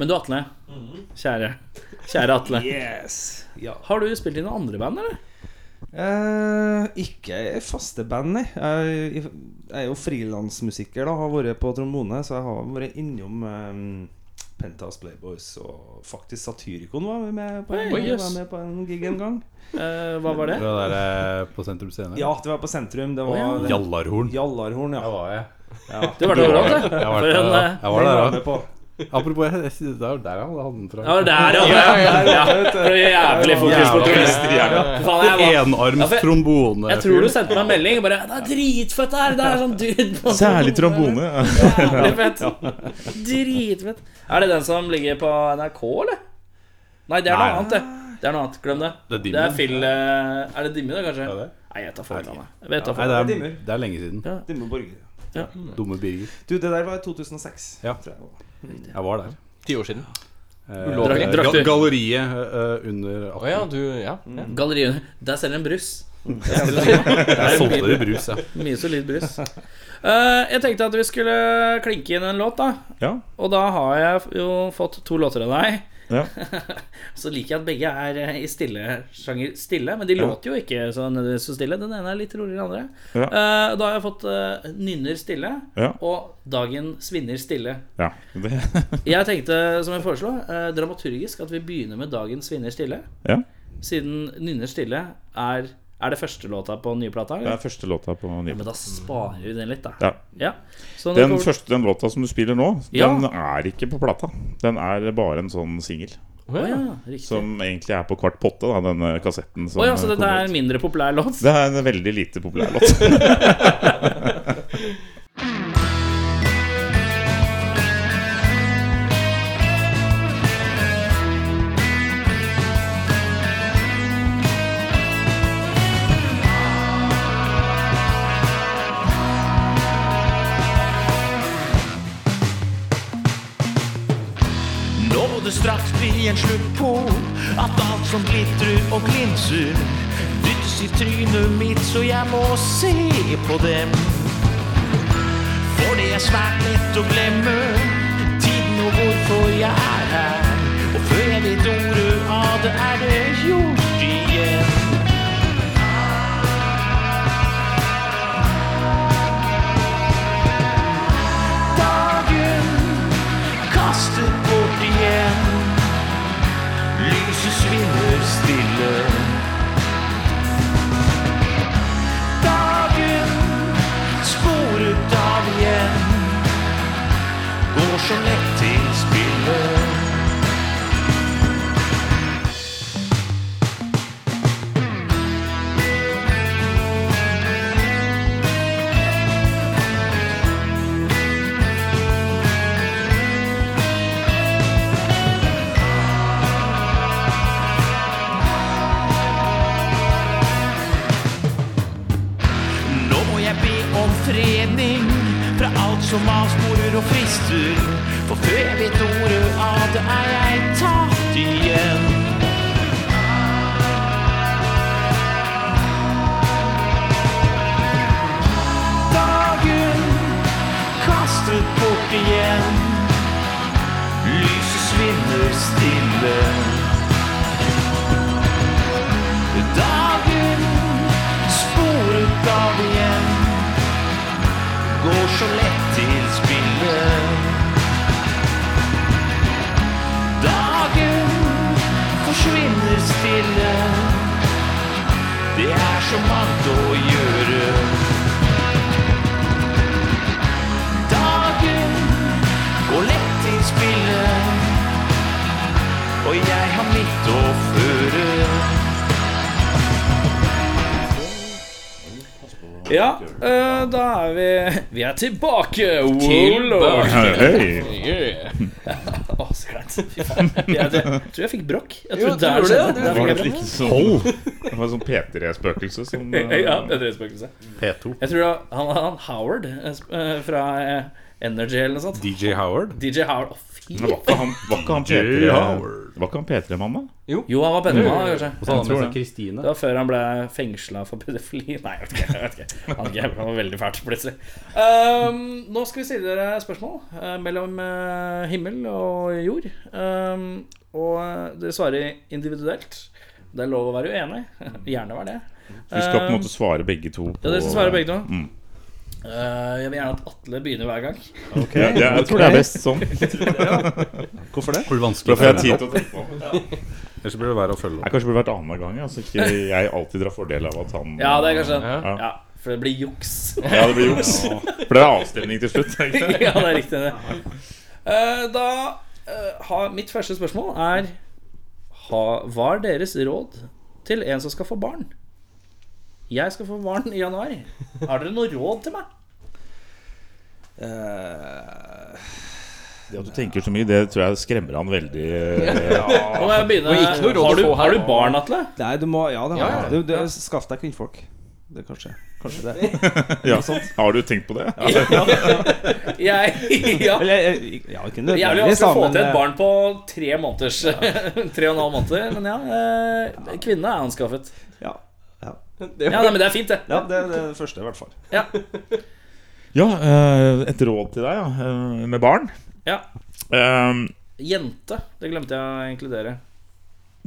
Speaker 2: Men du, Atle. Kjære. Kjære Atle. Har du spilt i noen andre band, eller?
Speaker 6: Eh, ikke i faste band, nei. Jeg, jeg er jo frilansmusiker, da. Har vært på trombone, så jeg har vært innom eh, Pentas Playboys og faktisk Satyricon var vi med på, en-
Speaker 2: Oi, jøss.
Speaker 6: var med på en gig en gang.
Speaker 2: Eh, hva var det?
Speaker 3: Det var der eh, på Sentrum Scene.
Speaker 6: Ja, det var på Sentrum. Det var
Speaker 2: Å,
Speaker 6: det-
Speaker 3: Jallarhorn.
Speaker 6: Jallarhorn, ja.
Speaker 3: Der var jeg.
Speaker 2: Du var der òg, du.
Speaker 3: Jeg var
Speaker 2: For
Speaker 3: der,
Speaker 2: en,
Speaker 3: da.
Speaker 2: eh,
Speaker 3: Jeg var der,
Speaker 6: med
Speaker 3: da.
Speaker 6: på.
Speaker 3: Apropos, jeg, jeg, synes det var der han hadde den
Speaker 2: Ja,
Speaker 3: fra.
Speaker 2: der, ja. ja, ja. For jævlig fokus på
Speaker 3: Jævla
Speaker 2: turister.
Speaker 5: jævla.
Speaker 2: Fy faen, jeg var- Ja,
Speaker 3: Enarms
Speaker 2: for jeg-
Speaker 3: trombone.
Speaker 2: Jeg tror du sendte meg en melding og bare 'Det er dritfett her!' Det er sånn dude på
Speaker 5: Særlig trombone.
Speaker 2: Jævlig fett. Dritfett. Er det den som ligger på NRK, eller? Nei, det er noe
Speaker 3: Nei.
Speaker 2: annet, det. Det er noe annet. Glem det.
Speaker 3: Det er Dimmu.
Speaker 2: det er, Phil, eh, er det Dimmu, da, kanskje?
Speaker 3: Er det?
Speaker 2: Nei, jeg tar faen. Anna. Jeg vet da
Speaker 3: Nei,
Speaker 2: faen.
Speaker 3: det
Speaker 6: Det
Speaker 3: er,
Speaker 6: er dimmer.
Speaker 3: det er lenge siden.
Speaker 2: Ja.
Speaker 6: Dimmu Borger.
Speaker 3: Dumme Birger.
Speaker 6: Du, det der var i 2006.
Speaker 3: Ja.
Speaker 6: tror jeg det var.
Speaker 3: Jeg var der.
Speaker 4: Ti år siden.
Speaker 3: Eh,
Speaker 2: Ulovlig.
Speaker 3: ga-
Speaker 2: Drakter.
Speaker 3: Galleriet eh, under
Speaker 4: Å
Speaker 3: 18.
Speaker 4: ja, du Ja.
Speaker 5: Mm.
Speaker 4: ja.
Speaker 2: Galleriet Der selger en brus.
Speaker 3: Jeg solgte det i brus, jeg.
Speaker 2: Mye solid brus. Eh, jeg tenkte at vi skulle klinke inn en låt, da.
Speaker 5: Ja,
Speaker 2: Og da har jeg jo fått to låter av deg.
Speaker 5: ja.
Speaker 2: Så liker jeg at begge er eh, i stille sjanger stille, men de låter jo ikke så nødvendigvis så stille. Den ene er litt roligere enn den andre.
Speaker 5: Ja.
Speaker 2: Eh, da har jeg fått eh, Nynner stille
Speaker 5: Ja.
Speaker 2: og Dagen svinner stille.
Speaker 5: ja. Det,
Speaker 2: Jeg tenkte, som jeg foreslo, eh, dramaturgisk at vi begynner med Dagen svinner stille.
Speaker 5: ja.
Speaker 2: Siden Nynner stille er Er det første låta på den nye plata?
Speaker 5: det
Speaker 2: eller?
Speaker 5: er første låta på
Speaker 2: Ja,
Speaker 5: nye
Speaker 2: men da sparer vi den litt, da.
Speaker 5: ja.
Speaker 2: Ja. Så når
Speaker 5: Den
Speaker 2: kommer-
Speaker 5: første den låta som du spiller nå,
Speaker 2: Ja.
Speaker 5: den er ikke på plata. Den er bare en sånn singel.
Speaker 2: Å ja, riktig.
Speaker 5: Som egentlig er på kvart potte, da, denne kassetten. Som
Speaker 2: Å ja, så
Speaker 5: eh,
Speaker 2: dette
Speaker 5: kom
Speaker 2: er
Speaker 5: ut.
Speaker 2: en mindre populær låt?
Speaker 5: det er en veldig lite populær låt.
Speaker 7: Nå må det straks bli en slutt på at alt som glitrer og glinser, dyttes i trynet mitt, så jeg må se på dem. For det er svært lett å glemme tiden og hvorfor jeg er her. Og før jeg vet ordet av det, er det gjort igjen. Dagen kastet bort igjen. Lyset svinner stille. Dagen sporet av igjen. Går så lett til spille. Nå må jeg be om fredning fra alt som avsporer og frister. For før jeg vet ordet av det, er jeg tatt igjen. Dagen kastet bort igjen. Lyset svinner stille. Dagen sporet av igjen Går så lett til spille Dagen forsvinner stille Det er så mangt å gjøre Dagen går lett til spille Og jeg har mitt å føre
Speaker 2: Ja, eh, da er vi Vi er tilbake! Wow, lord.
Speaker 4: Tilbake.
Speaker 5: Hei.
Speaker 4: Yeah.
Speaker 2: Å, så kleint. Fy faen. Jeg tror jeg fikk brokk. Jeg tror
Speaker 4: Jo, du
Speaker 2: der
Speaker 4: gjorde
Speaker 2: skjedde det.
Speaker 4: det, du
Speaker 2: Der
Speaker 5: Det var et
Speaker 2: fikk jeg
Speaker 5: like
Speaker 2: brokk. Oh.
Speaker 5: sånn, det var et sånn P3-spøkelse som eh,
Speaker 2: Ja, det er et spøkelse.
Speaker 3: P2.
Speaker 2: Jeg tror det var han, han Howard eh, sp- eh, fra eh, Energy eller noe sånt.
Speaker 3: DJ Howard.
Speaker 2: DJ Howard. Å, fy
Speaker 5: Men Var ikke han, var ikke han P3 Var ikke han P3-mann, da?
Speaker 2: Jo, han var pennemann, da,
Speaker 3: Og
Speaker 2: kanskje.
Speaker 3: så hadde han med
Speaker 5: tror
Speaker 3: seg Kristine.
Speaker 2: Det var før han ble fengsla for pedofili. Nei, jeg vet ikke. Jeg vet ikke. Han, hadde ikke- han var veldig fælt, plutselig. Ehm, nå skal vi stille dere spørsmål eh, mellom eh, himmel og jord. Ehm, og eh, dere svarer individuelt. Det er lov å være uenig. Gjerne vær det.
Speaker 5: Så Vi skal på en
Speaker 2: Um,
Speaker 5: måte svare begge to.
Speaker 2: Ja, dere skal svare begge to.
Speaker 5: Mm.
Speaker 2: Eh, jeg vil gjerne at Atle begynner hver gang.
Speaker 5: Ja, jeg, jeg tror det er best sånn.
Speaker 6: Hvorfor det?
Speaker 3: Blir det
Speaker 5: Da
Speaker 3: vanskelig
Speaker 5: får jeg tid til å tenke på det.
Speaker 3: Ellers blir det verre å følge
Speaker 5: Jeg
Speaker 3: opp.
Speaker 5: kanskje burde vært annenhver gang. ja, Så ikke jeg alltid drar fordel av at han
Speaker 2: Ja, det er kanskje den.
Speaker 4: Ja.
Speaker 5: Ja.
Speaker 2: Ja, for det blir juks.
Speaker 5: Ja, det blir juks. For det er avstemning til slutt. er det Ikke? det?
Speaker 2: ja, det er riktig, det. Eh, da eh, har Mitt første spørsmål er ha, Hva er deres råd til en som skal få barn? Jeg skal få barn i januar. Har dere noe råd til meg?
Speaker 6: Eh,
Speaker 5: Det at du tenker så mye, det tror jeg skremmer han veldig. eh,
Speaker 2: Nå må jeg begynne.
Speaker 4: Det var ikke noe råd å
Speaker 2: Har du,
Speaker 4: få her.
Speaker 2: har du barn, Atle?
Speaker 6: Nei, du må Ja, det har
Speaker 4: Ja, ja.
Speaker 6: jeg. Du, du, skaff deg kvinnfolk. Det er kanskje Kanskje det.
Speaker 5: Ja. Har du tenkt på det?
Speaker 2: Jeg, ja.
Speaker 6: Eller eh, ja, ikke
Speaker 2: Det er Jævlig
Speaker 6: nødvendigvis,
Speaker 2: vanskelig å få
Speaker 6: men,
Speaker 2: til et
Speaker 6: eh,
Speaker 2: barn på tre måneders Tre og en halv måneder. Men ja, eh, kvinne er anskaffet.
Speaker 6: Ja, ja.
Speaker 2: Ja, nei, men det er fint, det.
Speaker 6: ja, det er det første, i hvert fall.
Speaker 2: Ja.
Speaker 5: Ja, eh, et råd til deg ja, eh, med barn.
Speaker 2: ja.
Speaker 5: Eh,
Speaker 2: Jente. Det glemte jeg å inkludere.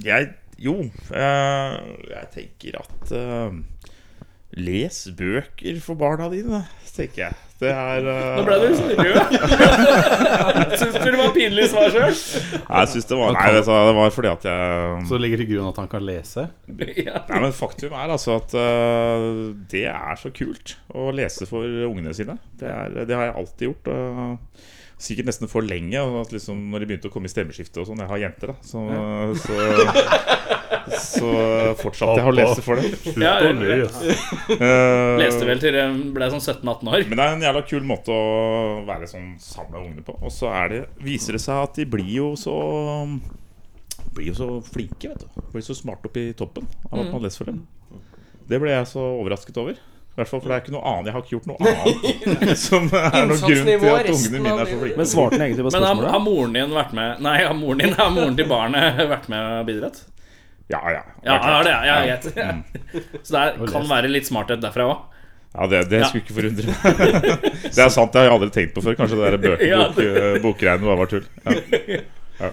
Speaker 5: Jeg Jo, eh, jeg tenker at eh, Les bøker for barna dine, tenker jeg. Det er eh,
Speaker 2: Nå ble du snillere. Syns du det var pinlig svar sjøl?
Speaker 5: Nei, jeg synes det var Nei, vet du hva, det var fordi at jeg
Speaker 3: Så det ligger til grunn at han kan lese.
Speaker 2: Ja.
Speaker 5: Nei, men Faktum er altså at øh, det er så kult å lese for ungene sine. Det, er, det har jeg alltid gjort. og Sikkert nesten for lenge. og At liksom, når de begynte å komme i stemmeskiftet og sånn Jeg har jenter, da. Så, så, så fortsatte jeg å lese for dem.
Speaker 2: Ja, jeg
Speaker 5: Eh,
Speaker 2: leste vel til jeg ble sånn 17-18 år.
Speaker 5: Men det er en jævla kul måte å være sånn sammen med ungene på. Og så er det, viser det seg at de blir jo så Blir jo så flinke, vet du. Blir så smarte opp i toppen av
Speaker 4: Mm.
Speaker 5: at man leser for dem. Det ble jeg så overrasket over. I hvert fall, for det er ikke noe annet Jeg har ikke gjort noe annet som er noen grunn til
Speaker 4: Innsatsnivået
Speaker 5: at
Speaker 4: resten
Speaker 5: ungene mine
Speaker 4: av
Speaker 5: er så
Speaker 4: livet.
Speaker 6: Men
Speaker 5: flinke.
Speaker 6: svarte han egentlig på
Speaker 2: Men har,
Speaker 6: spørsmålet?
Speaker 2: har moren din vært med Nei, har moren din har moren til barnet vært med og bidratt?
Speaker 5: Ja, ja.
Speaker 2: Ja, ja, det er, ja, jeg
Speaker 5: Mm.
Speaker 2: vet. Så det kan være litt smarthet derfra òg.
Speaker 5: Ja, det, det skulle ikke forundre meg. Det er sant, det har jeg aldri tenkt på før. Kanskje det der bøk,
Speaker 2: Ja.
Speaker 5: bok, bokgreiene bare var tull. Ja.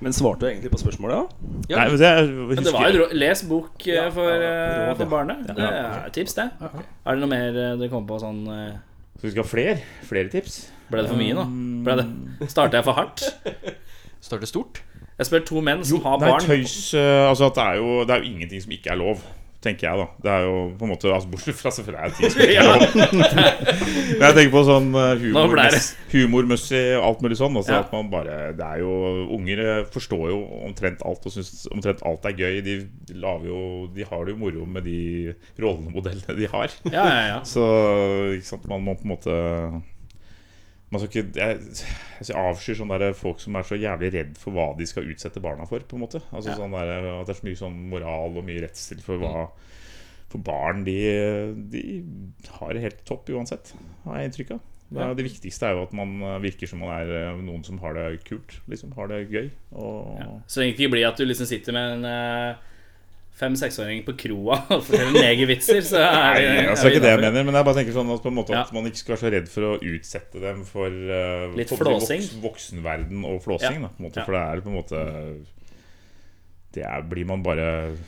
Speaker 6: Men svarte du egentlig på spørsmålet? da?
Speaker 4: Ja.
Speaker 5: Nei, men det, er-
Speaker 2: Men det
Speaker 5: husker
Speaker 2: var
Speaker 5: jeg-
Speaker 2: jo et råd. Les bok eh, for, eh,
Speaker 6: råd,
Speaker 2: for
Speaker 6: ja.
Speaker 2: barnet. Det er et tips, det. Er det noe mer eh, du kommer på sånn eh,
Speaker 5: Så vi skal ha flere, Mm. flere tips.
Speaker 2: Ble det for mye nå? Ble det Starta jeg for hardt?
Speaker 4: Starter stort.
Speaker 2: Jeg spør to menn som har
Speaker 5: Nei,
Speaker 2: barn.
Speaker 5: tøys eh, altså at det, er jo, det er jo ingenting som ikke er lov, tenker jeg, da. Det er jo på en måte altså, Bortsett fra selvfølgelig er det ting som ikke er lov. Men jeg tenker på sånn eh,
Speaker 2: Nå ble det.
Speaker 5: humormess- humormessig og alt mulig sånn. Altså
Speaker 2: Ja.
Speaker 5: at man bare Det er jo Unger eh, forstår jo omtrent alt og syns omtrent alt er gøy. De, de lager jo De har det jo moro med de rollemodellene de har.
Speaker 2: Ja, ja, ja.
Speaker 5: Så ikke sant, man må på en måte Man skal ikke Jeg, jeg avskyr sånne der folk som er så jævlig redd for hva de skal utsette barna for. på en måte Altså sånn der, At det er så mye sånn moral og mye redsel for hva For barn, de, de har det helt topp uansett, har jeg inntrykk av. Det, er- det viktigste er jo at man eh, virker som man er eh, noen som har det kult. Liksom Har det gøy. Og
Speaker 2: Ja. Så lenge det ikke blir at du liksom sitter med en eh, fem-seksåring på kroa og forteller negervitser, så er det
Speaker 5: Nei, altså, det er ikke det jeg mener, men jeg bare tenker sånn at, på en måte at
Speaker 2: Ja.
Speaker 5: man ikke skal være så redd for å utsette dem for eh,
Speaker 2: Litt
Speaker 5: for å bli
Speaker 2: flåsing.
Speaker 5: voksenverden og flåsing,
Speaker 2: Ja.
Speaker 5: da, på en måte,
Speaker 2: Ja.
Speaker 5: for det er på en måte Det er, blir man bare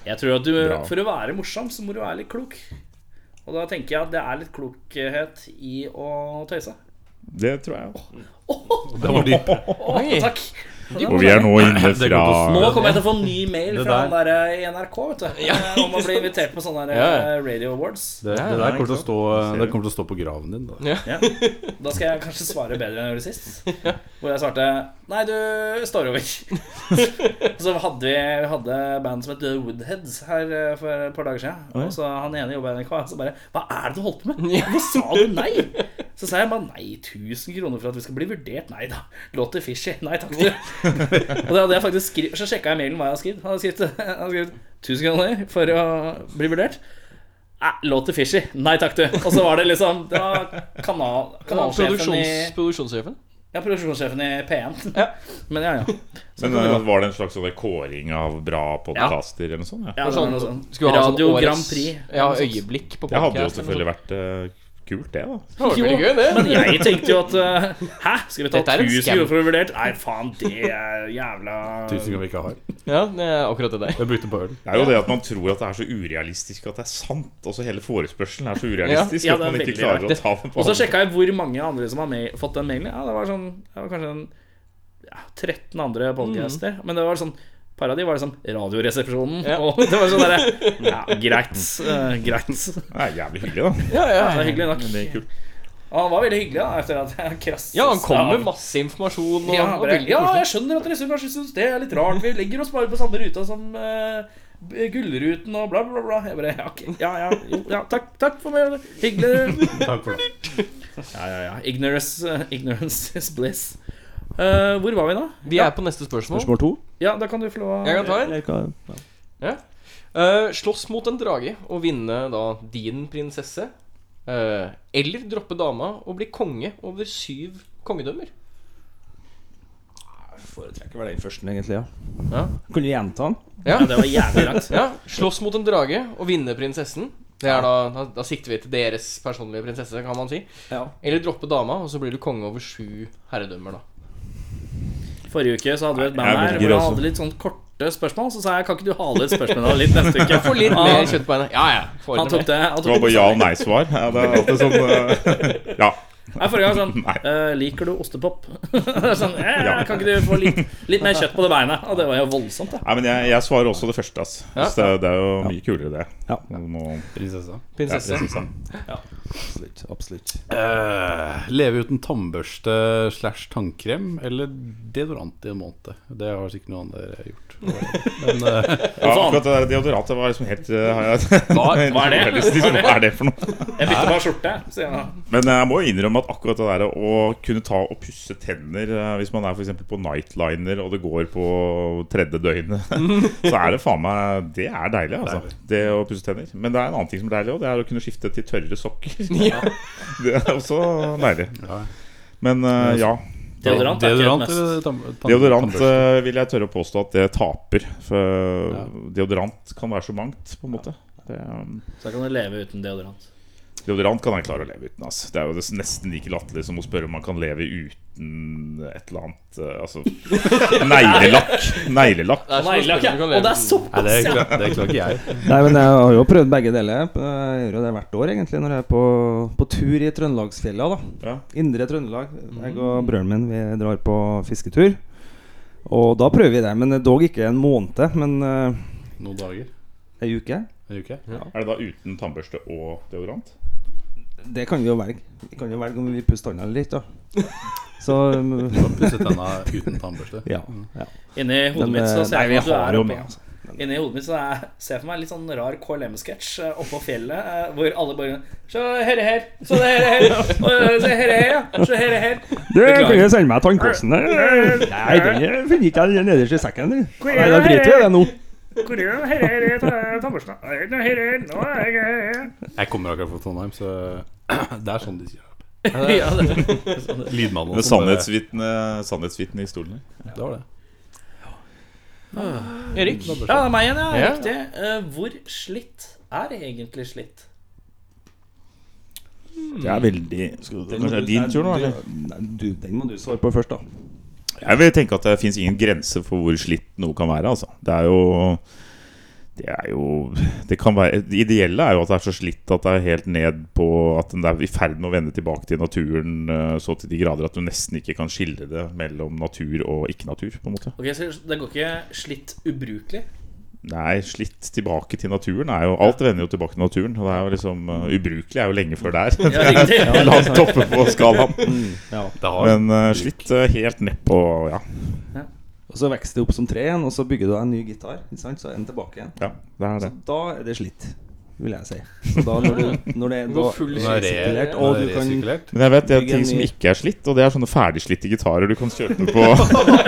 Speaker 2: Jeg tror at du,
Speaker 5: Bra.
Speaker 2: for å være morsom, så må du være litt klok. Og da tenker jeg at det er litt klokhet i å tøyse.
Speaker 5: Det tror jeg.
Speaker 3: Det var dypt.
Speaker 2: Å,
Speaker 4: Oi.
Speaker 2: takk.
Speaker 5: Og vi er nå inne
Speaker 3: Det går
Speaker 5: fra
Speaker 3: på
Speaker 2: Nå kommer jeg til å få en ny mail
Speaker 3: Det
Speaker 2: fra
Speaker 3: der-
Speaker 2: han der i NRK vet du, Eh, om å bli invitert på sånne der,
Speaker 4: Ja.
Speaker 2: eh, radio awards.
Speaker 3: Det, det der kommer til, å stå, det kommer til å stå på graven din. Da.
Speaker 2: Ja. Da skal jeg kanskje svare bedre enn jeg gjorde sist. Hvor jeg svarte Nei, du står over. Og så hadde vi vi hadde band som het The Woodheads her eh, for et par dager siden. Og så han ene jobba i NRK. Så bare Hva er det du holdt på med? Hvorfor sa du nei? Så sa jeg bare nei, 1000 kroner for at vi skal bli vurdert. Nei da. Låter fishy. Nei takk, du. Og det hadde jeg faktisk skrevet Så sjekka jeg mailen hva jeg hadde skrevet. Han hadde skrevet, han hadde skrevet 1000 kroner for å bli vurdert. Æ, Låter fishy. Nei takk, du. Og så var det liksom Det var kanal, kanalsjefen i
Speaker 4: Produksjons, produksjonssjefen.
Speaker 2: Ja, produksjonssjefen i P1. Men ja, ja.
Speaker 5: Men eh, var det en slags sånn kåring av bra podkaster eller noe sånt? Ja.
Speaker 2: ja det var noe sånt.
Speaker 4: Skulle ha sånn
Speaker 2: Radio
Speaker 4: årets-
Speaker 2: Grand Prix.
Speaker 4: Ja, øyeblikk på
Speaker 5: Det hadde jo
Speaker 4: podcast eller
Speaker 5: selvfølgelig
Speaker 4: noe
Speaker 2: altså.
Speaker 5: vært eh, kult, det, da.
Speaker 4: sånt. Det var veldig gøy, det.
Speaker 2: Men jeg tenkte jo at eh, Hæ, skal vi ta
Speaker 4: Dette er en
Speaker 2: 1000
Speaker 4: scam.
Speaker 2: kroner for å bli vurdert? Nei, faen, det er jævla
Speaker 3: Tusen ganger vi ikke har.
Speaker 4: Ja, det er akkurat det der.
Speaker 3: Jeg brukte på øl.
Speaker 5: Det er jo det at man tror at det er så urealistisk at det er sant. Også hele forespørselen er så urealistisk
Speaker 2: Ja,
Speaker 5: at
Speaker 2: det er
Speaker 5: man ikke
Speaker 2: veldig
Speaker 5: klarer
Speaker 2: rart.
Speaker 5: å ta den på
Speaker 2: Og så
Speaker 5: alvor.
Speaker 2: sjekka jeg hvor mange andre som har ma fått den mailen. Ja, det var sånn det var kanskje en, ja, 13 andre podcaster. Men det var sånn par av de var liksom Radioresepsjonen.
Speaker 4: Mm. Ja.
Speaker 2: Og det var sånn derre Ja, greit. eh, greit. Det
Speaker 5: Det er jævlig hyggelig, da.
Speaker 4: Ja, ja.
Speaker 2: er hyggelig nok.
Speaker 5: Det er kult.
Speaker 2: Og han var veldig hyggelig, da, etter at jeg krasset
Speaker 4: ja han kom
Speaker 2: av.
Speaker 4: med masse informasjon. Og,
Speaker 2: ja,
Speaker 4: og
Speaker 2: bare,
Speaker 4: veldig
Speaker 2: ja,
Speaker 4: koselig.
Speaker 2: jeg skjønner at dere kanskje syns det er litt rart. Vi legger oss bare på samme ruta som eh, B- Gullruten og bla, bla, bla. Jeg bare, ja, ok, ja, ja, jo, ja takk, takk for meg. Hyggelig.
Speaker 3: Takk for det.
Speaker 2: Ja, ja, ja. Ignorance, ignorance is eh, bliss. Eh, hvor var vi nå?
Speaker 4: Vi er på neste spørsmål.
Speaker 6: Spørsmål to?
Speaker 2: Ja, da kan du få lov å
Speaker 4: Jeg kan ta en.
Speaker 6: Eller hva- ja.
Speaker 4: Eh, slåss mot en drage og vinne da din prinsesse. eh, eller droppe dama og bli konge over syv kongedømmer.
Speaker 6: Foretrekker vel den første, egentlig. ja
Speaker 4: Ja.
Speaker 6: Kunne du gjenta den?
Speaker 4: Ja,
Speaker 2: Det var jævlig langt.
Speaker 4: ja Slåss mot en drage og vinne prinsessen. Det er da, da, da sikter vi til deres personlige prinsesse, kan man si.
Speaker 6: Ja.
Speaker 4: Eller droppe dama, og så blir du konge over sju herredømmer, da.
Speaker 2: Forrige uke så hadde vi et band
Speaker 5: Jeg
Speaker 2: her hvor
Speaker 5: velger
Speaker 2: jeg
Speaker 5: også.
Speaker 2: hadde litt sånn korte spørsmål. Så sa jeg kan ikke du hale ut spørsmålene litt neste uke?
Speaker 4: Få litt mer kjøtt på henne. Ja, ja. få
Speaker 2: Han
Speaker 4: ordne
Speaker 2: tok
Speaker 4: med.
Speaker 2: det. Han
Speaker 5: Det var
Speaker 2: tok sånn-
Speaker 5: bare ja og nei-svar. Ja, det er alltid sånn eh, Ja.
Speaker 2: Nei, forrige gang sånn
Speaker 5: Nei.
Speaker 2: eh, Liker du ostepop? sånn, eh, Kan ikke du få litt, litt mer kjøtt på det beinet? Og det var jo voldsomt, da.
Speaker 5: Nei, men jeg, jeg svarer også det første. ass
Speaker 4: Ja.
Speaker 5: Så det, det er jo mye kulere, det.
Speaker 6: Ja.
Speaker 5: Nå-
Speaker 3: Prinsessa.
Speaker 4: Prinsesse.
Speaker 6: Absolutt. absolutt
Speaker 3: Eh, leve uten tannbørste slash tannkrem eller deodorant i en måned. Det har sikkert noen andre gjort. Men eh,
Speaker 5: Ja, akkurat det der deodorantet var liksom helt eh, har jeg-
Speaker 3: hva,
Speaker 2: sånn. Hva er det?
Speaker 5: Liksom, Hva er det for noe?
Speaker 2: Jeg bytter bare skjorte. Så jeg,
Speaker 5: Men eh, jeg må jo innrømme at akkurat det der å kunne ta og pusse tenner eh, Hvis man er for eksempel på nightliner og det går på tredje døgnet, så er det faen meg Det er deilig, altså. Det å pusse tenner. Men det er en annen ting som er deilig òg. Det er å kunne skifte til tørre sokker.
Speaker 4: Ja.
Speaker 5: Det er også deilig. Men eh, ja.
Speaker 2: deodorant er ikke
Speaker 3: Deodorant
Speaker 2: det mest.
Speaker 3: eller tam- tann-
Speaker 5: Deodorant
Speaker 3: tannbørste?
Speaker 5: eh, vil jeg tørre å påstå at det taper. For deodorant kan være så mangt, på en måte. Det, um,
Speaker 2: Så kan du leve uten deodorant.
Speaker 5: deodorant kan jeg klare å leve uten. Altså. Det er jo des- nesten like latterlig som å spørre om man kan leve uten et eller annet eh, Altså neglelakk. Neglelakk.
Speaker 4: Det er
Speaker 2: Nei,
Speaker 4: så
Speaker 2: lakk, ja.
Speaker 4: spennende du kan
Speaker 2: Og det
Speaker 4: leve
Speaker 2: er
Speaker 4: med.
Speaker 3: Nei,
Speaker 2: såpass,
Speaker 3: det
Speaker 2: ja!
Speaker 3: klarer, det klarer ikke jeg.
Speaker 6: Nei, men jeg har jo prøvd begge deler. Jeg gjør jo det hvert år, egentlig, når jeg er på, på tur i Trøndelagsfjella. da
Speaker 5: Ja.
Speaker 6: Indre Trøndelag. Jeg og brødren min vi drar på fisketur. Og da prøver vi det, men dog ikke en måned, men eh,
Speaker 3: Noen dager.
Speaker 6: ei uke.
Speaker 3: En uke.
Speaker 5: Er det da uten tannbørste og deodorant?
Speaker 6: Det kan vi jo velge. Vi kan jo velge om vi pusser tanna eller ikke, da. Så um,
Speaker 3: Pusset tenna uten tannbørste.
Speaker 6: ja. ja.
Speaker 2: Inni hodet
Speaker 6: Men,
Speaker 2: mitt så
Speaker 6: eh,
Speaker 2: ser jeg for meg at du er
Speaker 6: jo
Speaker 2: oppe.
Speaker 6: med, altså.
Speaker 2: Inni hodet mitt så er, ser jeg for meg en litt sånn rar KLM-sketsj eh, oppå fjellet, eh, hvor alle bare Så herre her, så det herre her, og, eh, så herre her, ja, så herre her.
Speaker 6: Du, kan jo sende meg tannkosten? Nei, den finner ikke jeg nederst i sekken. du. Nei, da driter vi i det nå.
Speaker 2: Hvor er det herre her i ta- tannbørsten? Nei, det er herre her, nå er jeg herre her.
Speaker 3: Jeg kommer akkurat fra Trondheim, så det er sånn de sier.
Speaker 2: Ja, det- sånn
Speaker 3: Lydmannen
Speaker 5: Med
Speaker 3: og sånn, det-
Speaker 5: sannhetsvitne, sannhetsvitne i stolen.
Speaker 3: Det var det.
Speaker 4: Erik?
Speaker 2: ja, det er meg igjen, ja.
Speaker 4: Ja.
Speaker 2: Riktig. Eh, Hvor slitt er egentlig slitt?
Speaker 5: Det er veldig Kanskje det er din tur nå, eller?
Speaker 6: Nei, du, den må du svare på først, da.
Speaker 5: Jeg vil tenke at det finnes ingen grense for hvor slitt noe kan være. Altså. Det er jo Det er jo Det kan være Det ideelle er jo at det er så slitt at det er helt ned på At den er i ferd med å vende tilbake til naturen eh, så til de grader at du nesten ikke kan skille det mellom natur og ikke-natur, på en måte.
Speaker 2: Ok, så Det går ikke slitt ubrukelig?
Speaker 5: Nei, slitt tilbake til naturen er jo Alt vender jo tilbake til naturen. Og det er jo liksom eh, Ubrukelig er jo lenge før der. Det
Speaker 2: Ja, Mm, riktig.
Speaker 5: er Langt oppe på skalaen.
Speaker 3: Det har
Speaker 5: Men eh, slitt eh, helt nedpå, ja.
Speaker 6: Og så vokser det opp som tre igjen, og så bygger du deg en ny gitar. Ikke sant? Så er den tilbake igjen.
Speaker 5: ja. Det er det.
Speaker 6: Da er det slitt, vil jeg si. Så da når du når det, da,
Speaker 4: Gå full
Speaker 3: Den er
Speaker 6: Resirkulert,
Speaker 3: re- den er
Speaker 6: og du kan-
Speaker 3: resirkulert.
Speaker 5: Men jeg vet det er
Speaker 6: Bygge en
Speaker 5: ting som
Speaker 6: ny-
Speaker 5: ikke er slitt, og det er sånne ferdigslitte gitarer du kan kjøpe på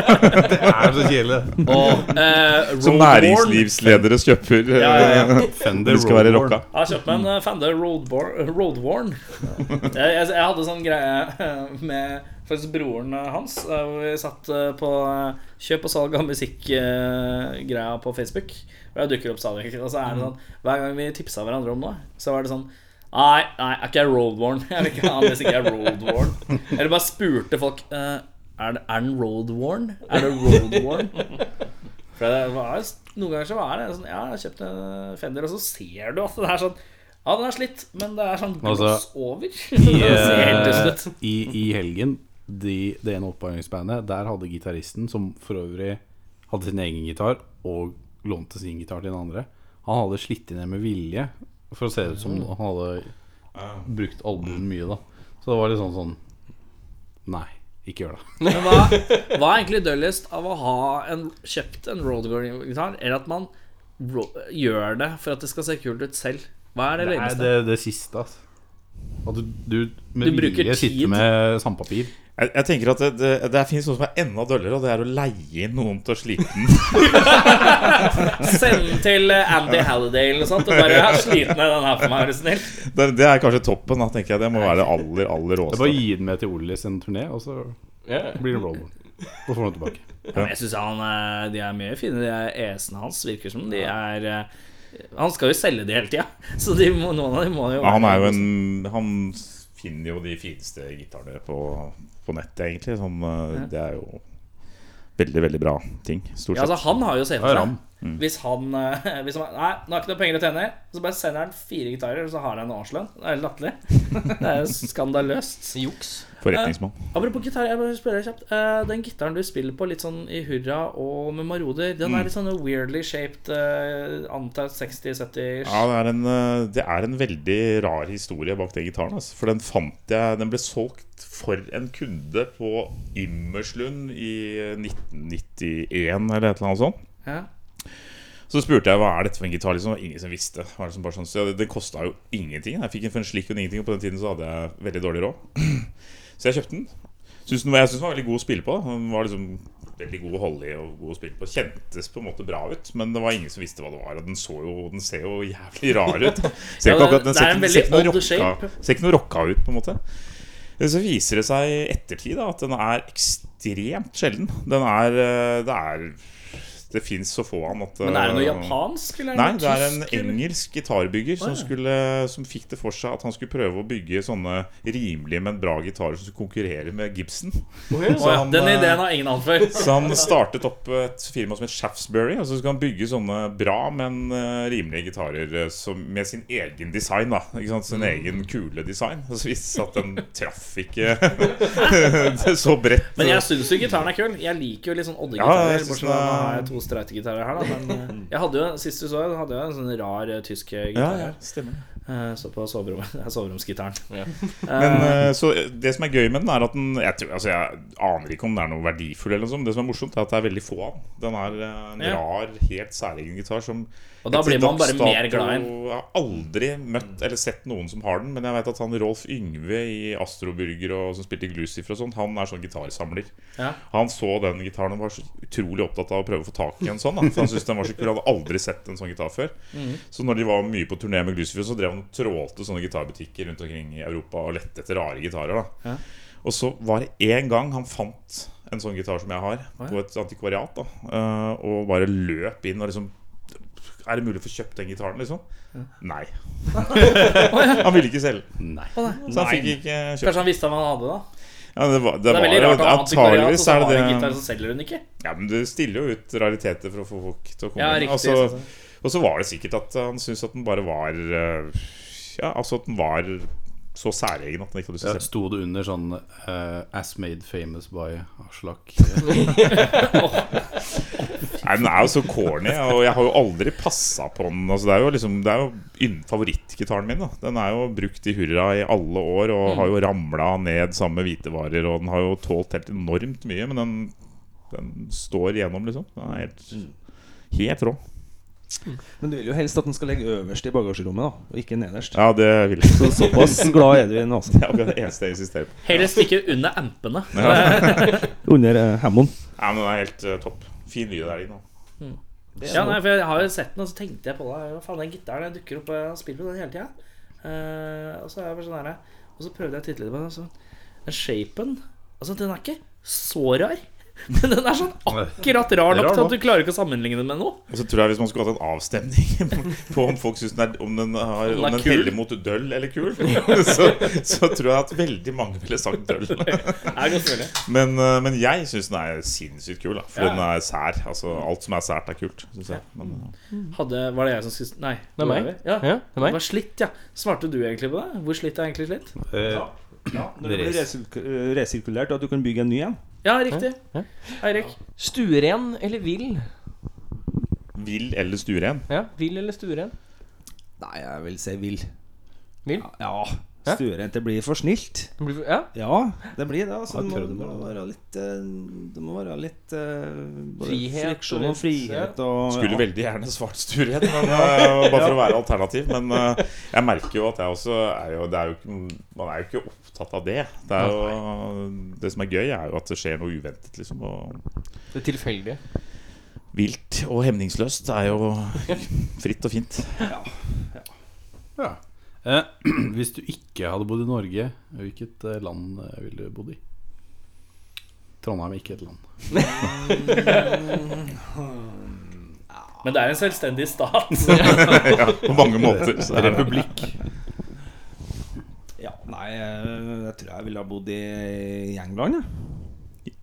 Speaker 3: Det er så kjedelig.
Speaker 2: Og eh,
Speaker 5: Som
Speaker 2: Roadborn-
Speaker 5: næringslivsledere kjøper.
Speaker 2: Ja, ja, ja.
Speaker 3: Fender
Speaker 5: Det skal være
Speaker 3: Roadborne.
Speaker 5: rocka.
Speaker 2: Jeg har kjøpt meg en eh, Fender Roadbor- Roadworn. Jeg, jeg, jeg hadde sånn greie eh, med faktisk broren eh, hans. eh, Hvor vi satt eh, på eh, kjøp og salg av musikkgreia på Facebook. Og jeg dukker opp stadig vekk. Og så er det sånn hver gang vi tipsa hverandre om noe, så var det sånn Nei, nei, jeg er ikke Roadworn. Jeg vil ikke ha den hvis ikke jeg er Roadworn. Eller bare spurte folk eh, Er det er den Roadworn? Er det Roadworn? For det var, noen ganger så er det sånn Ja, jeg har kjøpt en Fender, og så ser du at det er sånn Ja, den er slitt, men det er sånn gloss
Speaker 3: Altså,
Speaker 2: over.
Speaker 3: I,
Speaker 2: det ser helt dust
Speaker 3: eh,
Speaker 2: ut.
Speaker 3: i, i helgen, de, det ene oppvarmingsbandet, der hadde gitaristen, som for øvrig hadde sin egen gitar og lånte sin gitar til den andre, han hadde slitt inn med vilje for å se ut som
Speaker 2: Mm.
Speaker 3: han hadde brukt albuen mye, da. Så det var litt sånn sånn Nei, ikke gjør det.
Speaker 2: Men hva, hva er egentlig døllest av å ha en, kjøpt en Roadburn-gitar, eller at man ro gjør det for at det skal se kult ut selv? Hva er det
Speaker 3: Det er
Speaker 2: løgneste?
Speaker 3: det, det siste, altså. At du, du med
Speaker 2: Du bruker
Speaker 3: vilje
Speaker 2: tid.
Speaker 3: sitter med sandpapir.
Speaker 5: Jeg, jeg tenker at det, det, det finnes noe som er enda døllere, og det er å leie inn noen til å slite den.
Speaker 2: Send den til eh, Andy Halliday eller noe sånt. Og bare jeg er sliten av den her for meg, er du snill.
Speaker 5: Det, det er kanskje toppen. Da tenker jeg Det må være det aller aller
Speaker 3: Det er bare å
Speaker 5: råeste.
Speaker 3: gi den med til Olli sin turné, og så
Speaker 4: Ja.
Speaker 3: blir det rollboard. Og får den tilbake.
Speaker 2: Ja, men jeg synes han eh, De er mye fine, de er esene hans, virker som. De er eh, Han skal jo selge de hele tida, så de må, noen av dem må jo
Speaker 5: Ja, han er jo en Han finner jo de fineste gitarene på, på nettet, egentlig. Sånn, eh, det er jo veldig, veldig bra ting. Stort
Speaker 2: ja, altså,
Speaker 5: sett.
Speaker 2: Han har jo selvtillit.
Speaker 3: Ram.
Speaker 5: Mm.
Speaker 2: Hvis han eh, hvis han, Nei, nå har ikke noe penger å tjene, så bare sender han fire gitarer, og så har han en årslønn. Det er latterlig. Det er jo skandaløst.
Speaker 4: Juks.
Speaker 5: Forretningsmann.
Speaker 2: Apropos gitar, jeg bare spør deg kjapt. Eh, den gitaren du spiller på litt sånn i Hurra og med Maroder, den
Speaker 5: Mm.
Speaker 2: er litt sånn weirdly shaped, uh, antar 60-70-ish.
Speaker 5: Ja, det er, en, eh, det er en veldig rar historie bak den gitaren. Altså. For den fant jeg Den ble solgt for en kunde på Immerslund i 1991 eller et eller annet sånt.
Speaker 2: Ja.
Speaker 5: Så spurte jeg hva er dette for en gitar. Liksom, og ingen som visste. Hva er det som bare sånn, så det det kosta jo ingenting. Jeg fikk den for en slikk og ingenting, og på den tiden så hadde jeg veldig dårlig råd. Så jeg kjøpte den. Synes den var- jeg syns den var veldig god å spille på. da. Den var liksom veldig god å holde i og god å spille på. Kjentes på en måte bra ut, men det var ingen som visste hva det var. Og den, så jo, den ser jo jævlig rar ut. Ser
Speaker 2: Ja,
Speaker 5: ikke
Speaker 2: det-
Speaker 5: akkurat, den
Speaker 2: det er
Speaker 5: ser
Speaker 2: en
Speaker 5: ikke- ser ikke
Speaker 2: veldig
Speaker 5: noe
Speaker 2: odd
Speaker 5: rocka,
Speaker 2: shape.
Speaker 5: ser ikke noe rocka ut, på en måte. Så viser det seg i ettertid da, at den er ekstremt sjelden. Den er eh, Det er det fins så få av den at
Speaker 2: Men er det noe
Speaker 5: eh,
Speaker 2: japansk, eller
Speaker 5: Nei,
Speaker 2: er det
Speaker 5: det
Speaker 2: noe
Speaker 5: er en
Speaker 2: tysk? eller?
Speaker 5: engelsk gitarbygger som, skulle, som fikk det for seg at han skulle prøve å bygge sånne rimelige, men bra gitarer som skulle konkurrere med Gibson.
Speaker 2: Å, ja.
Speaker 5: han,
Speaker 2: Den
Speaker 5: eh,
Speaker 2: ideen har ingen hatt før.
Speaker 5: Så han startet opp et firma som het Shaftesbury, og så skal han bygge sånne bra, men eh, rimelige gitarer eh, som, med sin egen design, da. Ikke sant? Sin
Speaker 2: Mm.
Speaker 5: egen kule design. Og så viste det seg at den traff ikke så bredt.
Speaker 2: Men jeg syns jo gitaren er kul. Jeg liker jo litt sånn
Speaker 5: Ja,
Speaker 2: Odde-gitarer.
Speaker 5: jeg synes
Speaker 2: bortsett
Speaker 5: den
Speaker 2: fra
Speaker 5: er-
Speaker 2: nå har jeg to streite gitarer her, da. Men eh, jeg hadde jo, sist du så den, hadde jeg en sånn rar eh, tysk eh,
Speaker 5: ja,
Speaker 2: gitar.
Speaker 5: ja, stemmer.
Speaker 2: Eh, Så på soverommet. Det er soveromsgitaren.
Speaker 5: Men, eh, så det som er gøy med den, er at den Jeg, tror, altså, jeg aner ikke om den er noe verdifull. Eller noe sånt. Det som er morsomt, er at det er veldig få av den. Den er eh, en
Speaker 2: Ja.
Speaker 5: rar, helt særegen gitar som
Speaker 2: Og da
Speaker 5: jeg til
Speaker 2: blir man bare
Speaker 5: dags
Speaker 2: mer
Speaker 5: dato-
Speaker 2: glad i den.
Speaker 5: Jeg har aldri møtt eller sett noen som har den, men jeg vet at han Rolf Yngve i Astroburger og som spilte i Glucifer og sånn, han er sånn gitarsamler.
Speaker 2: Ja.
Speaker 5: Han så den gitaren og var så utrolig opptatt av å prøve å få tak i en sånn. Da. For han syntes den var så kul. Han hadde aldri sett en sånn gitar før.
Speaker 2: Mhm.
Speaker 5: Så når de var mye på turné med Glucifer, så drev han og trålte sånne gitarbutikker rundt omkring i Europa og lette etter rare gitarer. Da. Og så var det én gang han fant en sånn gitar som jeg har, på et antikvariat, da, eh, og bare løp inn og liksom er det mulig å få kjøpt den gitaren, liksom? Nei. han ville ikke selge den. Så han fikk ikke eh, kjøpt den.
Speaker 2: Kanskje han visste hva han hadde, da.
Speaker 5: Ja, det var, det
Speaker 2: Det er
Speaker 5: var
Speaker 2: veldig
Speaker 5: jo
Speaker 2: rart at han antikvariat, og
Speaker 5: antageligvis
Speaker 2: så
Speaker 5: er
Speaker 2: har
Speaker 5: det
Speaker 2: en gitar,
Speaker 5: det
Speaker 2: så selger hun ikke.
Speaker 5: Ja, men du stiller jo ut rariteter for å få folk til å komme
Speaker 2: Ja,
Speaker 5: inn.
Speaker 2: riktig,
Speaker 5: Altså,
Speaker 2: sånn sett.
Speaker 5: og så var det sikkert at han syntes at den bare var eh, Ja, altså at den var så særegen at den ikke hadde lyst til å
Speaker 3: Ja,
Speaker 5: selge.
Speaker 3: Sto det under sånn eh, 'As made famous by Aslak'?
Speaker 5: den. Nei, Den er jo så corny, og jeg har jo aldri passa på den. Altså, det er jo liksom Det er jo ynn- favorittgitaren min. Da. Den er jo brukt i hurra i alle år og har jo ramla ned sammen med hvitevarer, og den har jo tålt helt enormt mye, men den, den står igjennom, liksom. Den er helt, helt rå.
Speaker 6: Men du vil jo helst at den skal ligge øverst i bagasjerommet, da, og ikke nederst.
Speaker 5: Ja, det vil jeg.
Speaker 6: Så såpass glad er du i den, altså.
Speaker 5: Det er akkurat det eneste jeg insisterer på.
Speaker 2: Helst ikke under ampene.
Speaker 6: Under uh, Hammond.
Speaker 5: Nei, men den er helt eh, topp. Fin lyd der inne. da.
Speaker 2: Ja, nei, for Jeg har jo sett den, og så tenkte jeg på det. Hva faen, den gitaren den dukker opp. eh, Han spiller jo den hele tida. og så er jeg bare sånn her Og så prøvde jeg å titte litt på den. og Så, den shapen Altså, den er ikke så rar. Men den er sånn akkurat rar nok til at du klarer ikke å sammenligne den med noe.
Speaker 5: Og så tror jeg hvis man skulle hatt en avstemning på om folk syns den er Om den, har, om
Speaker 2: er
Speaker 5: den
Speaker 2: kul.
Speaker 5: heller mot døll eller kul, så, så tror jeg at veldig mange ville sagt døll.
Speaker 2: Det er godt mulig.
Speaker 5: Men, eh, men jeg syns den er sinnssykt kul, da. For
Speaker 2: Ja.
Speaker 5: den er sær. Altså, alt som er sært, er kult, syns jeg. Men, eh,
Speaker 2: Hadde, var det jeg som skulle Nei.
Speaker 4: Det er
Speaker 2: var
Speaker 4: meg.
Speaker 2: Ja.
Speaker 4: Ja, det er
Speaker 2: Det
Speaker 4: meg.
Speaker 2: var slitt, ja. Svarte du egentlig på det? Hvor slitt er egentlig slitt?
Speaker 3: Eh,
Speaker 6: Når det blir resirku- eh, resirkulert, at du kan bygge en ny en.
Speaker 2: Ja, riktig.
Speaker 4: Ja.
Speaker 2: Eirik.
Speaker 4: Stueren eller vill?
Speaker 5: eh, vill eller stueren?
Speaker 4: Ja, vill eller stueren?
Speaker 6: Nei, jeg vil si vill.
Speaker 4: Vill?
Speaker 6: Ja. Stuerente blir for snilt.
Speaker 4: Ja,
Speaker 6: Ja, det blir det.
Speaker 3: Har
Speaker 6: Altså, det, må,
Speaker 3: prøvd
Speaker 6: det må være litt eh, Det må være litt eh, både
Speaker 4: Frihet og
Speaker 6: friksjon
Speaker 4: litt-
Speaker 6: og frihet og
Speaker 5: Skulle
Speaker 6: ja.
Speaker 5: veldig gjerne svart Sturhet, men, eh, bare for å være alternativ. Men eh, jeg merker jo at jeg også er jo, det er jo ikke, Man er jo ikke opptatt av det. Det, er jo, det som er gøy, er jo at det skjer noe uventet, liksom. Og
Speaker 4: det tilfeldige.
Speaker 5: vilt og hemningsløst er jo fritt og fint.
Speaker 3: Ja. Eh, hvis du ikke hadde bodd i Norge, hvilket eh, land eh, ville du bodd i? Trondheim er ikke et land.
Speaker 2: Men det er en selvstendig stat.
Speaker 5: Ja, på mange måter. Så er det
Speaker 3: Republikk.
Speaker 6: ja, Nei, eh, jeg tror jeg ville ha bodd i i England, jeg.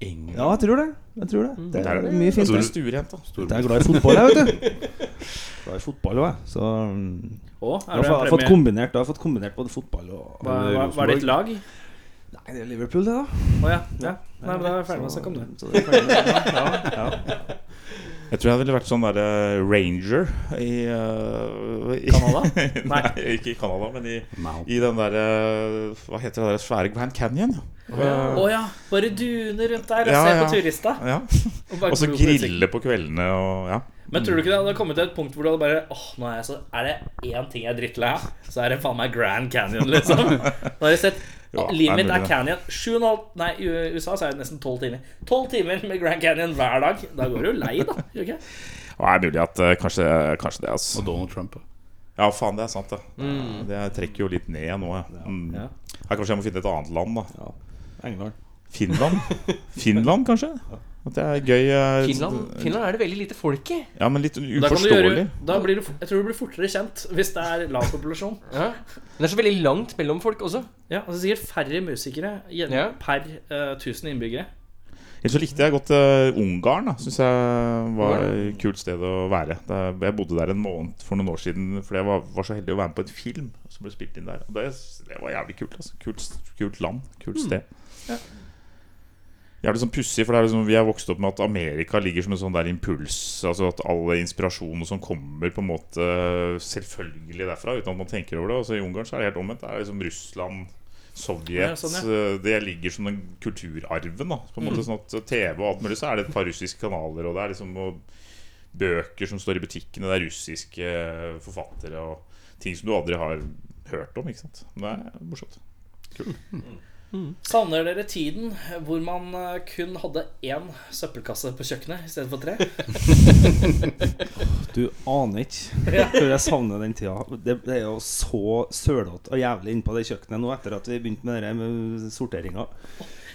Speaker 5: England.
Speaker 6: Ja, jeg tror det. Jeg tror det. det
Speaker 5: Der
Speaker 6: er
Speaker 5: er det.
Speaker 6: mye fint.
Speaker 5: Så er det
Speaker 6: Jeg
Speaker 5: stuerent, da.
Speaker 6: er glad i fotball, jeg, vet du. Glad i fotball òg, jeg. Så mm,
Speaker 2: Å,
Speaker 6: da
Speaker 2: er
Speaker 6: har
Speaker 2: det
Speaker 6: jeg
Speaker 2: en
Speaker 6: fått
Speaker 2: premie?
Speaker 6: kombinert, da har jeg fått kombinert både fotball og
Speaker 2: Hva, hva, hva er ditt lag? Å
Speaker 6: Nei, det er Liverpool, det, da.
Speaker 2: ja. ja. Nei, men da er jeg ferdig med å snakke om det.
Speaker 6: Så det er ferdig med det. Ja, ja.
Speaker 5: Jeg tror jeg ville vært sånn der eh, ranger i, eh, i
Speaker 2: Canada?
Speaker 5: Nei, ikke i Canada, men i,
Speaker 3: Mount.
Speaker 5: i den derre Hva heter det der svære Grand Canyon?
Speaker 2: Å ja. Bare dune rundt der og
Speaker 5: Ja,
Speaker 2: se på
Speaker 5: ja.
Speaker 2: turister.
Speaker 5: Ja.
Speaker 2: Og bare
Speaker 5: Og så
Speaker 2: glo på utsikten.
Speaker 5: grille på kveldene og ja.
Speaker 2: Men tror du ikke det hadde kommet til et punkt hvor du hadde bare Åh, nå er jeg så Er det én ting jeg er drittlei av, så er det faen meg Grand Canyon, liksom. Nå har jeg sett ah,
Speaker 5: Ja,
Speaker 2: Livet
Speaker 5: det er
Speaker 2: mitt
Speaker 5: mulig,
Speaker 2: er
Speaker 5: det.
Speaker 2: Canyon. Sju og en halv Nei, i USA så er det nesten tolv timer. Tolv timer med Grand Canyon hver dag. Da går du jo lei, da. Gjør du ikke?
Speaker 5: Og det er mulig at eh, kanskje, kanskje det, altså.
Speaker 3: Og Donald Trump. da.
Speaker 5: Ja, faen, det er sant, det. Det trekker jo litt ned nå, Mm. ja. Mm.
Speaker 2: Ja.
Speaker 5: Her kanskje jeg må finne et annet land, da.
Speaker 6: England.
Speaker 5: Finland? Finland, kanskje? At det er gøy eh,
Speaker 4: Finland, Finland er det veldig lite folk i.
Speaker 5: Ja, men litt
Speaker 2: Da kan du gjøre
Speaker 5: uforståelig.
Speaker 2: da blir du, Jeg tror du blir fortere kjent hvis det er lav populasjon.
Speaker 4: Ja. Men det er så veldig langt mellom folk også.
Speaker 2: Ja, og så sikkert færre musikere gjen-
Speaker 4: Ja.
Speaker 2: per eh, 1000 innbyggere.
Speaker 5: Ellers så likte jeg godt eh, Ungarn. da Syns jeg var et kult sted å være. Da, jeg bodde der en måned for noen år siden, for jeg var, var så heldig å være med på en film som ble spilt inn der. Og det, det var jævlig kult. Altså. Kult, kult land, kult
Speaker 2: Mm.
Speaker 5: sted. Jævlig sånn pussig, for det er liksom, Vi er vokst opp med at Amerika ligger som en sånn der impuls. Altså At all inspirasjon som kommer, på en måte selvfølgelig derfra, uten at man tenker over det. Altså I Ungarn så er det helt omvendt. Det er liksom Russland, Sovjet
Speaker 2: Ja, Mm. sånn,
Speaker 5: eh, Det ligger som den kulturarven. Da, på en måte sånn at TV og alt mulig, så er det et par russiske kanaler, og det er liksom og bøker som står i butikkene, det er russiske eh, forfattere og ting som du aldri har hørt om. Ikke sant? Det er morsomt.
Speaker 2: Savner dere tiden hvor man eh, kun hadde én søppelkasse på kjøkkenet i stedet for tre?
Speaker 6: Du aner ikke hvor jeg savner den tida. Det, det er jo så sølete og jævlig inne på det kjøkkenet nå etter at vi begynte med det der med sorteringa.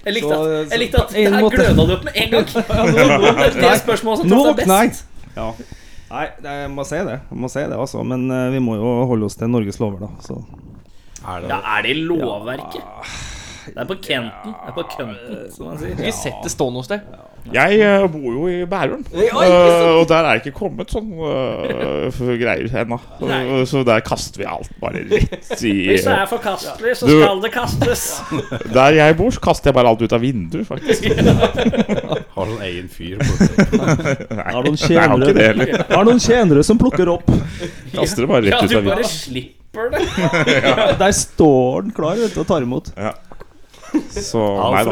Speaker 2: Jeg likte
Speaker 6: Så-
Speaker 2: at, jeg
Speaker 6: så
Speaker 2: likte at
Speaker 6: på
Speaker 2: det
Speaker 6: en
Speaker 2: her
Speaker 6: måte-
Speaker 2: gløda du opp med en gang. Det er det spørsmålet som
Speaker 6: Nå
Speaker 2: traff deg
Speaker 6: våkna jeg!
Speaker 2: best.
Speaker 6: Ja. Nei, det- jeg må si det. Jeg må si det altså. Men eh, vi må jo holde oss til Norges lover, da. Så.
Speaker 3: Er det
Speaker 2: Ja, er det i lovverket? Det er på Kenten. Det er på Kønten, som man sier.
Speaker 4: Ikke sett
Speaker 5: Ah.
Speaker 4: det stående hos deg.
Speaker 5: Jeg eh, bor jo i Bærum, eh, og der er det ikke kommet sånn eh, greier ennå.
Speaker 2: Nei.
Speaker 5: Så der kaster vi alt bare rett i
Speaker 2: Hvis det er forkastelig, så
Speaker 5: Du-
Speaker 2: skal det kastes.
Speaker 5: Der jeg bor, så kaster jeg bare alt ut av vinduet, faktisk.
Speaker 3: Har sånn egen fyr. borte.
Speaker 6: Har noen
Speaker 5: Nei, jeg har ikke det
Speaker 6: tjenere,
Speaker 5: heller.
Speaker 6: har noen tjenere som plukker opp.
Speaker 5: Kaster det bare
Speaker 2: Ja,
Speaker 5: rett ut
Speaker 2: du
Speaker 5: av
Speaker 2: bare
Speaker 5: vinduet.
Speaker 2: slipper det.
Speaker 6: Der står den klar vet du, og tar imot.
Speaker 5: Så nei da.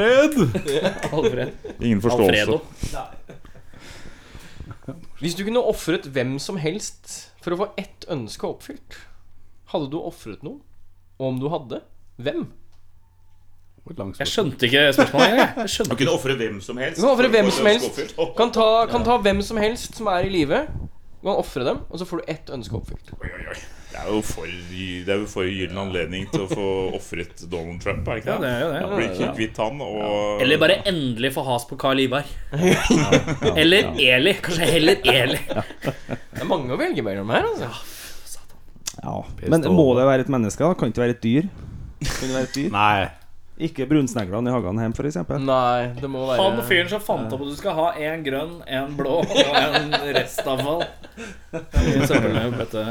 Speaker 2: Alfred.
Speaker 5: Ingen forståelse.
Speaker 2: Alfredo.
Speaker 4: Hvis du kunne ofret hvem som helst for å få ett ønske oppfylt, hadde du ofret noe? Og om du hadde, hvem?
Speaker 3: Hvor langt
Speaker 2: Jeg
Speaker 3: skal-
Speaker 2: skjønte ikke spørsmålet engang. jeg. Jeg skjønte
Speaker 5: kunne ofre hvem som helst.
Speaker 4: Du kan ofre hvem som helst. Kan ta, kan ta hvem som helst som er i live. Du kan ofre dem, og så får du ett ønske oppfylt.
Speaker 5: Oi, oi, oi. Det er jo for, det er jo for gyllen anledning til å få ofret Donald Trump, er det ikke
Speaker 2: Ja, det er jo det.
Speaker 5: Da Blir ikke kvitt han og
Speaker 2: Eller bare endelig få has på Carl Ivar. Eller Eli. Kanskje heller Eli.
Speaker 4: Det er mange å velge mellom her, altså.
Speaker 6: Ja. Men må det være et menneske? da? Kan ikke være et dyr? Kan det være et dyr?
Speaker 3: Nei.
Speaker 6: Ikke brunsteglene i hagen hjemme, f.eks.
Speaker 4: Nei, det må være
Speaker 2: Han fyren som fant opp at du skal ha en grønn, en blå og en restavfall. I søppelbøtte.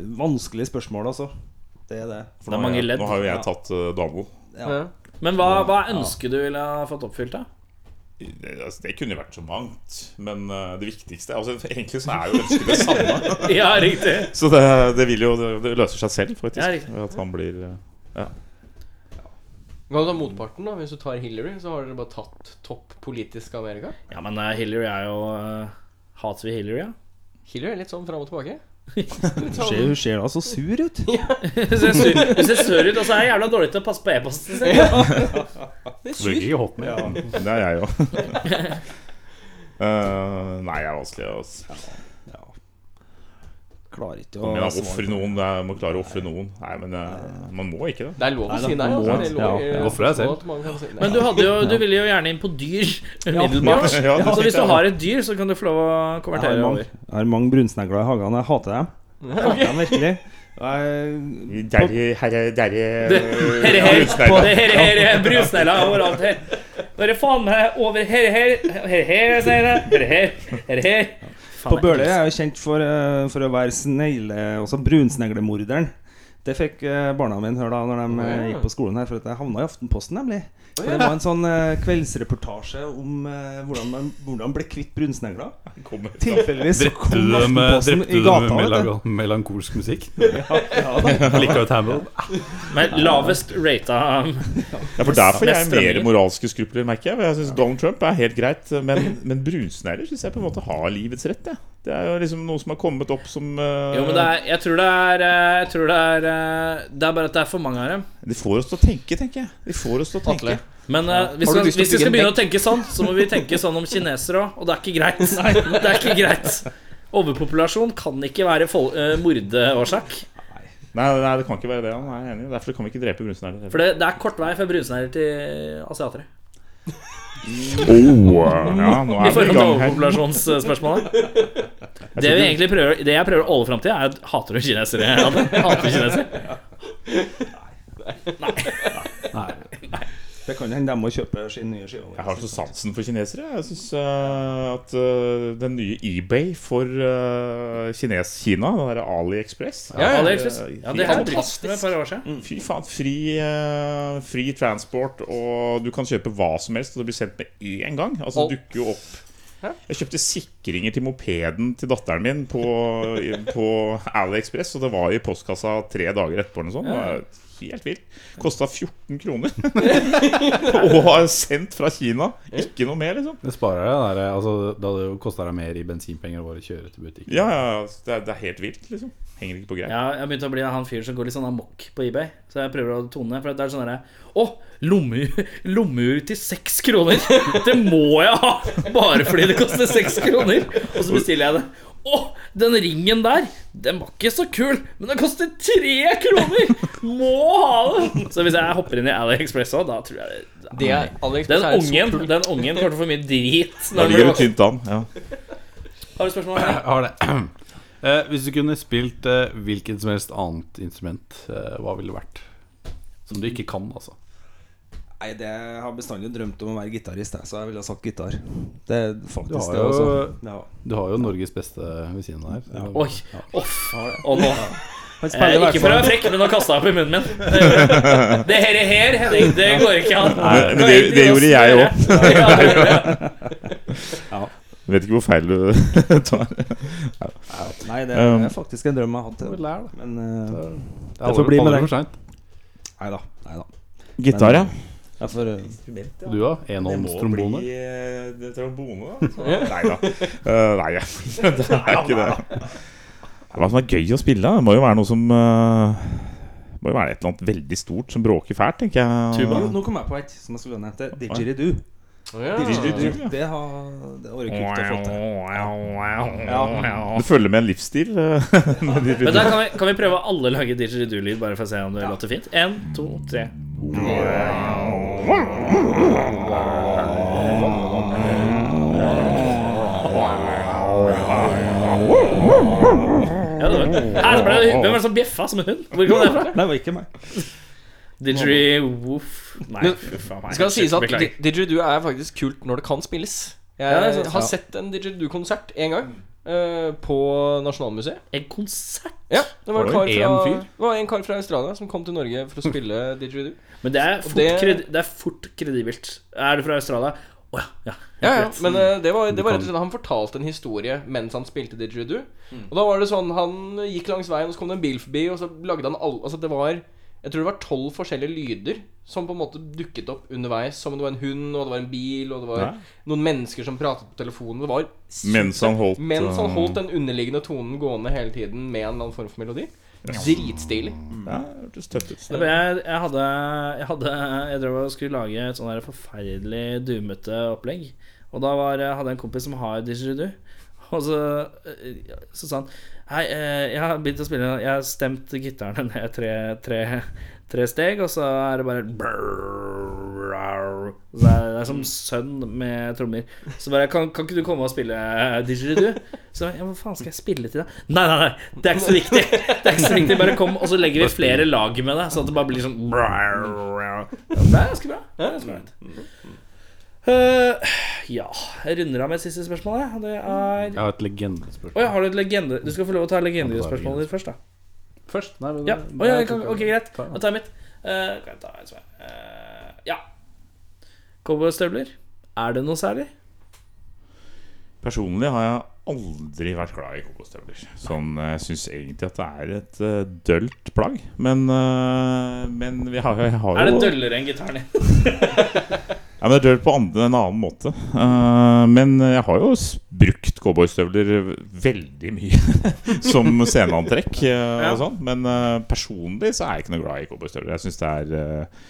Speaker 6: Vanskelig spørsmål, altså. Det er det.
Speaker 5: For
Speaker 2: Det
Speaker 5: nå
Speaker 2: er
Speaker 5: har
Speaker 2: mange
Speaker 5: jeg-
Speaker 2: ledd.
Speaker 5: Nå har jo jeg tatt eh, Donald.
Speaker 4: ja.
Speaker 2: Men hva, hva ønsker du ville ha fått oppfylt, da?
Speaker 5: altså, Det kunne jo vært så mangt, men eh, det viktigste altså, Egentlig så er jo ønsket det samme.
Speaker 2: Ja, riktig.
Speaker 5: Så det, det vil jo Det det løser seg selv, faktisk.
Speaker 2: Ja, riktig.
Speaker 5: ved at han blir eh, ja.
Speaker 4: Kan du ta motparten, da? Hvis du tar Hillary, så har dere bare tatt topp politisk Amerika.
Speaker 2: Ja, men eh, Hillary er jo eh, Hater vi Hillary, ja?
Speaker 4: Hillary er litt sånn fram og tilbake.
Speaker 6: Hun ser- Hun ser da så sur ut.
Speaker 2: Hun ser sur- hun ser sur ut, og så er jeg jævla dårlig til å passe på e-posten sin.
Speaker 3: Bruker ikke hotmail.
Speaker 5: Det er jeg jo. Eh, nei, jeg er vanskelig. Altså.
Speaker 6: Klarer ikke å
Speaker 5: Men jeg offrer noen. Jeg må klare å ofre noen. Nei, men eh, man må ikke det.
Speaker 4: Det er lov å si nei.
Speaker 6: man
Speaker 4: Altså.
Speaker 6: må-
Speaker 4: Det er lov,
Speaker 6: ja.
Speaker 4: eh,
Speaker 3: Hvorfor er det selv?
Speaker 4: at man kan si nei.
Speaker 2: Men du, hadde jo, du ville jo gjerne inn på dyr umiddelbart.
Speaker 5: Ja, det
Speaker 2: så hvis du
Speaker 5: tenkte jeg.
Speaker 2: har et dyr, så kan du få lov å
Speaker 6: Jeg har
Speaker 2: konvertere
Speaker 6: mange,
Speaker 2: over.
Speaker 6: jeg har mange brunsnegler i hagen. Jeg hater dem. Jeg hater dem virkelig. Og Jeg,
Speaker 5: Derre, herre, derre
Speaker 2: Herre, herre,
Speaker 5: Brunsnegler.
Speaker 2: det herre, herre, brusnegler overalt her. Nå er det faen meg over herre, herre, herre, herre, sier jeg. Herre, herre, herre, herre.
Speaker 6: på Bøler er jeg jo kjent for, eh, for å være snegle, også brunsneglemorderen. Det fikk eh, barna mine høre da Når de eh, gikk på skolen her, for at jeg havna i Aftenposten, nemlig. For det var en sånn eh, kveldsreportasje om eh, hvordan man hvordan ble kvitt brunsnegler.
Speaker 5: Kommer.
Speaker 6: Tilfeldigvis så
Speaker 3: Drepte
Speaker 6: kom
Speaker 3: du dem med,
Speaker 6: Aftenposten
Speaker 3: drepte
Speaker 6: i
Speaker 3: du dem med
Speaker 6: gata. vet du.
Speaker 3: melan- melankolsk musikk? Lika ut Hamill.
Speaker 2: Men lavest rata um,
Speaker 5: Ja, for Derfor jeg
Speaker 2: Mest
Speaker 5: er jeg
Speaker 2: strømninger.
Speaker 5: mer moralske skrupler, merker jeg. for Jeg synes Donald Trump er helt greit, men, men brunsnegler syns jeg på en måte har livets rett. Jeg. Det er jo liksom noe som har kommet opp som eh,
Speaker 2: Jo, men det er, jeg tror det er eh, Jeg tror det er eh, Det er bare at det er for mange av dem.
Speaker 5: De får oss til å tenke, tenker jeg. De får oss til å tenke.
Speaker 2: Men eh, hvis,
Speaker 4: Har du
Speaker 2: vi,
Speaker 4: lyst til å
Speaker 2: hvis vi
Speaker 4: bygge
Speaker 2: skal
Speaker 4: en
Speaker 2: begynne å tenke sånn, så må vi tenke sånn om kinesere òg, og det er ikke greit. det er ikke greit. Overpopulasjon kan ikke være fol eh, mordeårsak.
Speaker 5: Nei, nei, det kan ikke være det. Han er enig. Derfor kan vi ikke drepe brunsnegler.
Speaker 2: For det, det er kort vei fra brunsnegler til asiatere.
Speaker 5: Oh, ja, nå er vi
Speaker 2: I forhold
Speaker 5: i gang
Speaker 2: til
Speaker 5: her.
Speaker 2: overpopulasjonsspørsmålet. Det, vi egentlig prøver, det jeg prøver å holde fram til, er at hater du kinesere? Hater du kinesere?
Speaker 6: Det kan hende de må kjøpe sin nye skive.
Speaker 5: Jeg har så sansen for kinesere. Jeg syns at eh, den nye eBay for eh, Kines-Kina, den derre AliExpress
Speaker 2: Ja,
Speaker 5: er,
Speaker 2: det, er,
Speaker 5: eh,
Speaker 2: ja,
Speaker 5: helt
Speaker 2: det har jeg
Speaker 5: fantastisk.
Speaker 2: brydd meg med et par år siden.
Speaker 5: Fy faen, fri, eh, fri transport, og du kan kjøpe hva som helst, og det blir sendt med én gang. Altså, det dukker jo opp Jeg kjøpte sikringer til mopeden til datteren min på, i- på AliExpress, og det var i postkassa tre dager etterpå. eller noe sånt. Det var Helt vilt. Kosta 14 kroner. og har sendt fra Kina. Ikke noe mer, liksom.
Speaker 3: Det sparer deg den der, altså, Da det kosta deg mer i bensinpenger å bare kjøre til butikken.
Speaker 5: Ja, ja, ja, det er, det er helt vilt, liksom. Henger ikke på greip.
Speaker 2: Ja, jeg begynte å bli han fyren som går litt sånn amok på eBay. Så jeg prøver å tone ned. For det er sånn derre Å, lommeur lommeur til seks kroner! Det må jeg ha! Bare fordi det koster seks kroner! Og så bestiller jeg det. Å, den ringen der, den var ikke så kul, men den koster tre kroner! Må ha den! Så hvis jeg hopper inn i AliExpress òg, da tror jeg det-
Speaker 4: Det er, Alex,
Speaker 2: Den
Speaker 4: det er et
Speaker 2: ungen,
Speaker 4: sort hull.
Speaker 2: den ungen kommer til å få mye drit.
Speaker 5: Da
Speaker 2: Når
Speaker 5: ligger
Speaker 2: den
Speaker 5: du
Speaker 2: blir-
Speaker 5: tynt an. Ja.
Speaker 2: har du spørsmål? Henning?
Speaker 3: Jeg har det. Eh, hvis du kunne spilt eh, hvilket som helst annet instrument, eh, hva ville det vært? Som du ikke kan, altså.
Speaker 6: Nei, det jeg har bestandig drømt om å være gitarist, jeg, så jeg ville ha sagt gitar. Det er
Speaker 3: Du
Speaker 6: faktisk
Speaker 3: har
Speaker 6: det altså.
Speaker 3: jo-
Speaker 6: også. Ja.
Speaker 3: Du har jo Norges beste ved siden av her.
Speaker 2: Oi, off. Og nå
Speaker 6: Han
Speaker 2: Eh,
Speaker 6: spiller i hvert
Speaker 2: ikke for å
Speaker 6: fall
Speaker 2: være frekk, men å kaste opp i munnen min. Det her, det her Henning, det går ikke an.
Speaker 5: Men, men det, det gjorde jeg òg.
Speaker 2: òg.
Speaker 5: Vet ikke hvor feil du tar.
Speaker 6: Nei, det er
Speaker 5: Um,
Speaker 6: faktisk en drøm jeg har hatt.
Speaker 3: Du
Speaker 6: det.
Speaker 3: lær, da.
Speaker 6: Men eh,
Speaker 3: Det
Speaker 6: får bli med deg.
Speaker 3: for seint.
Speaker 6: nei da. Nei da.
Speaker 5: Gitar, ja.
Speaker 6: Jeg får, eh,
Speaker 3: Du da? Enhånds trombone?
Speaker 5: bli eh, det trombone, da. Så- Nei da. Eh, nei, jeg- det er ikke det. Hva som er gøy å spille? da? Det må jo være noe som eh, Det må jo være et eller annet veldig stort som bråker fælt, tenker jeg.
Speaker 6: nå, nå kom jeg på et som jeg skulle nevne. Det er Didgeridoo.
Speaker 4: Å, ja.
Speaker 6: Didgeridoo, Det har det har vært kult å få til.
Speaker 5: Det følger med en livsstil. eh, med de
Speaker 2: Men da kan vi, kan vi prøve å alle lage didgeridoo-lyd, bare for å se om det låter fint? En, to, tre. Ja, det var. Her, så ble det, hvem var det som bjeffa som en hund? Hvor kom det fra?
Speaker 6: Nei, det var ikke meg.
Speaker 2: Didgeridoo-woof. Nei,
Speaker 4: Men,
Speaker 2: fy faen.
Speaker 4: Det
Speaker 2: Nei,
Speaker 4: skal sies at
Speaker 2: beklager.
Speaker 4: di- didgeridoo er faktisk kult når det kan spilles.
Speaker 2: Ja,
Speaker 4: Jeg
Speaker 2: det er sant.
Speaker 4: har
Speaker 2: Ja.
Speaker 4: sett en didgeridoo-konsert en gang. eh, på Nasjonalmuseet.
Speaker 2: En konsert?
Speaker 4: Ja, det var, en
Speaker 3: Var
Speaker 4: kar
Speaker 3: det
Speaker 4: fra,
Speaker 3: én fyr?
Speaker 4: det var en kar fra Australia som kom til Norge for å spille didgeridoo.
Speaker 2: Men det er fort,
Speaker 4: det-
Speaker 2: kredi det er fort kredibelt. Er du fra Australia Å ja. ja.
Speaker 4: Ja, ja, men eh, det var, det var rett og slett Han fortalte en historie mens han spilte didgeridoo.
Speaker 5: Mm.
Speaker 4: Og da var det sånn Han gikk langs veien, og så kom det en bil forbi, og så lagde han alle Altså, det var Jeg tror det var tolv forskjellige lyder som på en måte dukket opp underveis. Som om det var en hund, og det var en bil, og det var
Speaker 5: Nei.
Speaker 4: noen mennesker som pratet på telefonen. Det var super-
Speaker 5: Mens han holdt,
Speaker 4: mens han
Speaker 5: eh,
Speaker 4: holdt den underliggende tonen gående hele tiden med en eller annen form for melodi. Dritstilig.
Speaker 5: Ja, det hørtes tøft ut.
Speaker 2: Men Jeg, jeg hadde Jeg, hadde, jeg drev og skulle lage et sånn der forferdelig dumete opplegg. Og da var, hadde jeg en kompis som har didgeridoo. Og så, eh, så sa han Hei, eh, jeg har begynt å spille Jeg har stemt gitaren ned tre, tre, tre steg, og så er det bare brrrr. Så det, er, det er som sønn med trommer. Så bare Kan, kan ikke du komme og spille didgeridoo? Så ja, hva faen skal jeg spille til, da? Nei, nei, nei, det er ikke så viktig. Det er ikke så viktig, Bare kom, og så legger vi flere lag med det, sånn at det bare blir sånn brrrr. Ja, Det er ganske bra. Det er ganske bra. Eh, ja, jeg runder av med et siste spørsmål. jeg. Det er
Speaker 3: Jeg har et
Speaker 2: Å ja,
Speaker 3: legendespørsmål.
Speaker 2: har du et legende Du skal få lov å ta legendespørsmålet ditt først, da.
Speaker 3: Først? Nei, men-
Speaker 2: Ja, Å, ja, jeg kan,
Speaker 3: tok-
Speaker 2: Ok, greit. Da tar jeg mitt. Eh, kan jeg ta en som er eh, Ja. Cowboystøvler. Er det noe særlig?
Speaker 5: Personlig har jeg aldri vært glad i kokostøvler. Sånn, jeg syns egentlig at det er et eh, dølt plagg. Men, eh, men vi har, jeg har jo
Speaker 2: Er det døllere enn gitaren din?
Speaker 5: Ja, men det er dølt på andre, en annen måte. Eh, men jeg har jo s- brukt cowboystøvler veldig mye som sceneantrekk. eh, og sånn. Men eh, personlig så er jeg ikke noe glad i cowboystøvler. Jeg synes det er eh,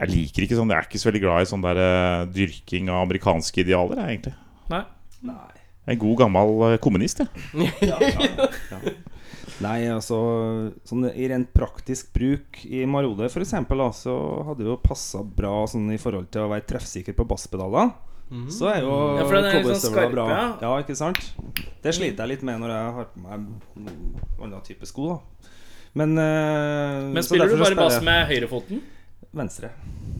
Speaker 5: Jeg liker ikke sånn Jeg er ikke så veldig glad i sånn der eh, dyrking av amerikanske idealer, jeg, egentlig.
Speaker 2: Nei.
Speaker 5: Jeg er en god, gammel eh, kommunist, jeg.
Speaker 6: Nei, altså sånn I rent praktisk bruk i Marode f.eks. så hadde det jo passa bra sånn, i forhold til å være treffsikker på basspedaler. Så er jo
Speaker 2: Mhm. Ja, for den er litt sånn
Speaker 6: cowboystøvler
Speaker 2: skarp,
Speaker 6: bra.
Speaker 2: ja. Mhm.
Speaker 6: Ja, ikke sant? Det sliter jeg litt med når jeg har på meg en annen type sko, da. Men, eh,
Speaker 2: Men
Speaker 6: så
Speaker 2: spiller du
Speaker 6: derfor så
Speaker 2: bare
Speaker 6: spiller
Speaker 2: bass
Speaker 6: jeg
Speaker 2: med høyrefoten?
Speaker 6: Venstre.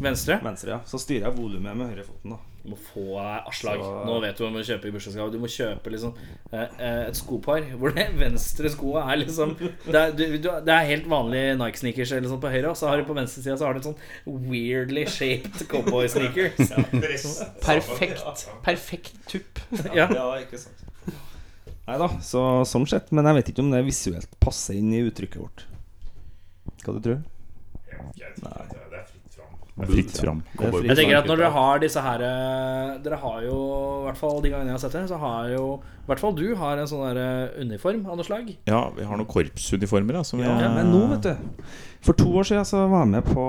Speaker 2: Venstre?
Speaker 6: Venstre, ja. Så styrer jeg volumet med høyrefoten, da.
Speaker 2: Du må få deg avslag. Nå vet du hva du må kjøpe i bursdagsgave. Du må kjøpe liksom eh, eh, et skopar hvor det venstre skoa er liksom Det er, du, du, det er helt vanlig Nike-sneakers eller sånn på høyre, og så har du på venstre side så har du en sånn weirdly shaped cowboy-sneaker.
Speaker 4: Perfekt. Perfekt tupp.
Speaker 2: Ja.
Speaker 6: ikke sant. Nei da, så sånn sett. Men jeg vet ikke om det visuelt passer inn i uttrykket vårt. Hva du tror du?
Speaker 5: Fritt fram.
Speaker 2: Jeg
Speaker 4: Sånn
Speaker 2: tenker at når dere har disse her eh, Dere har jo, i hvert fall de gangene jeg har sett dere, så har jo I hvert fall du har en sånn der eh, uniform av noe slag.
Speaker 5: Ja, vi har noen korpsuniformer, da. Som vi-
Speaker 6: Ja, men nå, vet du. For to år siden så var jeg med på,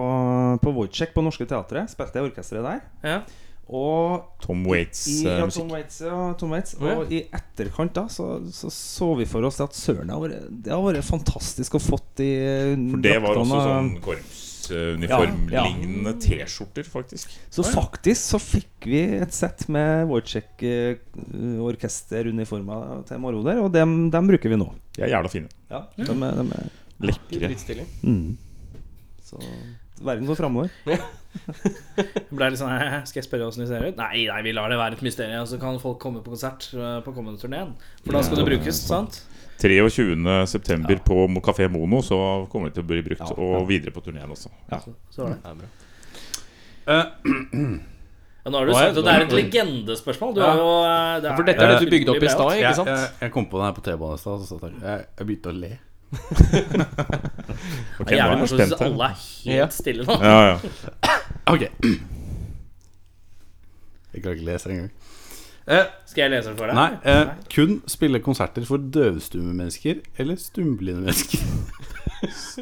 Speaker 6: på Wojciech på Norske Teatret. Spilte jeg i orkesteret der.
Speaker 2: Ja.
Speaker 6: Og
Speaker 5: Tom Waits
Speaker 6: i,
Speaker 5: eh,
Speaker 6: ja,
Speaker 5: musikk.
Speaker 6: Tom Waits, ja, Tom Waits.
Speaker 4: ja.
Speaker 6: Og i etterkant da så så, så vi for oss at søren, det har vært- det har vært fantastisk å fått i
Speaker 5: For det var også sånn korpsuniformlignende T-skjorter, faktisk.
Speaker 6: Så faktisk så fikk vi et sett med Wojciech-orkesteruniformer til Moroder, og dem, dem bruker vi nå.
Speaker 5: De er jævla fine.
Speaker 6: Ja, dem er, dem er,
Speaker 5: Lekre.
Speaker 4: Dritstilig.
Speaker 6: så verden går framover.
Speaker 2: Det ble litt sånn, «Hæ, Skal jeg spørre åssen de ser ut? Nei, nei, vi lar det være et mysterium, så kan folk komme på konsert eh, på kommende turneen. For da skal det brukes, sant?
Speaker 5: 23. september på Mo- Café Mono, så kommer det til å bli brukt. Og videre på turneen også.
Speaker 2: Så var det.
Speaker 3: Eh,
Speaker 2: Ja, nå har du
Speaker 3: Nå er jeg-
Speaker 2: sagt at det er et legendespørsmål. Du har jo eh, det er,
Speaker 4: For dette er det du
Speaker 2: utrolig
Speaker 4: bygde opp i
Speaker 2: bra
Speaker 4: stad, ikke
Speaker 3: jeg,
Speaker 4: sant?
Speaker 3: jeg, jeg kom på den her på T-banen i stad, så satt jeg jeg- Jeg begynte å le.
Speaker 5: Ok,
Speaker 2: Det
Speaker 5: nå er
Speaker 2: er jævlig
Speaker 5: jeg
Speaker 2: morsomt
Speaker 5: spent
Speaker 2: hvis alle
Speaker 5: her.
Speaker 2: er helt stille nå.
Speaker 5: Ja, ja.
Speaker 3: Ok. Jeg klarer ikke å lese engang. Eh,
Speaker 2: Skal jeg lese det for deg?
Speaker 3: nei, eh, kun spille konserter for døvstumme mennesker eller stumblinde mennesker.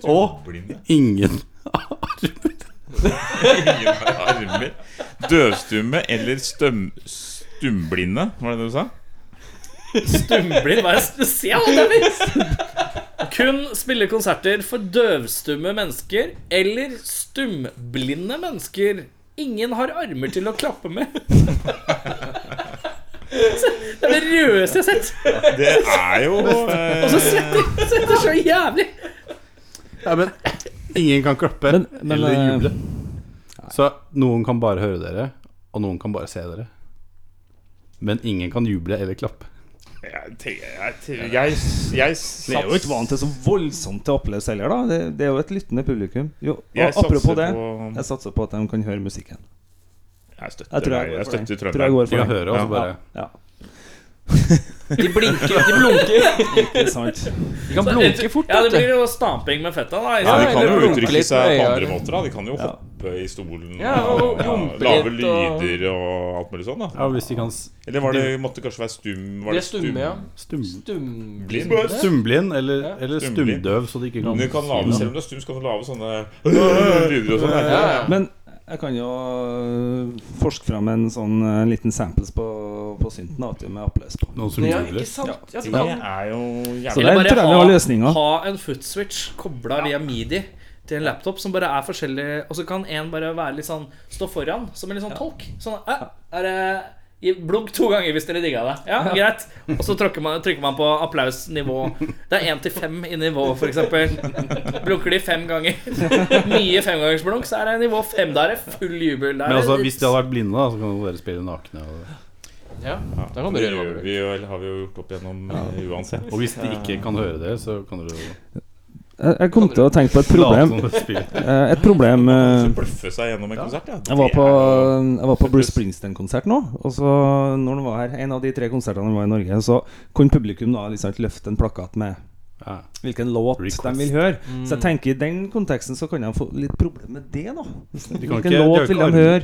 Speaker 3: Og ingen armer.
Speaker 5: Ingen har armer. Døvstumme eller støm, stumblinde, var det det du sa?
Speaker 2: Stumblind, hva er spesial, Dennis? Kun spille konserter for døvstumme mennesker eller stumblinde mennesker. Ingen har armer til å klappe med. Det er det rødeste jeg har sett.
Speaker 5: Det er jo eh,
Speaker 2: Og så svetter svetter så jævlig.
Speaker 3: Ja, men ingen kan klappe
Speaker 6: Men- men,
Speaker 3: eller
Speaker 6: eh,
Speaker 3: juble. Så noen kan bare høre dere, og noen kan bare se dere. Men ingen kan juble eller klappe.
Speaker 5: Jeg, tenker- jeg, tenker- jeg, jeg
Speaker 6: Vi er jo ikke vant
Speaker 5: sats-
Speaker 6: til så voldsomt til å oppleve heller, da. Det, det er jo et lyttende publikum. Jo, og
Speaker 5: Jeg satser
Speaker 6: apropos det,
Speaker 5: på-
Speaker 6: jeg satser på at de kan høre musikken.
Speaker 5: Jeg støtter,
Speaker 6: Jeg tror jeg
Speaker 5: deg.
Speaker 6: går
Speaker 5: jeg
Speaker 6: for den.
Speaker 5: støtter
Speaker 6: Tror jeg går
Speaker 5: Trøndelag.
Speaker 3: De kan
Speaker 6: for
Speaker 3: høre, og så bare
Speaker 6: Ja,
Speaker 4: De blinker, de blunker.
Speaker 6: det er sant.
Speaker 4: De kan blunke fort.
Speaker 2: Ja, det
Speaker 4: vet du.
Speaker 2: blir jo stamping med fetta, da.
Speaker 5: Ja,
Speaker 2: i stedet.
Speaker 5: de kan
Speaker 4: eller
Speaker 5: jo
Speaker 4: blunke
Speaker 5: uttrykke
Speaker 4: litt
Speaker 5: seg på
Speaker 4: med øyet.
Speaker 5: andre måter. Da. De kan jo
Speaker 6: Ja.
Speaker 5: hoppe i stolen
Speaker 4: Ja, og jumpe
Speaker 5: lage
Speaker 4: litt, og-
Speaker 5: lyder og alt mulig sånn. Da.
Speaker 3: Ja, hvis de kan s-
Speaker 5: Eller var det, måtte kanskje være stum? Var
Speaker 4: De er stumme, ja.
Speaker 3: stum,
Speaker 4: Stum...
Speaker 5: Blind?
Speaker 3: Stumblind eller,
Speaker 4: Ja.
Speaker 3: eller
Speaker 5: Stumblind.
Speaker 3: stumdøv, så de ikke kan
Speaker 5: Men du kan lave,
Speaker 3: si noe.
Speaker 5: selv om du er stum, så kan du lave sånne lyder og sånn.
Speaker 4: Ja, ja.
Speaker 6: Men jeg kan jo øh, forske fram en sånn eh, liten samples på, på synten da, vet du, med applaus på.
Speaker 3: Noen som
Speaker 4: ja,
Speaker 3: jubler.
Speaker 4: ikke sant? Ja, så
Speaker 5: Det
Speaker 4: kan,
Speaker 5: er jo
Speaker 6: Så
Speaker 5: jævlig
Speaker 6: der
Speaker 2: Eller bare
Speaker 6: tror jeg vi
Speaker 2: ha-
Speaker 6: har løsninga.
Speaker 2: Ha en footswitch kobla via midi til en laptop som bare er forskjellig, og så kan en bare være litt sånn stå foran som en litt sånn tolk. Sånn «Æ, er det gi- Blunk to ganger hvis dere digga det. Ja, greit. Og så trykker man, trykker man på applausnivå. Det er én til fem i nivå, f.eks. Blunker de fem ganger. Mye femgangsblunk, så er det nivå fem. Da er det full jubel. Da er
Speaker 3: Men altså,
Speaker 2: det-
Speaker 3: hvis de hadde vært blinde, da, så kan dere spille nakne. Og,
Speaker 4: ja. Da kan du
Speaker 5: Det
Speaker 4: gjøre hva
Speaker 5: gjør
Speaker 4: du vil.
Speaker 5: vi jo, eller har vi jo gjort opp igjennom eh, uansett.
Speaker 3: og hvis de ikke kan høre det, så kan dere jo
Speaker 6: Jeg jeg kom til å tenke på et problem.
Speaker 3: late som dere spiller.
Speaker 6: eh, Et problem eh,
Speaker 5: Så bløffe seg gjennom en konsert, ja.
Speaker 6: Jeg var
Speaker 5: Det
Speaker 6: på,
Speaker 5: er jo-
Speaker 6: jeg var på Bruce Springsteen-konsert nå. Og så når han var her, En av de tre konsertene han var i Norge, så kunne publikum da liksom løfte en plakat med
Speaker 3: Ja.
Speaker 6: hvilken låt
Speaker 3: Request.
Speaker 6: de vil høre. Så jeg tenker i den konteksten så kan de få litt problem med det, da. Hvis de-
Speaker 3: De kan
Speaker 6: Hvilken
Speaker 3: ikke- de har
Speaker 6: låt
Speaker 3: ikke
Speaker 6: vil de
Speaker 3: armen.
Speaker 6: høre?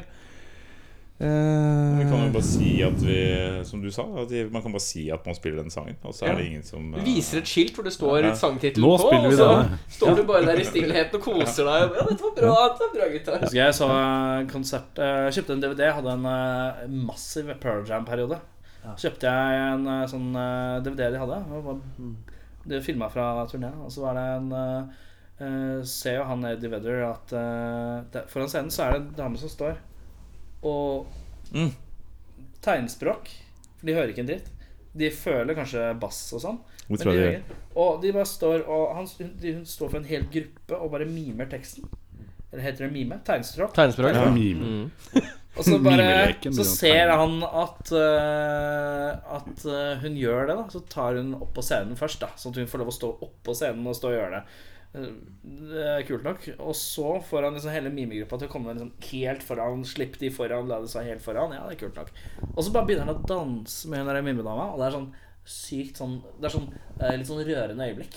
Speaker 5: Vi kan jo
Speaker 6: Eh,
Speaker 5: bare si at vi Som du sa, at vi- man kan bare si at man spiller den sangen, og så er det ingen som
Speaker 4: Du
Speaker 5: eh,
Speaker 4: viser et skilt hvor det står
Speaker 5: Ja.
Speaker 4: sangtittelen
Speaker 3: Nå
Speaker 4: på,
Speaker 3: spiller vi
Speaker 4: og så
Speaker 3: denne.
Speaker 4: står du bare der i stillheten og koser deg. Ja, dette var bra, dette var bra gutta.
Speaker 2: Husker jeg så eh, konsert eh, Kjøpte en DVD, hadde en eh, massiv Pearl Jam-periode. Så kjøpte jeg en eh, sånn eh, DVD de hadde. og bare- De filma fra turneen. Og så var det en eh, eh, Ser jo han Eddie Vedder at eh, der, foran scenen så er det en dame som står og
Speaker 5: Mm.
Speaker 2: Tegnspråk. For de hører ikke en dritt. De føler kanskje bass og sånn.
Speaker 5: Hvor
Speaker 2: Men
Speaker 5: tror
Speaker 2: de
Speaker 5: jeg de
Speaker 2: gjør ikke. Og de bare står og han, hun, de, hun står for en hel gruppe og bare mimer teksten. Eller heter det mime? Tegnspråk.
Speaker 4: Tegnspråk.
Speaker 5: Ja.
Speaker 3: Mime.
Speaker 4: Mm.
Speaker 2: Og så bare
Speaker 3: Mimeleken
Speaker 2: Så
Speaker 3: blir jo
Speaker 2: ser han at eh, At eh, hun gjør det, da. Så tar hun opp på scenen først, da. Sånn at hun får lov å stå oppå scenen og stå og gjøre det. Eh, Det er kult nok. Og så får han liksom hele mimegruppa til å komme liksom helt foran. Slipp de foran, la de seg helt foran. Ja, det er kult nok. Og så bare begynner han å danse med hun der mimedama, og det er sånn sykt sånn Det er sånn eh, litt sånn rørende øyeblikk.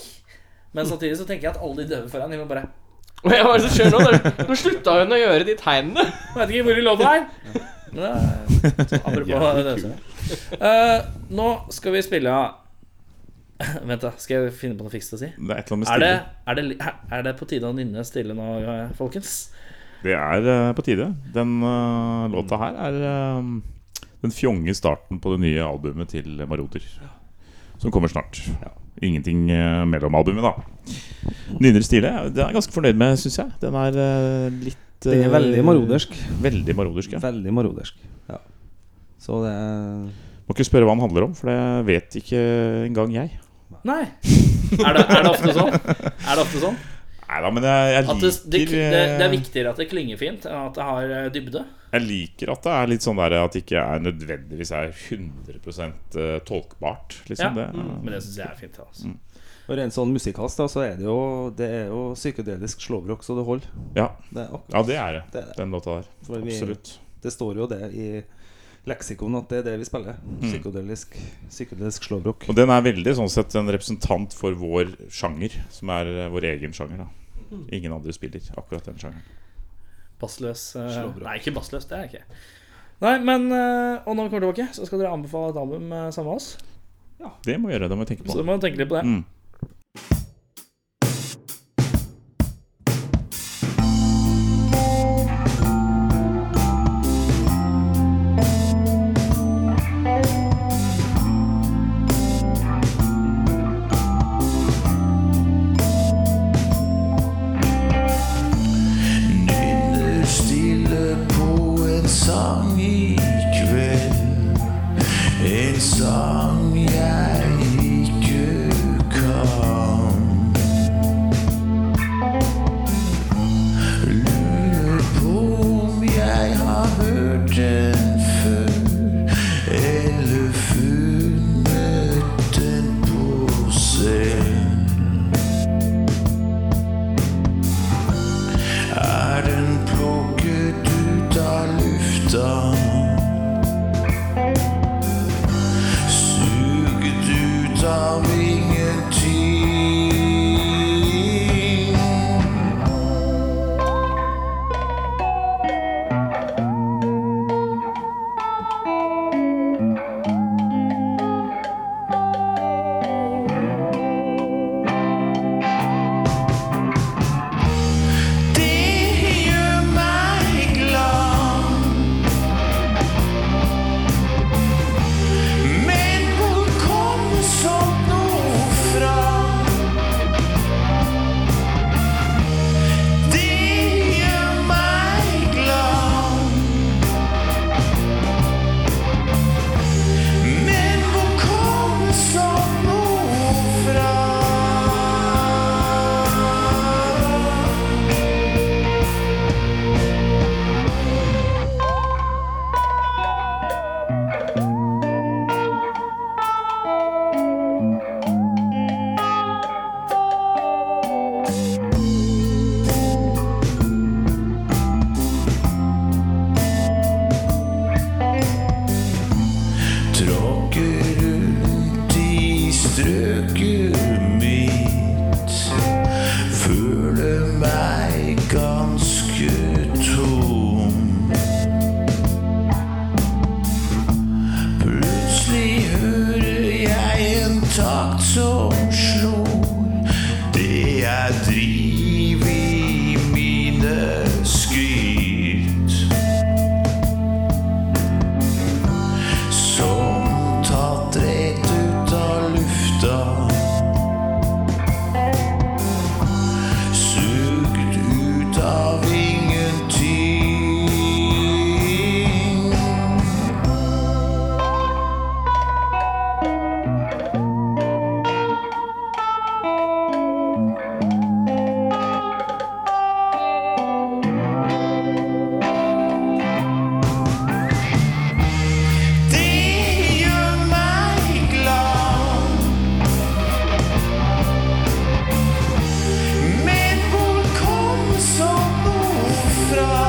Speaker 2: Men samtidig så tenker jeg at alle de døve foran, de må bare
Speaker 4: Og jeg bare så skjønner nå, nå- Nå slutta hun å gjøre de tegnene.
Speaker 2: jeg vet ikke hvor i låta er. Men det er- så Apropos dødsøyne. Eh, Nå skal vi spille Vent, da. Skal jeg finne på noe fikst å si?
Speaker 5: Det er et eller annet med
Speaker 2: Er
Speaker 5: stille.
Speaker 2: det, er, det, er det på tide å nynne stille nå, eh, folkens?
Speaker 5: Det er eh, på tide. Den eh, låta her er eh, den fjonge starten på det nye albumet til Maroder. Som kommer snart. Ingenting eh, mellom albumet, da. Nynner stile. Den er jeg ganske fornøyd med, syns jeg. Den er eh, litt
Speaker 6: Det er
Speaker 5: eh,
Speaker 6: veldig marodersk.
Speaker 5: Veldig marodersk, ja.
Speaker 6: Veldig marodersk. Ja. Så det er
Speaker 5: Må ikke spørre hva den handler om, for det vet ikke engang jeg.
Speaker 2: Nei. Er det, er det ofte sånn? Er det ofte sånn?
Speaker 5: Nei da, men jeg, jeg
Speaker 2: At
Speaker 5: liker
Speaker 2: det, det, det, det er
Speaker 5: eh,
Speaker 2: viktigere at det klinger fint, enn at det har eh, dybde?
Speaker 5: Jeg liker at det er litt sånn der at det ikke er nødvendigvis er 100 tolkbart, liksom.
Speaker 2: Ja. Mm.
Speaker 5: Det,
Speaker 2: Men det syns jeg er fint. Altså.
Speaker 5: Mm.
Speaker 6: Og rent sånn musikkalsk, da, så er det jo Det er jo psykedelisk slowrock så det holder.
Speaker 5: ja.
Speaker 6: Det er akkurat
Speaker 5: ja, det er
Speaker 6: Det
Speaker 5: det.
Speaker 6: er det.
Speaker 5: Den låta der.
Speaker 6: For vi-
Speaker 5: Absolutt.
Speaker 6: Det står jo det i leksikon at det er det vi spiller. Psykodelisk, psykodelisk slowrock.
Speaker 5: Og den er veldig sånn sett en representant for vår sjanger, som er eh, vår egen sjanger. da Ingen andre spiller akkurat den sjangeren.
Speaker 2: Bassløs eh, Nei, ikke bassløs. Det er jeg ikke. Nei, men eh, Og når vi kommer tilbake, så skal dere anbefale et album eh, sammen med oss.
Speaker 5: Det må gjøre, det må jeg tenke
Speaker 2: Så
Speaker 5: på.
Speaker 2: du må tenke litt på det.
Speaker 5: Mm.
Speaker 8: nynner stille på en sang i kveld. En sang jeg ikke kan av ingenting. Det gjør meg glad Men hvor kom sånt noe fra? Det gjør meg glad Men hvor kom sånt noe fra? tråkker ut i strøket mitt. Føler meg ganske tom. Plutselig hører jeg en takt som slår det jeg driver i mine skritt. Som tatt rett ut av lufta Sugd ut av ingenting Det gjør meg glad Men hvor kom sånt noe fra?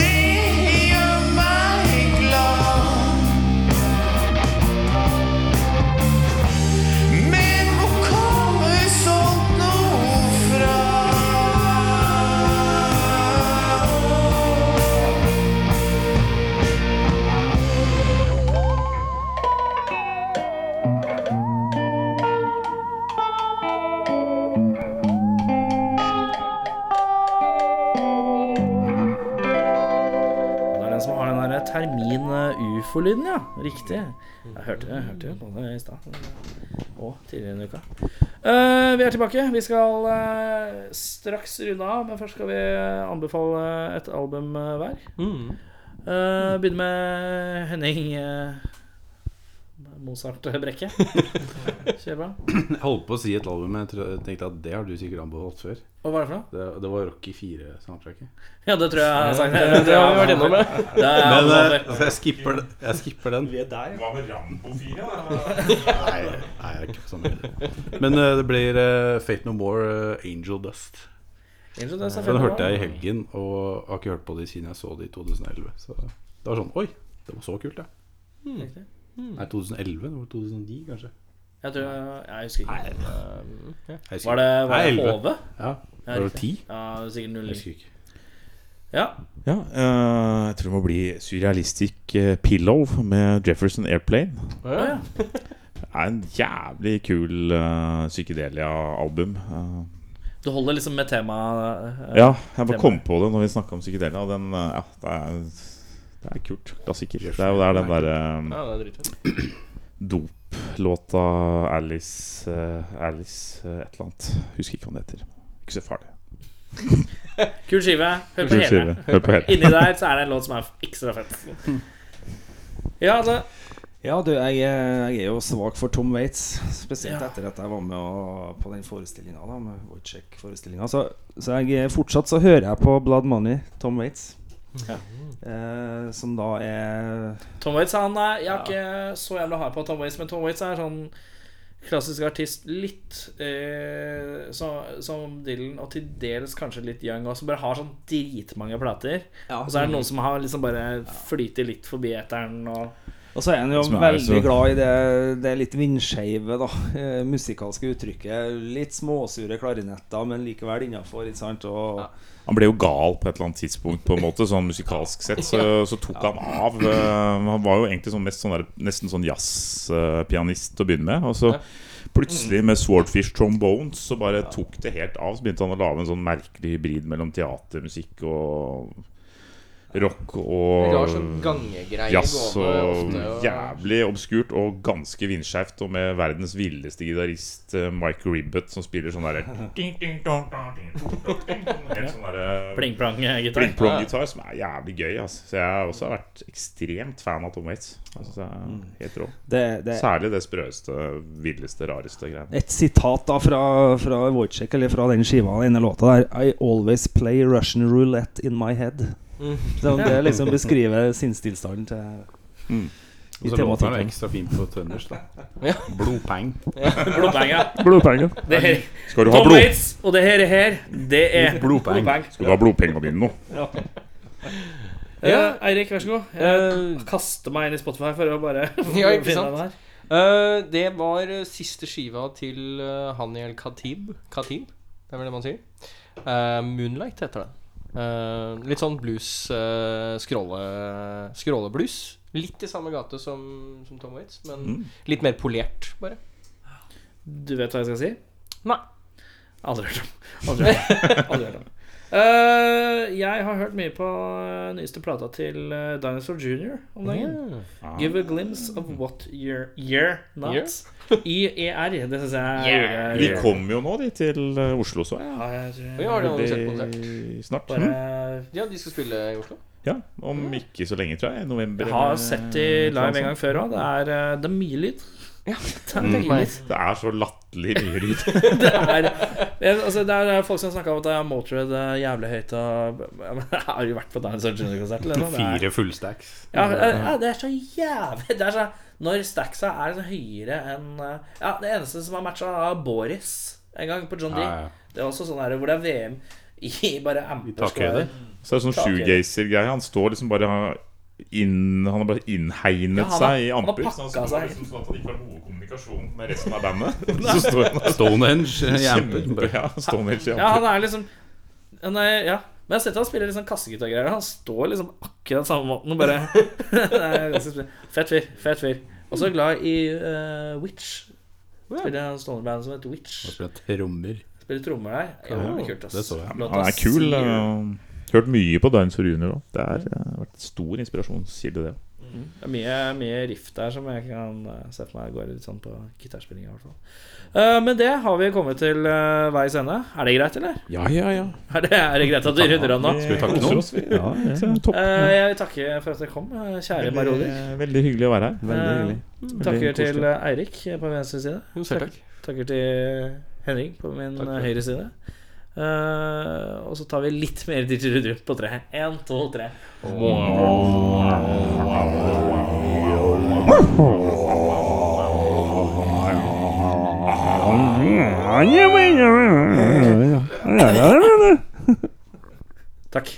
Speaker 8: Det gjør meg glad Men hvor kom sånt noe fra?
Speaker 2: Det er den som har den der termin-ufo-lyden, ja. Riktig. Jeg hørte, jeg hørte jo på det i stad. Og tidligere i uka. Eh, vi er tilbake. Vi skal eh, straks runde av, men først skal vi eh, anbefale et album eh, hver. Eh, begynner med Henning eh, Mozart Brekke. Kjør på.
Speaker 3: Jeg holdt på å si et album, men jeg tro- tenkte at det har du sikkert anbefalt før.
Speaker 2: Og hva er det for noe?
Speaker 3: Det, det var Rocky 4-soundtracket.
Speaker 2: Ja, det tror jeg jeg har sagt. Det, det har vi vært innom, det. er
Speaker 3: Men eh,
Speaker 2: anbefalt.
Speaker 3: altså, jeg, skipper, det- jeg skipper den.
Speaker 5: Hva med Rambo 4? Da?
Speaker 3: Nei, nei, jeg er ikke på samme høyde. Men eh, det blir eh, Fate No More, eh, Angel Dust.
Speaker 2: Angel, det er så
Speaker 3: Den
Speaker 2: fint.
Speaker 3: hørte jeg i helgen, og har ikke hørt på det siden jeg så det i 2011. Så det var sånn Oi, det var så kult, ja.
Speaker 2: Hmm. Riktig.
Speaker 3: Nei, 2011? Det var 2009, kanskje?
Speaker 2: Jeg tror jeg, jeg husker ikke.
Speaker 3: Jeg husker
Speaker 2: Var det,
Speaker 3: ikke.
Speaker 2: var
Speaker 3: Nei,
Speaker 2: det
Speaker 3: 11.
Speaker 2: HV?
Speaker 3: Ja.
Speaker 2: Ja,
Speaker 3: Var det
Speaker 2: riktig.
Speaker 3: 10?
Speaker 2: Ja, det er sikkert
Speaker 3: Jeg
Speaker 2: null.
Speaker 3: husker ikke.
Speaker 2: Ja.
Speaker 5: Ja, eh, jeg tror det må bli Surrealistic eh, Pillow med Jefferson Airplane.
Speaker 2: Å, ja.
Speaker 5: Det er en jævlig kul eh, psykedelia-album. Eh,
Speaker 2: Du holder liksom med temaet eh,
Speaker 5: ja, jeg bare
Speaker 2: stemmer.
Speaker 5: kom på det når vi snakka om psykedelia. Og den, eh, ja, det er, det er kult. Klassiker. Det er jo det er den eh, derre
Speaker 4: Ja, det er dritfett.
Speaker 5: doplåta Alice eh, Alice eh, et eller annet. Husker ikke hva den heter. Ikke så farlig.
Speaker 2: Kul skive. Hør på
Speaker 5: Kul
Speaker 2: hele.
Speaker 5: skive. Hør på hele.
Speaker 2: Inni der så er det en låt som er ekstra fett. Ja, altså.
Speaker 6: Ja, du, jeg, er- jeg er jo svak for Tom Waits. Spesielt
Speaker 2: Ja.
Speaker 6: etter at jeg var med og, på den forestillinga. Wojciech-forestillinga. Så, så jeg er- fortsatt så hører jeg på Blood Money, Tom Waits. Eh, som da er
Speaker 2: Tom Waits han er Jeg er ikke så jævla hard på Tom Waits, men Tom Waits er sånn klassisk artist litt eh, så, som Dylan, og til dels kanskje litt Young også, bare har sånn dritmange plater. Og så er det noen som har liksom bare flyter litt forbi eteren og
Speaker 6: Og så er han jo
Speaker 5: Som er
Speaker 6: veldig
Speaker 5: så-
Speaker 6: glad i det, det litt vindskeive da, eh, musikalske uttrykket. Litt småsure klarinetter, men likevel innafor. Og
Speaker 5: Han ble jo gal på et eller annet tidspunkt, på en måte sånn musikalsk sett. Så, så tok han av. eh, Han var jo egentlig sånn mest sånn der, nesten sånn jazzpianist til å begynne med. Og så plutselig, med Swordfish Trombones, så bare tok det helt av. Så begynte han å lage en sånn merkelig hybrid mellom teatermusikk og rock
Speaker 4: Du har
Speaker 5: og
Speaker 4: sånn gangegreier
Speaker 5: jazz.
Speaker 4: gående
Speaker 5: Og
Speaker 4: ofte, og-
Speaker 5: jævlig obskurt og ganske vindskjevt. Og med verdens villeste gitarist, eh, Mike Ribbett, som spiller sånn derre Helt sånn derre
Speaker 2: Pling-plang-gitar.
Speaker 5: Blink-plong-gitar, som er jævlig gøy. Altså. Så jeg har også vært ekstremt fan av Tom Waits. Altså, det er helt rå.
Speaker 6: det, det
Speaker 5: Særlig det sprøeste, villeste, rareste greiene.
Speaker 6: Et sitat da fra, fra Wojciech, eller fra den skiva, den ene låta der I always play Russian roulette in my head.
Speaker 3: Mm.
Speaker 6: Så det liksom beskriver sinnstilstanden til
Speaker 3: Og så låter han ekstra fint på Tønders, da.
Speaker 4: Ja.
Speaker 3: Blodpeng.
Speaker 2: Blodpenger. Det her,
Speaker 5: Skal du ha
Speaker 2: Tom
Speaker 5: blod?
Speaker 2: Waits og det her, her det er
Speaker 3: Blodpeng.
Speaker 5: Skal du ha blodpengene dine nå?
Speaker 2: Ja, Eirik, vær så god. Jeg
Speaker 4: Eh,
Speaker 2: kaster meg inn i Spotify for å bare
Speaker 4: Ja, ikke
Speaker 2: finne
Speaker 4: sant?
Speaker 2: den her.
Speaker 4: Eh, det var eh, siste skiva til eh, Haniel Khatib. Khatib, det er vel det man sier. Eh, Moonlight heter den. Eh, litt sånn blues, eh, skråle, skråleblues. Litt i samme gate som, som Tom Waits, men litt mer polert, bare.
Speaker 2: Du vet hva jeg skal si?
Speaker 4: Nei.
Speaker 2: Aldri hørt om. Aldri hørt om. Aldri hørt om. Eh, jeg har hørt mye på eh, nyeste plata til eh, Dinosaur Junior om dagen.
Speaker 4: Mm.
Speaker 2: Give a glimpse of what you're, you're not.
Speaker 4: Year?
Speaker 2: YER. E Det syns jeg
Speaker 4: Yeah.
Speaker 5: De kommer jo nå, de, til eh, Oslo, så jeg.
Speaker 2: Ja, jeg tror
Speaker 4: Vi har det noen sett konsert.
Speaker 5: Veldig Snart.
Speaker 2: bare
Speaker 5: Mm.
Speaker 4: Ja, de skal spille i Oslo.
Speaker 5: Ja, om ikke så lenge, tror jeg. November.
Speaker 2: Jeg har
Speaker 5: eller-
Speaker 2: sett de live en gang før òg. Det er, eh, det er mye lyd. Det er mye lyd.
Speaker 3: Mm.
Speaker 5: Det er så latterlig mye lyd.
Speaker 2: Det er, jeg- altså, det er folk som snakker om at det er Motörhead det er jævlig høyt og ja, men Jeg har jo vært på Dinosaur Junior-konsert. eller noe. Det er-
Speaker 3: Fire fullstacks.
Speaker 2: Ja, eh, ja, det er så jævlig Det er så Når stacksa er så høyere enn eh, Ja, det eneste som har matcha, er Boris en gang på John D.
Speaker 3: Ja, ja.
Speaker 2: Det er også sånn her hvor det er VM i bare amper
Speaker 3: Takhøyde.
Speaker 5: Så er det sånn shoegazer-greie. Han står liksom bare inn, Han har bare innhegnet
Speaker 2: Ja, han har-
Speaker 5: seg i
Speaker 2: han har
Speaker 5: amper. så
Speaker 2: pakka
Speaker 5: Han står
Speaker 2: seg.
Speaker 5: liksom sånn at han ikke har noe kommunikasjon med resten av bandet. Så står han
Speaker 3: Stonehenge.
Speaker 5: Kjempe,
Speaker 3: Jævlig.
Speaker 5: ja, Stonehenge i Amper.
Speaker 2: Ja, han er liksom han er, Ja. Men jeg har sett han spiller litt sånn kassegitargreier. Han står liksom akkurat samme måten og bare Det er ganske spennende. Fett fyr. Fett fyr. Også glad i eh, Witch. Spiller en stående band som heter Witch.
Speaker 3: Spiller Trommer.
Speaker 2: Spiller trommer der. Jævlig kult, ass.
Speaker 3: det så jeg.
Speaker 2: Låta
Speaker 5: Han er kul.
Speaker 2: Seer.
Speaker 5: eh, hørt mye på Dinosaur Junior òg. Det har vært stor inspirasjonskilde, det.
Speaker 2: Det er mye, mye riff der som jeg kan eh, se for meg går litt sånn på gitarspilling. i hvert fall Eh, Men det har vi kommet til eh, veis ende. Er det greit, eller?
Speaker 3: Ja, ja, ja.
Speaker 2: Er det, er det greit at du runder av nå?
Speaker 5: Skal
Speaker 3: vi takke noen?
Speaker 5: Ja, topp.
Speaker 2: Eh, Jeg vil takke for at dere kom, eh, kjære maroder.
Speaker 5: Veldig, veldig hyggelig å være her.
Speaker 6: Veldig hyggelig.
Speaker 2: Eh, Takker til eh, Eirik eh, på min venstre side.
Speaker 4: Jo, selv takk.
Speaker 2: Takker til Henrik på min
Speaker 4: Takk for
Speaker 2: eh,
Speaker 4: det.
Speaker 2: høyre side. Eh, og så tar vi litt mer didgeridoo på tre. Én, to, tre. Takk.